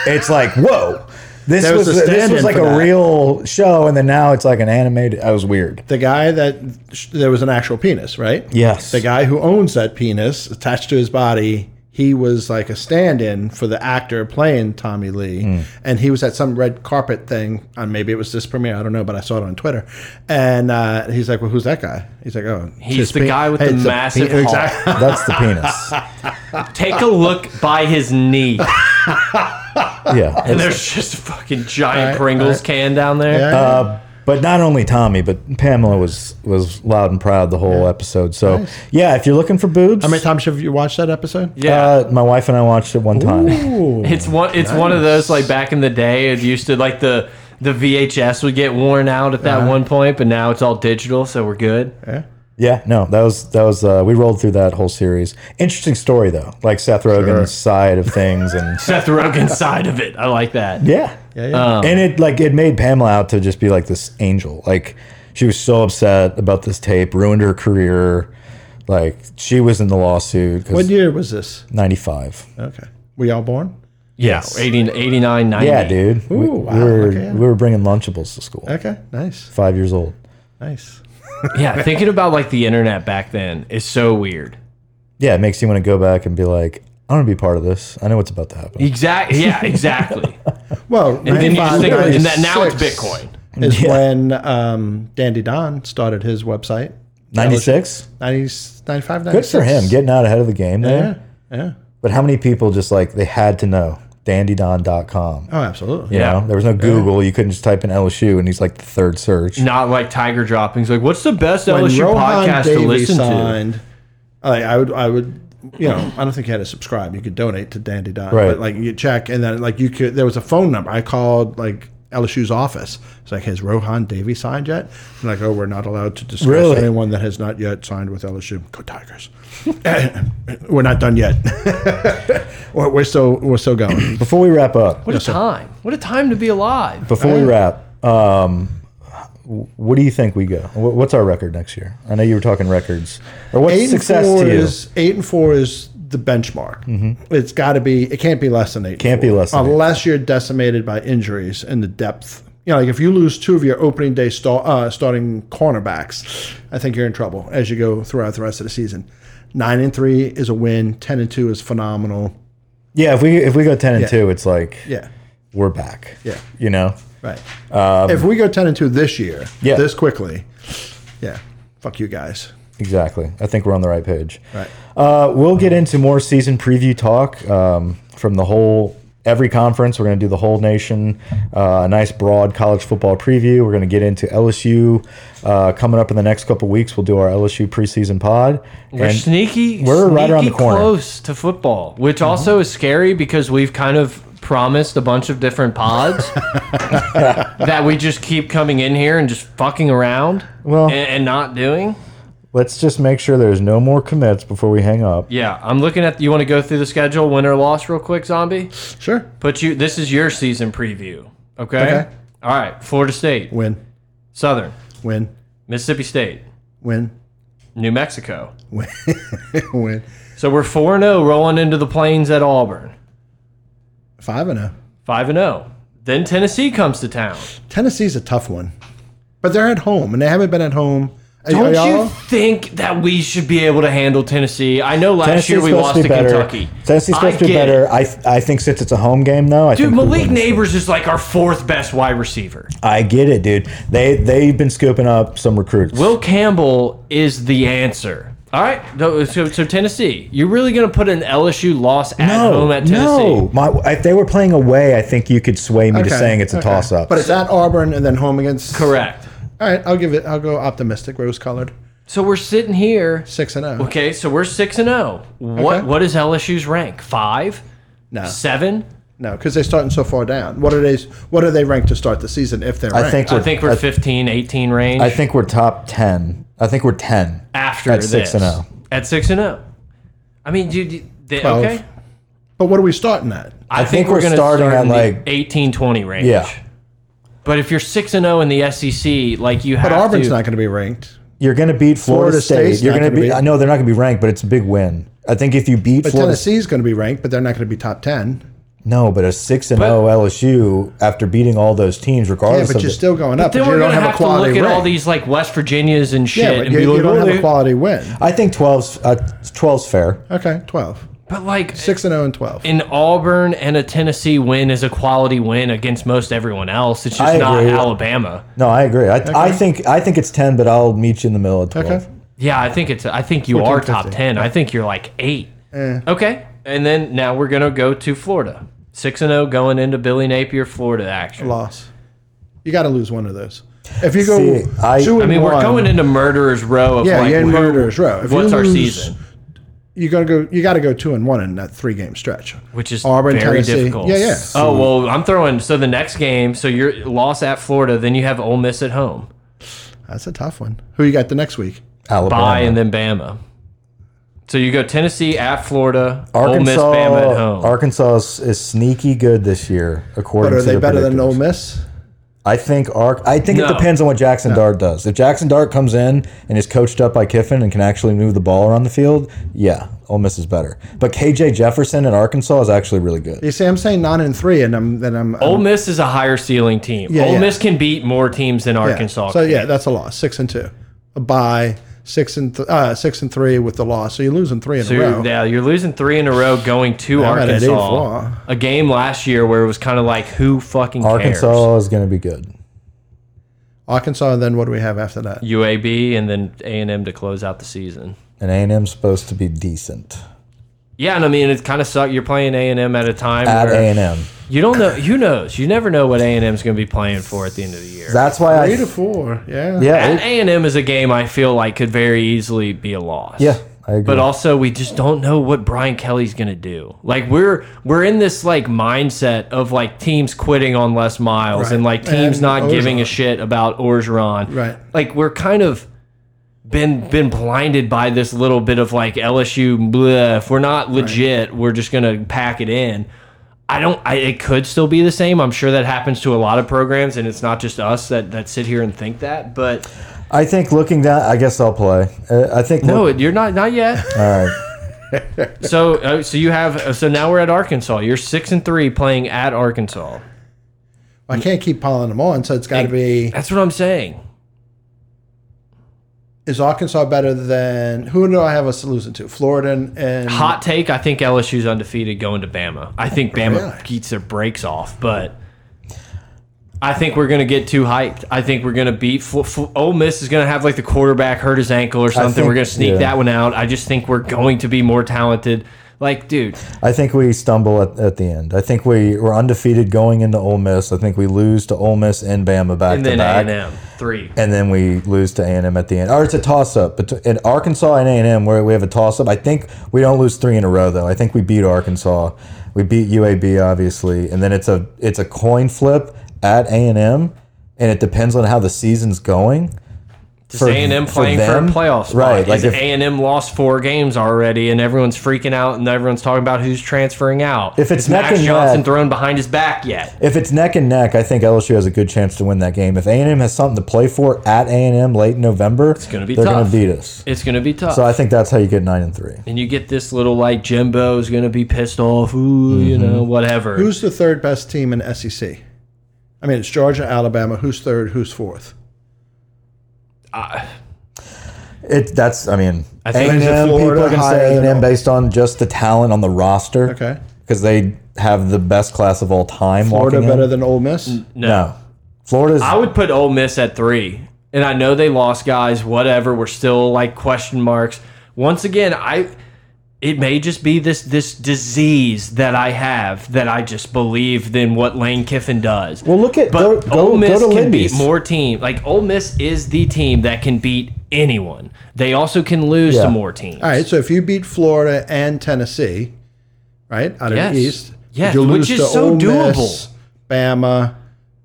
Speaker 2: it's like, whoa. This
Speaker 3: There
Speaker 2: was,
Speaker 3: was a
Speaker 2: this was
Speaker 3: stand-in
Speaker 2: like
Speaker 3: for
Speaker 2: a
Speaker 3: that.
Speaker 2: real show, and then now it's like an animated. I was weird.
Speaker 3: The guy that sh- there was an actual penis, right?
Speaker 2: Yes.
Speaker 3: The guy who owns that penis attached to his body, he was like a stand in for the actor playing Tommy Lee.
Speaker 1: Hmm.
Speaker 3: And he was at some red carpet thing, and maybe it was this premiere, I don't know, but I saw it on Twitter. And uh, he's like, Well, who's that guy? He's like, Oh, it's
Speaker 1: He's
Speaker 3: his
Speaker 1: the
Speaker 3: pe-
Speaker 1: guy with the
Speaker 3: it's a
Speaker 1: massive hog.
Speaker 3: pe- Exactly.
Speaker 2: That's the penis.
Speaker 1: Take a look by his knee.
Speaker 2: Yeah.
Speaker 1: And
Speaker 2: It's-
Speaker 1: there's just a fucking giant Pringles can down there.
Speaker 3: Yeah.
Speaker 2: uh, but not only Tommy, but Pamela was was loud and proud the whole episode. So yeah, if you're looking for boobs,
Speaker 3: How many times have you watched that episode?
Speaker 1: Yeah.
Speaker 2: uh, my wife and I watched it one time.
Speaker 1: It's one. It's one of those like back in the day. It used to like the the VHS would get worn out at that one point, but now it's all digital, so we're good.
Speaker 2: Yeah, no, that was that was uh, we rolled through that whole series. Interesting story though, like Seth Rogen's side of things, and
Speaker 1: Seth Rogen's side of it. I like that.
Speaker 2: yeah,
Speaker 3: Yeah, yeah.
Speaker 2: and it like it made Pamela out to just be like this angel. Like she was so upset about this tape, ruined her career. Like she was in the lawsuit
Speaker 3: what
Speaker 2: because
Speaker 3: year was this?
Speaker 2: ninety five.
Speaker 3: Okay. Were y'all born?
Speaker 1: Yeah. 80, 89, 90.
Speaker 2: Yeah, dude. we,
Speaker 3: Ooh, wow,
Speaker 2: we were
Speaker 3: okay, yeah.
Speaker 2: we were bringing Lunchables to school.
Speaker 3: Okay. Nice.
Speaker 2: Five years old.
Speaker 3: Nice.
Speaker 1: Yeah. Thinking about like the internet back then is so weird.
Speaker 2: Yeah, it makes you want to go back and be like, I want to be part of this. I know what's about to happen.
Speaker 1: Exactly. Yeah. Exactly.
Speaker 3: Well,
Speaker 1: and then you just
Speaker 3: 95,
Speaker 1: think, and that now it's
Speaker 3: 96
Speaker 1: Bitcoin.
Speaker 3: Is
Speaker 2: Yeah.
Speaker 3: when um, Dandy Don started his website.
Speaker 2: Ninety six.
Speaker 3: 90s, 95,
Speaker 2: Good for him,
Speaker 3: 96.
Speaker 2: getting out ahead of the game there.
Speaker 3: Yeah. Yeah.
Speaker 2: But how many people just like they had to know dandydon.com?
Speaker 3: Oh, absolutely.
Speaker 2: You
Speaker 1: Yeah.
Speaker 2: know, there was no Google. You couldn't just type in LSU, and he's like the third search.
Speaker 1: Not like Tiger droppings. Like, what's the best
Speaker 3: When
Speaker 1: LSU
Speaker 3: Rohan
Speaker 1: podcast to
Speaker 3: Davey
Speaker 1: listen to?
Speaker 3: signed, I, I would, I would, you know, I don't think you had to subscribe. You could donate to Dandy Don,
Speaker 2: Right.
Speaker 3: but like you check, and then like you could. There was a phone number. I called like LSU's office. It's like, has Rohan Davey signed yet? And like, oh, we're not allowed to discuss
Speaker 2: Really?
Speaker 3: anyone that has not yet signed with LSU. Go Tigers! we're not done yet. we're, we're still, we're still going.
Speaker 2: Before we wrap up,
Speaker 1: What a time! What a time to be alive.
Speaker 2: before we wrap, um, what do you think we go? Wh- What's our record next year? I know you were talking records. Or what's
Speaker 3: Eight and
Speaker 2: success
Speaker 3: four
Speaker 2: to you?
Speaker 3: is eight and four is the benchmark. It's got to be. It can't be less than eight.
Speaker 2: Can't be less than eight.
Speaker 3: unless you're decimated by injuries in the depth. You know, like if you lose two of your opening day sta- uh, starting cornerbacks, I think you're in trouble as you go throughout the rest of the season. Nine and three is a win. Ten and two is phenomenal.
Speaker 2: Yeah, if we if we go ten and two, it's like
Speaker 3: Yeah,
Speaker 2: we're back.
Speaker 3: Yeah.
Speaker 2: you know.
Speaker 3: right. if we go ten and two this year,
Speaker 2: Um, Yeah.
Speaker 3: this quickly, yeah, fuck you guys.
Speaker 2: Exactly. I think we're on the right page.
Speaker 3: Right.
Speaker 2: Uh, we'll get into more season preview talk um, from the whole every conference. We're going to do the whole nation. Uh, a nice broad college football preview. We're going to get into LSU uh, coming up in the next couple weeks. We'll do our LSU preseason pod.
Speaker 1: We're sneaky.
Speaker 2: we're right around the
Speaker 1: sneaky
Speaker 2: corner. Mm-hmm.
Speaker 1: close to football, which also is scary because we've kind of promised a bunch of different pods that we just keep coming in here and just fucking around.
Speaker 2: Well-
Speaker 1: and, and not doing.
Speaker 2: let's just make sure there's no more commits before we hang up.
Speaker 1: Yeah, I'm looking at. You want to go through the schedule, win or loss, real quick, zombie.
Speaker 3: Sure,
Speaker 1: Put you. This is your season preview. Okay.
Speaker 3: Okay.
Speaker 1: All right. Florida State,
Speaker 3: win,
Speaker 1: Southern,
Speaker 3: win,
Speaker 1: Mississippi State,
Speaker 3: win,
Speaker 1: New Mexico.
Speaker 3: win, win.
Speaker 1: So we're four and zero rolling into the plains at Auburn.
Speaker 3: Five and a.
Speaker 1: Five and zero. Then Tennessee comes to town.
Speaker 3: Tennessee's a tough one, but they're at home and they haven't been at home. Are- are
Speaker 1: Don't
Speaker 3: y'all-
Speaker 1: you think that we should be able to handle Tennessee? I know last
Speaker 2: Tennessee's
Speaker 1: year we
Speaker 2: supposed
Speaker 1: lost
Speaker 2: to
Speaker 1: to,
Speaker 2: be better.
Speaker 1: Kentucky.
Speaker 2: Tennessee's supposed
Speaker 1: I
Speaker 2: to be
Speaker 1: get it.
Speaker 2: better. I, th- I think since it's a home game though, I
Speaker 1: Dude,
Speaker 2: think we
Speaker 1: Malik
Speaker 2: win this.
Speaker 1: Neighbors is like our fourth best wide receiver.
Speaker 2: I get it, dude. They they've been scooping up some recruits.
Speaker 1: Will Campbell is the answer. All right, so, so so Tennessee, you're really going to put an LSU loss at home at Tennessee?
Speaker 2: No, My, if they were playing away, I think you could sway me to
Speaker 3: Okay,
Speaker 2: saying it's a
Speaker 3: okay.
Speaker 2: toss up.
Speaker 3: But it's at Auburn and then home against.
Speaker 1: Correct.
Speaker 3: All right, I'll give it. I'll go optimistic, rose colored,
Speaker 1: So we're sitting here.
Speaker 3: six and oh. zero.
Speaker 1: Okay, so we're six and zero. What
Speaker 3: Okay.
Speaker 1: what is LSU's rank? Five,
Speaker 3: No,
Speaker 1: seven?
Speaker 3: no, because they're starting so far down. What are they? What are they ranked to start the season if they're?
Speaker 2: I think
Speaker 1: I
Speaker 2: we're,
Speaker 1: think we're 15, 18 range.
Speaker 2: I think we're top ten. I think we're ten.
Speaker 1: after
Speaker 2: At six
Speaker 1: this.
Speaker 2: and oh.
Speaker 1: At six and zero. I mean, dude, you- they,
Speaker 3: Twelve.
Speaker 1: okay.
Speaker 3: But what are we starting at?
Speaker 1: I,
Speaker 2: think we're
Speaker 1: gonna
Speaker 2: starting
Speaker 1: start
Speaker 2: at,
Speaker 1: in the
Speaker 2: like-
Speaker 1: 18, 20 range.
Speaker 2: Yeah.
Speaker 1: But if you're six and zero in the SEC, like you have
Speaker 3: But Auburn's
Speaker 1: to,
Speaker 3: not going to be ranked.
Speaker 2: You're going to beat Florida,
Speaker 3: Florida
Speaker 2: State.
Speaker 3: State's
Speaker 2: You're
Speaker 3: not
Speaker 2: going to
Speaker 3: gonna
Speaker 2: be.
Speaker 3: be-
Speaker 2: I know they're not going to be ranked, but it's a big win. I think if you beat
Speaker 3: But
Speaker 2: Florida,
Speaker 3: Tennessee's going to be ranked, but they're not going to be top ten.
Speaker 2: no, but a six and oh
Speaker 1: But-
Speaker 2: zero LSU after beating all those teams,
Speaker 3: Yeah,
Speaker 2: regardless
Speaker 3: but
Speaker 2: of
Speaker 3: you're
Speaker 2: the-
Speaker 3: still going up.
Speaker 1: then
Speaker 3: but
Speaker 1: we're
Speaker 3: you
Speaker 1: gonna
Speaker 3: don't have,
Speaker 1: have
Speaker 3: a
Speaker 1: to
Speaker 3: quality
Speaker 1: look at all
Speaker 3: rank.
Speaker 1: these like West Virgiinias and shit,
Speaker 3: Yeah, but
Speaker 1: and
Speaker 3: you,
Speaker 1: be
Speaker 3: you
Speaker 1: like,
Speaker 3: don't
Speaker 1: "Oh,
Speaker 3: have
Speaker 1: they-"
Speaker 3: a quality win.
Speaker 2: I think 12's uh, 12's fair.
Speaker 3: Okay, twelve.
Speaker 1: But like
Speaker 3: Six and zero and twelve.
Speaker 1: an Auburn and a Tennessee win is a quality win against most everyone else. It's just
Speaker 2: I
Speaker 1: not
Speaker 2: agree.
Speaker 1: Alabama.
Speaker 2: No, I agree. I, I think I think it's ten, but I'll meet you in the middle at twelve.
Speaker 3: Okay.
Speaker 1: Yeah, I think it's. I think you
Speaker 3: 14,
Speaker 1: are top
Speaker 3: 15.
Speaker 1: ten. I think you're like eight.
Speaker 3: Eh.
Speaker 1: Okay, and then now we're gonna go to Florida. Six and zero going into Billy Napier, Florida action.
Speaker 3: loss. You got to lose one of those. If you go
Speaker 2: See, I-
Speaker 3: two and
Speaker 1: I mean,
Speaker 3: one,
Speaker 1: we're going into murderers row of
Speaker 3: yeah,
Speaker 1: like
Speaker 3: you're in
Speaker 1: who-
Speaker 3: murderers row. If you
Speaker 1: what's our
Speaker 3: lose-
Speaker 1: season?
Speaker 3: You got to go. You got to go two and one in that three game stretch.
Speaker 1: Which is
Speaker 3: Auburn,
Speaker 1: very
Speaker 3: Tennessee.
Speaker 1: difficult.
Speaker 3: Yeah, yeah.
Speaker 1: Oh well, I'm throwing. So the next game, so you're loss at Florida, then you have Ole Miss at home,
Speaker 3: That's a tough one. Who you got the next week?
Speaker 2: Alabama.
Speaker 1: bye, and then Bama. So you go Tennessee at Florida, Ole Miss,
Speaker 2: Arkansas,
Speaker 1: Bama at home.
Speaker 2: Arkansas is, is sneaky good this year, according
Speaker 3: But are
Speaker 2: to
Speaker 3: they
Speaker 2: the
Speaker 3: better than
Speaker 2: predictors.
Speaker 3: Ole Miss?
Speaker 2: I think Ark. I think it
Speaker 1: No.
Speaker 2: depends on what Jackson Dart does. If Jackson Dart comes in and is coached up by Kiffin and can actually move the ball around the field, yeah, Ole Miss is better. But KJ Jefferson at Arkansas is actually really good.
Speaker 3: You see, I'm saying nine and three, and I'm then I'm.
Speaker 1: Ole Miss is a higher ceiling team.
Speaker 3: Yeah,
Speaker 1: Ole
Speaker 3: yeah.
Speaker 1: Miss can beat more teams than Arkansas.
Speaker 3: Yeah. So
Speaker 1: can.
Speaker 3: yeah, that's a loss. Six and two, a bye. Six and th- uh, six and three with the loss. So you're losing three in
Speaker 1: So
Speaker 3: a row.
Speaker 1: you're, yeah, you're losing three in a row going to
Speaker 3: I'm at an
Speaker 1: Arkansas.
Speaker 3: eight-four.
Speaker 1: A game last year where it was kind of like, who fucking cares?
Speaker 2: Arkansas is going to be good.
Speaker 3: Arkansas. And then what do we have after that?
Speaker 1: UAB and then A and M to close out the season.
Speaker 2: And A&M is supposed to be decent
Speaker 1: Yeah, and I mean it kind of sucked. You're playing A and M at a time
Speaker 2: at
Speaker 1: where
Speaker 2: A&M.
Speaker 1: you don't know. Who knows? You never know what A and M's going to be playing for at the end of the year.
Speaker 2: That's why
Speaker 3: Three to
Speaker 2: I.
Speaker 3: four. Yeah.
Speaker 2: Yeah,
Speaker 1: At
Speaker 2: it-
Speaker 1: A and M is a game I feel like could very easily be a loss.
Speaker 2: yeah, I agree.
Speaker 1: But also, we just don't know what Brian Kelly's gonna do. Like we're we're in this like mindset of like teams quitting on Les Miles
Speaker 3: Right.
Speaker 1: and like teams
Speaker 3: And
Speaker 1: not giving a
Speaker 3: Orgeron.
Speaker 1: shit about Orgeron.
Speaker 3: Right.
Speaker 1: Like we're kind of been been blinded by this little bit of like LSU. Bleh, if we're not legit, we're just gonna pack it in. I don't. I, it could still be the same. I'm sure that happens to a lot of programs, and it's not just us that that sit here and think that. But
Speaker 2: I think looking down, I guess I'll play. Uh, I think
Speaker 1: no, you're not. Not yet.
Speaker 2: All right.
Speaker 1: so, uh, so you have. uh, So now we're at Arkansas. You're six and three playing at Arkansas.
Speaker 3: I can't keep piling them on, so it's got to be.
Speaker 1: That's what I'm saying.
Speaker 3: Is Arkansas better than who do I have us losing to? Florida and, and
Speaker 1: Hot take: I think LSU's undefeated going to Bama. I think Bama
Speaker 3: Really?
Speaker 1: beats their brakes off, but I think we're going to get too hyped. I think we're going to beat. Fl- Fl- Ole Miss is going to have like the quarterback hurt his ankle or something.
Speaker 2: think-
Speaker 1: we're going to sneak
Speaker 2: yeah.
Speaker 1: that one out. I just think we're going to be more talented. Like, dude,
Speaker 2: I think we stumble at, at the end. I think we were undefeated going into Ole Miss. I think we lose to Ole Miss and Bama back
Speaker 1: and
Speaker 2: to
Speaker 1: then A
Speaker 2: back.
Speaker 1: and M three.
Speaker 2: and then we lose to A&M at the end. Or it's a toss-up. But in Arkansas and A&M, where we have a toss-up. I think we don't lose three in a row, though. I think we beat Arkansas. We beat UAB, obviously. And then it's a it's a coin flip at A&M, and it depends on how the season's going.
Speaker 1: Just
Speaker 2: for-
Speaker 1: A and M
Speaker 2: for
Speaker 1: playing for,
Speaker 2: them?
Speaker 1: a playoff spot.
Speaker 2: Right,
Speaker 1: Like
Speaker 2: like
Speaker 1: A
Speaker 2: if-
Speaker 1: and M lost four games already, and everyone's freaking out, and everyone's talking about who's transferring out.
Speaker 2: If it's
Speaker 1: Is Max
Speaker 2: neck and
Speaker 1: Johnson
Speaker 2: neck-
Speaker 1: thrown behind his back yet,
Speaker 2: If it's neck and neck, I think LSU has a good chance to win that game. If A&M has something to play for at A&M late in November, it's
Speaker 1: gonna be
Speaker 2: they're
Speaker 1: tough.
Speaker 2: going to beat us.
Speaker 1: it's going to be tough.
Speaker 2: So I think that's how you get 9 and 3.
Speaker 1: and you get this little like Jimbo's going to be pissed off. Ooh, you
Speaker 2: Mm-hmm.
Speaker 1: know, whatever.
Speaker 3: who's the third best team in SEC? I mean, it's Georgia, Alabama. Who's third? Who's fourth?
Speaker 2: It that's I mean
Speaker 1: I
Speaker 2: A
Speaker 1: think
Speaker 2: and
Speaker 1: it's
Speaker 2: M
Speaker 3: Florida
Speaker 2: people are gonna
Speaker 3: higher
Speaker 2: say A
Speaker 3: than
Speaker 2: and M
Speaker 3: all.
Speaker 2: based on just the talent on the roster.
Speaker 3: Okay.
Speaker 2: because they have the best class of all time.
Speaker 3: Florida
Speaker 2: walking in.
Speaker 3: better than Ole Miss.
Speaker 1: no.
Speaker 2: no. Florida's
Speaker 1: I would put Ole Miss at three, and I know they lost guys. Whatever, we're still like question marks. Once again, I it may just be this this disease that I have that I just believe in what Lane Kiffin does.
Speaker 2: well look at
Speaker 1: But
Speaker 2: go, go,
Speaker 1: Ole Miss
Speaker 2: go to
Speaker 1: can beat
Speaker 2: Lindy's.
Speaker 1: more team. Like Ole Miss is the team that can beat anyone. They also can lose
Speaker 2: Yeah.
Speaker 1: to more teams.
Speaker 3: All right, so if you beat Florida and Tennessee, right out of
Speaker 1: Yes.
Speaker 3: the East,
Speaker 1: Yes,
Speaker 3: you
Speaker 1: which is so doable.
Speaker 3: Bama,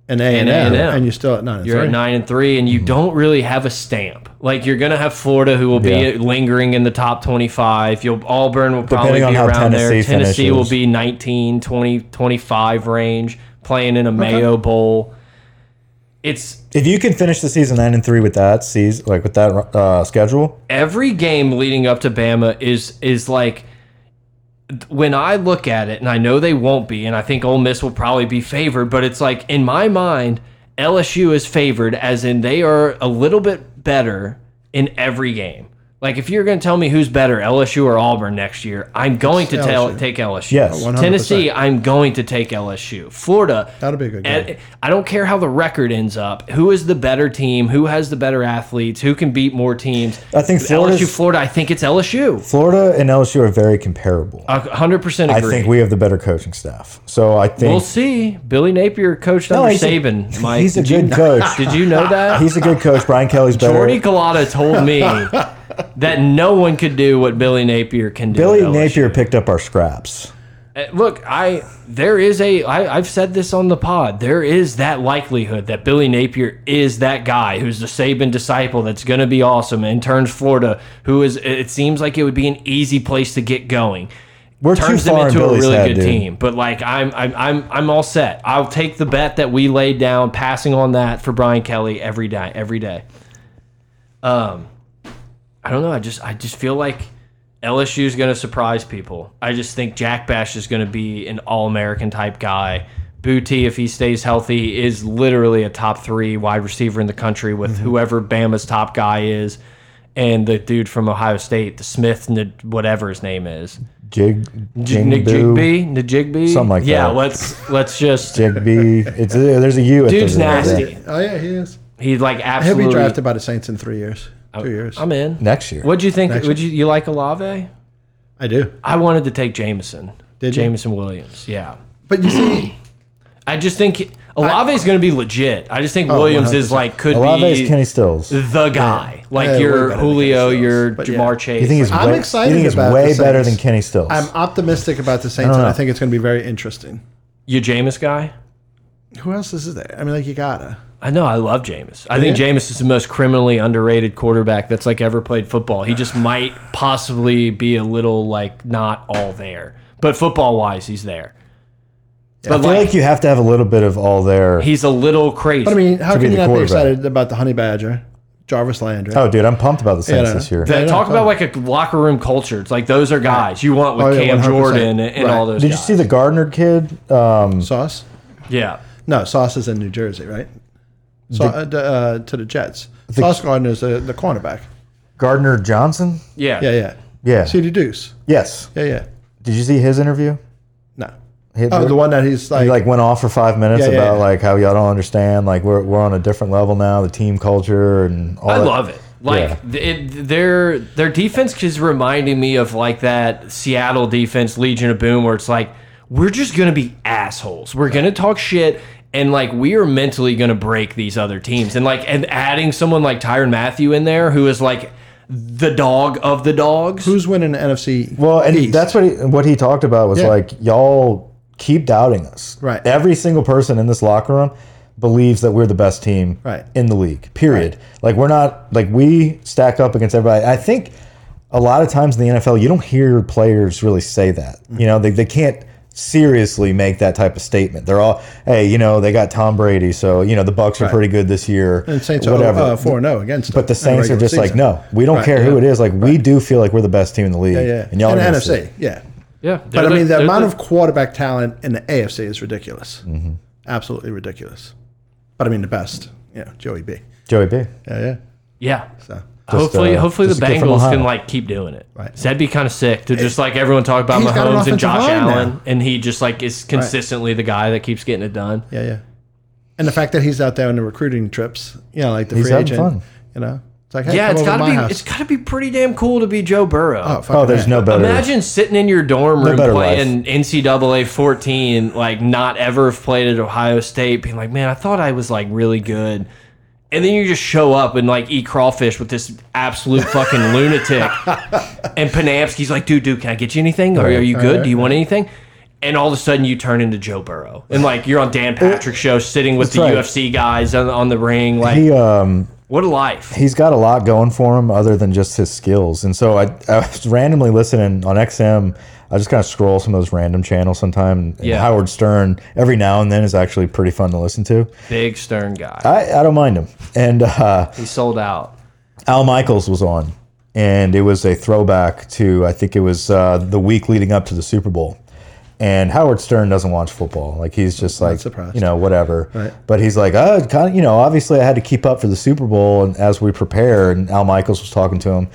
Speaker 3: and A and M,
Speaker 1: A&M.
Speaker 3: and you're still at nine. and
Speaker 1: You're
Speaker 3: three.
Speaker 1: at nine and three, and you
Speaker 2: Hmm.
Speaker 1: don't really have a stamp. Like you're gonna have Florida, who will be
Speaker 2: Yeah.
Speaker 1: lingering in the top 25. You'll Auburn will probably
Speaker 2: Depending on
Speaker 1: be
Speaker 2: how
Speaker 1: around there.
Speaker 2: Tennessee
Speaker 1: Tennessee will
Speaker 2: finishes.
Speaker 1: be 19, 20, 25 range, playing in a Mayo Bowl. It's
Speaker 2: If you can finish the season nine and three with that season, like with that uh, schedule,
Speaker 1: every game leading up to Bama is is like when I look at it, and I know they won't be, and I think Ole Miss will probably be favored, but it's like in my mind, LSU is favored, as in they are a little bit better in every game. Like if you're going to tell me who's better, LSU or Auburn next year, I'm going to tell,
Speaker 3: LSU.
Speaker 1: take LSU.
Speaker 2: Yes.
Speaker 3: Oh, 100%.
Speaker 1: Tennessee, I'm going to take LSU. Florida,
Speaker 3: That'll be a good
Speaker 1: and
Speaker 3: game.
Speaker 1: I don't care how the record ends up. Who is the better team? Who has the better athletes? Who can beat more teams?
Speaker 2: I think
Speaker 1: With
Speaker 2: Florida's-
Speaker 1: LSU, Florida. I think it's LSU.
Speaker 2: Florida and LSU are very comparable.
Speaker 1: A hundred percent
Speaker 2: I
Speaker 1: agree.
Speaker 2: think we have the better coaching staff. So I think
Speaker 1: will see. Billy Napier coached
Speaker 2: No,
Speaker 1: under
Speaker 2: he's a-
Speaker 1: Saban. Mike,
Speaker 2: he's a
Speaker 1: did you-
Speaker 2: good coach.
Speaker 1: Did you know that?
Speaker 2: he's a good coach. Brian Kelly's better.
Speaker 1: Jordy Collada told me that no one could do what Billy Napier can do.
Speaker 2: Billy
Speaker 1: at LSU.
Speaker 2: Napier picked up our scraps.
Speaker 1: Uh, Look, I there is a I, I've said this on the pod. There is that likelihood that Billy Napier is that guy who's the Saban disciple that's going to be awesome and turns Florida, who is it seems like it would be an easy place to get going.
Speaker 2: We're
Speaker 1: turns
Speaker 2: too
Speaker 1: them
Speaker 2: far
Speaker 1: into
Speaker 2: in
Speaker 1: a
Speaker 2: Billy's
Speaker 1: really
Speaker 2: head,
Speaker 1: good
Speaker 2: dude.
Speaker 1: team. But like I'm I'm I'm I'm all set. I'll take the bet that we laid down, passing on that for Brian Kelly every day, every day. Um, I don't know. I just I just feel like LSU is going to surprise people. I just think Jack Bash is going to be an All American type guy. Booty, if he stays healthy, is literally a top three wide receiver in the country with
Speaker 2: Mm-hmm.
Speaker 1: whoever Bama's top guy is, and the dude from Ohio State, the Smith, N- whatever his name is,
Speaker 2: Jig,
Speaker 1: J-
Speaker 2: Jing, Boo.
Speaker 1: Najigbe, Najigbe,
Speaker 2: Something like
Speaker 1: yeah,
Speaker 2: that.
Speaker 1: let's let's just
Speaker 2: Digby. It's uh, there's a U. At the
Speaker 1: Dude's
Speaker 2: end of that.
Speaker 1: nasty.
Speaker 3: Oh yeah, he is.
Speaker 1: He like
Speaker 3: He'll
Speaker 1: absolutely.
Speaker 3: be drafted by the Saints in three years, two years. i
Speaker 1: I'm in.
Speaker 2: Next year,
Speaker 1: What'd you think?
Speaker 3: Next
Speaker 1: Would you you like Olave?
Speaker 3: do,
Speaker 1: I wanted to take Jameson.
Speaker 3: Did you?
Speaker 1: Jameson Williams? Yeah.
Speaker 3: but you see,
Speaker 1: I just think Olave is going to be legit. I just think
Speaker 3: Oh,
Speaker 1: Williams is like could
Speaker 2: Olave's
Speaker 1: be
Speaker 2: Kenny Stills. You
Speaker 1: the guy. Like
Speaker 3: Yeah, way better
Speaker 1: your
Speaker 3: than
Speaker 1: Julio,
Speaker 3: Kenny Stills.
Speaker 1: your
Speaker 3: But yeah.
Speaker 1: Jamar Chase.
Speaker 2: think he's
Speaker 3: I'm
Speaker 2: way,
Speaker 3: excited
Speaker 2: you think he's
Speaker 3: about the
Speaker 2: way better than
Speaker 3: Saints.
Speaker 2: Kenny Stills.
Speaker 3: I'm optimistic about the
Speaker 2: don't
Speaker 3: Saints, and I
Speaker 1: Uh-huh.
Speaker 2: know.
Speaker 3: think it's going to be very interesting.
Speaker 1: you Jameis guy?
Speaker 3: Who else is there? I mean, like you gotta.
Speaker 1: I know. I love Jameis. I think Jameis is the most criminally underrated quarterback that's like ever played football. He just might possibly be a little like not all there, but football wise, he's there.
Speaker 2: I
Speaker 1: But
Speaker 2: feel
Speaker 1: like,
Speaker 2: like you have to have a little bit of all there.
Speaker 1: he's a little crazy.
Speaker 3: But I mean, how
Speaker 2: To be
Speaker 3: can you
Speaker 2: the
Speaker 3: not be
Speaker 2: quarterback.
Speaker 3: excited about the Honey Badger? Jarvis Landry.
Speaker 2: Oh, dude, I'm pumped about the Saints
Speaker 3: Yeah.
Speaker 2: this year.
Speaker 1: That-
Speaker 3: Yeah,
Speaker 1: talk
Speaker 3: no,
Speaker 1: about like a locker room culture. It's like those are guys you want with
Speaker 3: Oh, yeah,
Speaker 1: Cam
Speaker 3: 100%.
Speaker 1: Jordan and, and all those.
Speaker 2: Did you
Speaker 1: guys.
Speaker 2: see the Gardner kid? Um,
Speaker 3: Sauce?
Speaker 1: Yeah,
Speaker 3: No, Sauce is in New Jersey, right? So, uh, d- uh, to the Jets. Sauce Gardner is the, the cornerback.
Speaker 2: Gardner Johnson?
Speaker 1: yeah,
Speaker 3: Yeah, yeah.
Speaker 2: Yeah.
Speaker 3: CD Deuce.
Speaker 2: Yes.
Speaker 3: Yeah, yeah.
Speaker 2: Did you see his interview?
Speaker 3: No.
Speaker 2: He,
Speaker 3: Oh, the one that he's like,
Speaker 2: he like went off for five minutes
Speaker 3: Yeah, yeah,
Speaker 2: about
Speaker 3: yeah.
Speaker 2: like how y'all don't understand. Like we're we're on a different level now. The team culture and all.
Speaker 1: I
Speaker 2: that.
Speaker 1: love it. Like th- it, their their defense is reminding me of like that Seattle defense, Legion of Boom, where it's like we're just gonna be assholes. We're gonna talk shit, and like we are mentally gonna break these other teams. And like and adding someone like Tyron Matthew in there, who is like the dog of the dogs.
Speaker 3: who's winning the NFC?
Speaker 2: Well, and
Speaker 3: East?
Speaker 2: that's what he, what he talked about was
Speaker 3: Yeah.
Speaker 2: like y'all keep doubting us.
Speaker 3: Right.
Speaker 2: Every single person in this locker room believes that we're the best team
Speaker 3: Right.
Speaker 2: in the league. Period. Like we're not like we stack up against everybody. I think a lot of times in the NFL you don't hear players really say that.
Speaker 3: Mm-hmm.
Speaker 2: You know, they they can't seriously make that type of statement. They're all, hey, you know, they got Tom Brady, so you know, the Bucks are pretty good this year.
Speaker 3: and Saints are uh, 4 0 against them
Speaker 2: But the
Speaker 3: in
Speaker 2: Saints are
Speaker 3: regular
Speaker 2: just like,
Speaker 3: season.
Speaker 2: no, we don't
Speaker 3: Right,
Speaker 2: care who
Speaker 3: yeah.
Speaker 2: it is. Like, we do feel like we're the best team in the league.
Speaker 3: Yeah, yeah.
Speaker 2: And y'all
Speaker 3: in
Speaker 2: are
Speaker 3: the
Speaker 2: gonna
Speaker 3: NFC,
Speaker 2: sit.
Speaker 3: yeah.
Speaker 1: Yeah,
Speaker 3: But I mean, the amount of quarterback talent in the AFC is ridiculous.
Speaker 2: Mm-hmm.
Speaker 3: Absolutely ridiculous. But I mean, the best. Yeah, Joey B.
Speaker 2: Joey B.
Speaker 3: Yeah, yeah.
Speaker 1: yeah.
Speaker 3: So
Speaker 1: hopefully,
Speaker 2: uh,
Speaker 1: hopefully the
Speaker 2: just a kid from
Speaker 1: Bengals
Speaker 2: Ohio.
Speaker 1: can like keep doing it.
Speaker 3: Right.
Speaker 1: So that'd be kind of sick to just like everyone talk about
Speaker 3: He's got
Speaker 1: Mahomes
Speaker 3: an
Speaker 1: and
Speaker 3: offensive
Speaker 1: Josh
Speaker 3: line now.
Speaker 1: Allen, and he just like is consistently the guy that keeps getting it done.
Speaker 3: yeah, yeah. And the fact that he's out there on the recruiting trips, you know, like the
Speaker 2: He's
Speaker 3: free
Speaker 2: having
Speaker 3: agent,
Speaker 2: fun.
Speaker 3: you know, it's like, hey,
Speaker 1: yeah,
Speaker 3: come
Speaker 1: it's
Speaker 3: over to
Speaker 1: gotta
Speaker 3: my
Speaker 1: be
Speaker 3: house.
Speaker 1: it's gotta be pretty damn cool to be Joe Burrow.
Speaker 3: fucking
Speaker 2: Oh, there's
Speaker 3: yeah.
Speaker 2: no better.
Speaker 1: Imagine sitting in your dorm room
Speaker 2: better
Speaker 1: playing NCAA 14, like not ever have played at Ohio State, being like, man, I thought I was like really good. And then you just show up and like eat crawfish with this absolute fucking lunatic. And Panamsky's like, dude, dude, can I get you anything? Or are you good? Do you want anything? And all of a sudden you turn into Joe Burrow. And like you're on Dan Patrick's show sitting with the
Speaker 2: right.
Speaker 1: UFC guys on, on the ring. Like,
Speaker 2: He um
Speaker 1: what a life.
Speaker 2: he's got a lot going for him other than just his skills. And so I, I was randomly listening on XM. I just kind of scroll some of those random channels sometime. And
Speaker 1: Yeah.
Speaker 2: Howard Stern every now and then is actually pretty fun to listen to.
Speaker 1: Big stern guy.
Speaker 2: I, I don't mind him. And uh,
Speaker 1: He sold out.
Speaker 2: Al Michaels was on, and it was a throwback to I think it was uh, the week leading up to the Super Bowl. And Howard Stern doesn't watch football; like he's just like
Speaker 3: surprised.
Speaker 2: you know whatever.
Speaker 3: Right.
Speaker 2: But he's like, oh, kind of, you know, obviously I had to keep up for the Super Bowl, and as we prepare, and Al Michaels was talking to him,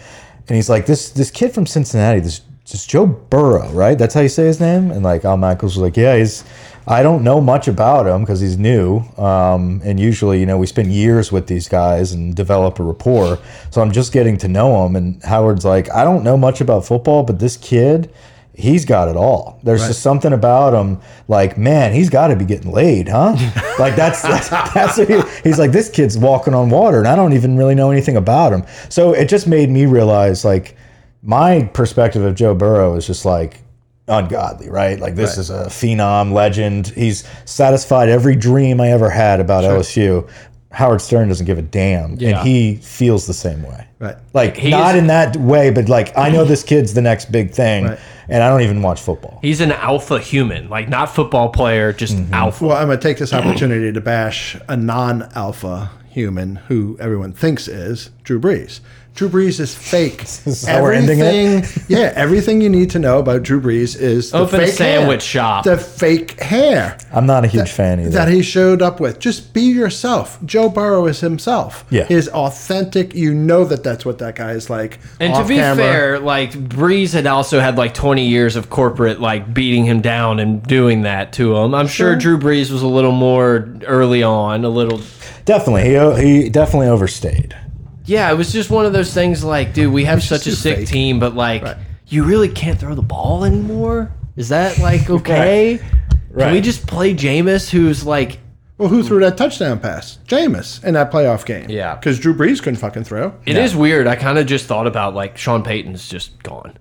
Speaker 2: and he's like, this this kid from Cincinnati, this this Joe Burrow, right? That's how you say his name. And like Al Michaels was like, yeah, he's. I don't know much about him because he's new, um, and usually, you know, we spend years with these guys and develop a rapport. So I'm just getting to know him. And Howard's like, I don't know much about football, but this kid, he's got it all. There's just something about him, like man, he's got to be getting laid, huh? like that's that's, that's what he, he's like this kid's walking on water, and I don't even really know anything about him. So it just made me realize, like, my perspective of Joe Burrow is just like ungodly, right? Like this is a phenom, legend. He's satisfied every dream I ever had about LSU. Howard Stern doesn't give a damn,
Speaker 1: Yeah.
Speaker 2: and he feels the same way.
Speaker 3: Right.
Speaker 2: Like not
Speaker 1: is-
Speaker 2: in that way, but like I know this kid's the next big thing,
Speaker 3: Right.
Speaker 2: and I don't even watch football.
Speaker 1: He's an alpha human, like not football player, just
Speaker 3: Mm-hmm.
Speaker 1: alpha.
Speaker 3: Well, I'm going to take this opportunity to bash a non alpha human who everyone thinks is Drew Brees. Drew Brees is fake.
Speaker 2: is how we're ending it?
Speaker 3: yeah, everything you need to know about Drew Brees is the
Speaker 1: Open
Speaker 3: fake
Speaker 1: sandwich
Speaker 3: hair,
Speaker 1: shop.
Speaker 3: the fake hair
Speaker 2: I'm not a huge fan either.
Speaker 3: that he showed up with. Just be yourself. Joe Burrow is himself.
Speaker 2: Yeah.
Speaker 3: he is authentic. You know that that's what that guy is like.
Speaker 1: And to
Speaker 3: off
Speaker 1: be
Speaker 3: camera.
Speaker 1: fair, like Breeze had also had like 20 years of corporate like beating him down and doing that to him. I'm sure, Drew Brees was a little more early on, a little.
Speaker 2: definitely, he he definitely overstayed.
Speaker 1: Yeah, it was just one of those things like, dude, we have such a
Speaker 3: just
Speaker 1: sick
Speaker 3: fake.
Speaker 1: team, but like,
Speaker 3: Right.
Speaker 1: you really can't throw the ball anymore? Is that like okay? Can we
Speaker 2: Right.
Speaker 1: just play Jameis, who's like,
Speaker 3: well, who threw that touchdown pass? Jameis in that playoff game.
Speaker 1: Yeah.
Speaker 3: because Drew Brees couldn't fucking throw.
Speaker 1: It is weird. I kind of just thought about like Sean Payton's just gone.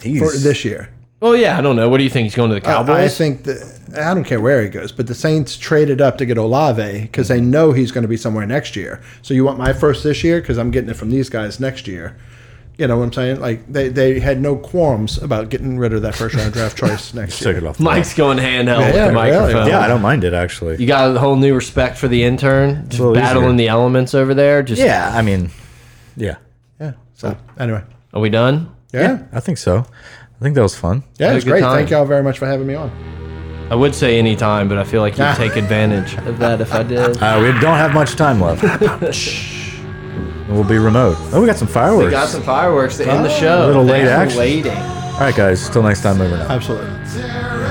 Speaker 2: He's
Speaker 3: For this year,
Speaker 1: Well, Oh, yeah, I don't know. What do you think? He's going to the Cowboys?
Speaker 3: I think that I don't care where he goes, but the Saints traded up to get Olave because they know he's going to be somewhere next year. So you want my first this year because I'm getting it from these guys next year. You know what I'm saying? Like they, they had no qualms about getting rid of that first round draft choice next
Speaker 2: Took
Speaker 3: year.
Speaker 2: it off. the
Speaker 1: Mike's going handheld with
Speaker 3: Yeah,
Speaker 1: the microphone.
Speaker 3: really.
Speaker 2: wall. Yeah, I don't mind it actually.
Speaker 1: You got a whole new respect for the intern, just
Speaker 2: a little
Speaker 1: battling
Speaker 2: easier.
Speaker 1: the elements over there. Just
Speaker 2: yeah, I mean, yeah,
Speaker 3: Yeah. So anyway,
Speaker 1: are we done?
Speaker 3: yeah,
Speaker 2: I think so. I think that was fun.
Speaker 3: yeah,
Speaker 1: Had a
Speaker 3: it's
Speaker 1: good
Speaker 3: great.
Speaker 1: time.
Speaker 3: Thank y'all very much for having me on.
Speaker 1: I would say any time, but I feel like
Speaker 2: Ah.
Speaker 1: you'd take advantage of that if I did.
Speaker 2: Uh, we don't have much time left. we'll be remote. Oh, we got some fireworks.
Speaker 1: We got some fireworks to end the show.
Speaker 2: Ah. little late
Speaker 1: Thanks for
Speaker 2: action.
Speaker 1: Waiting.
Speaker 2: All right, guys. Till next time, over and out.
Speaker 3: Absolutely.
Speaker 5: Tear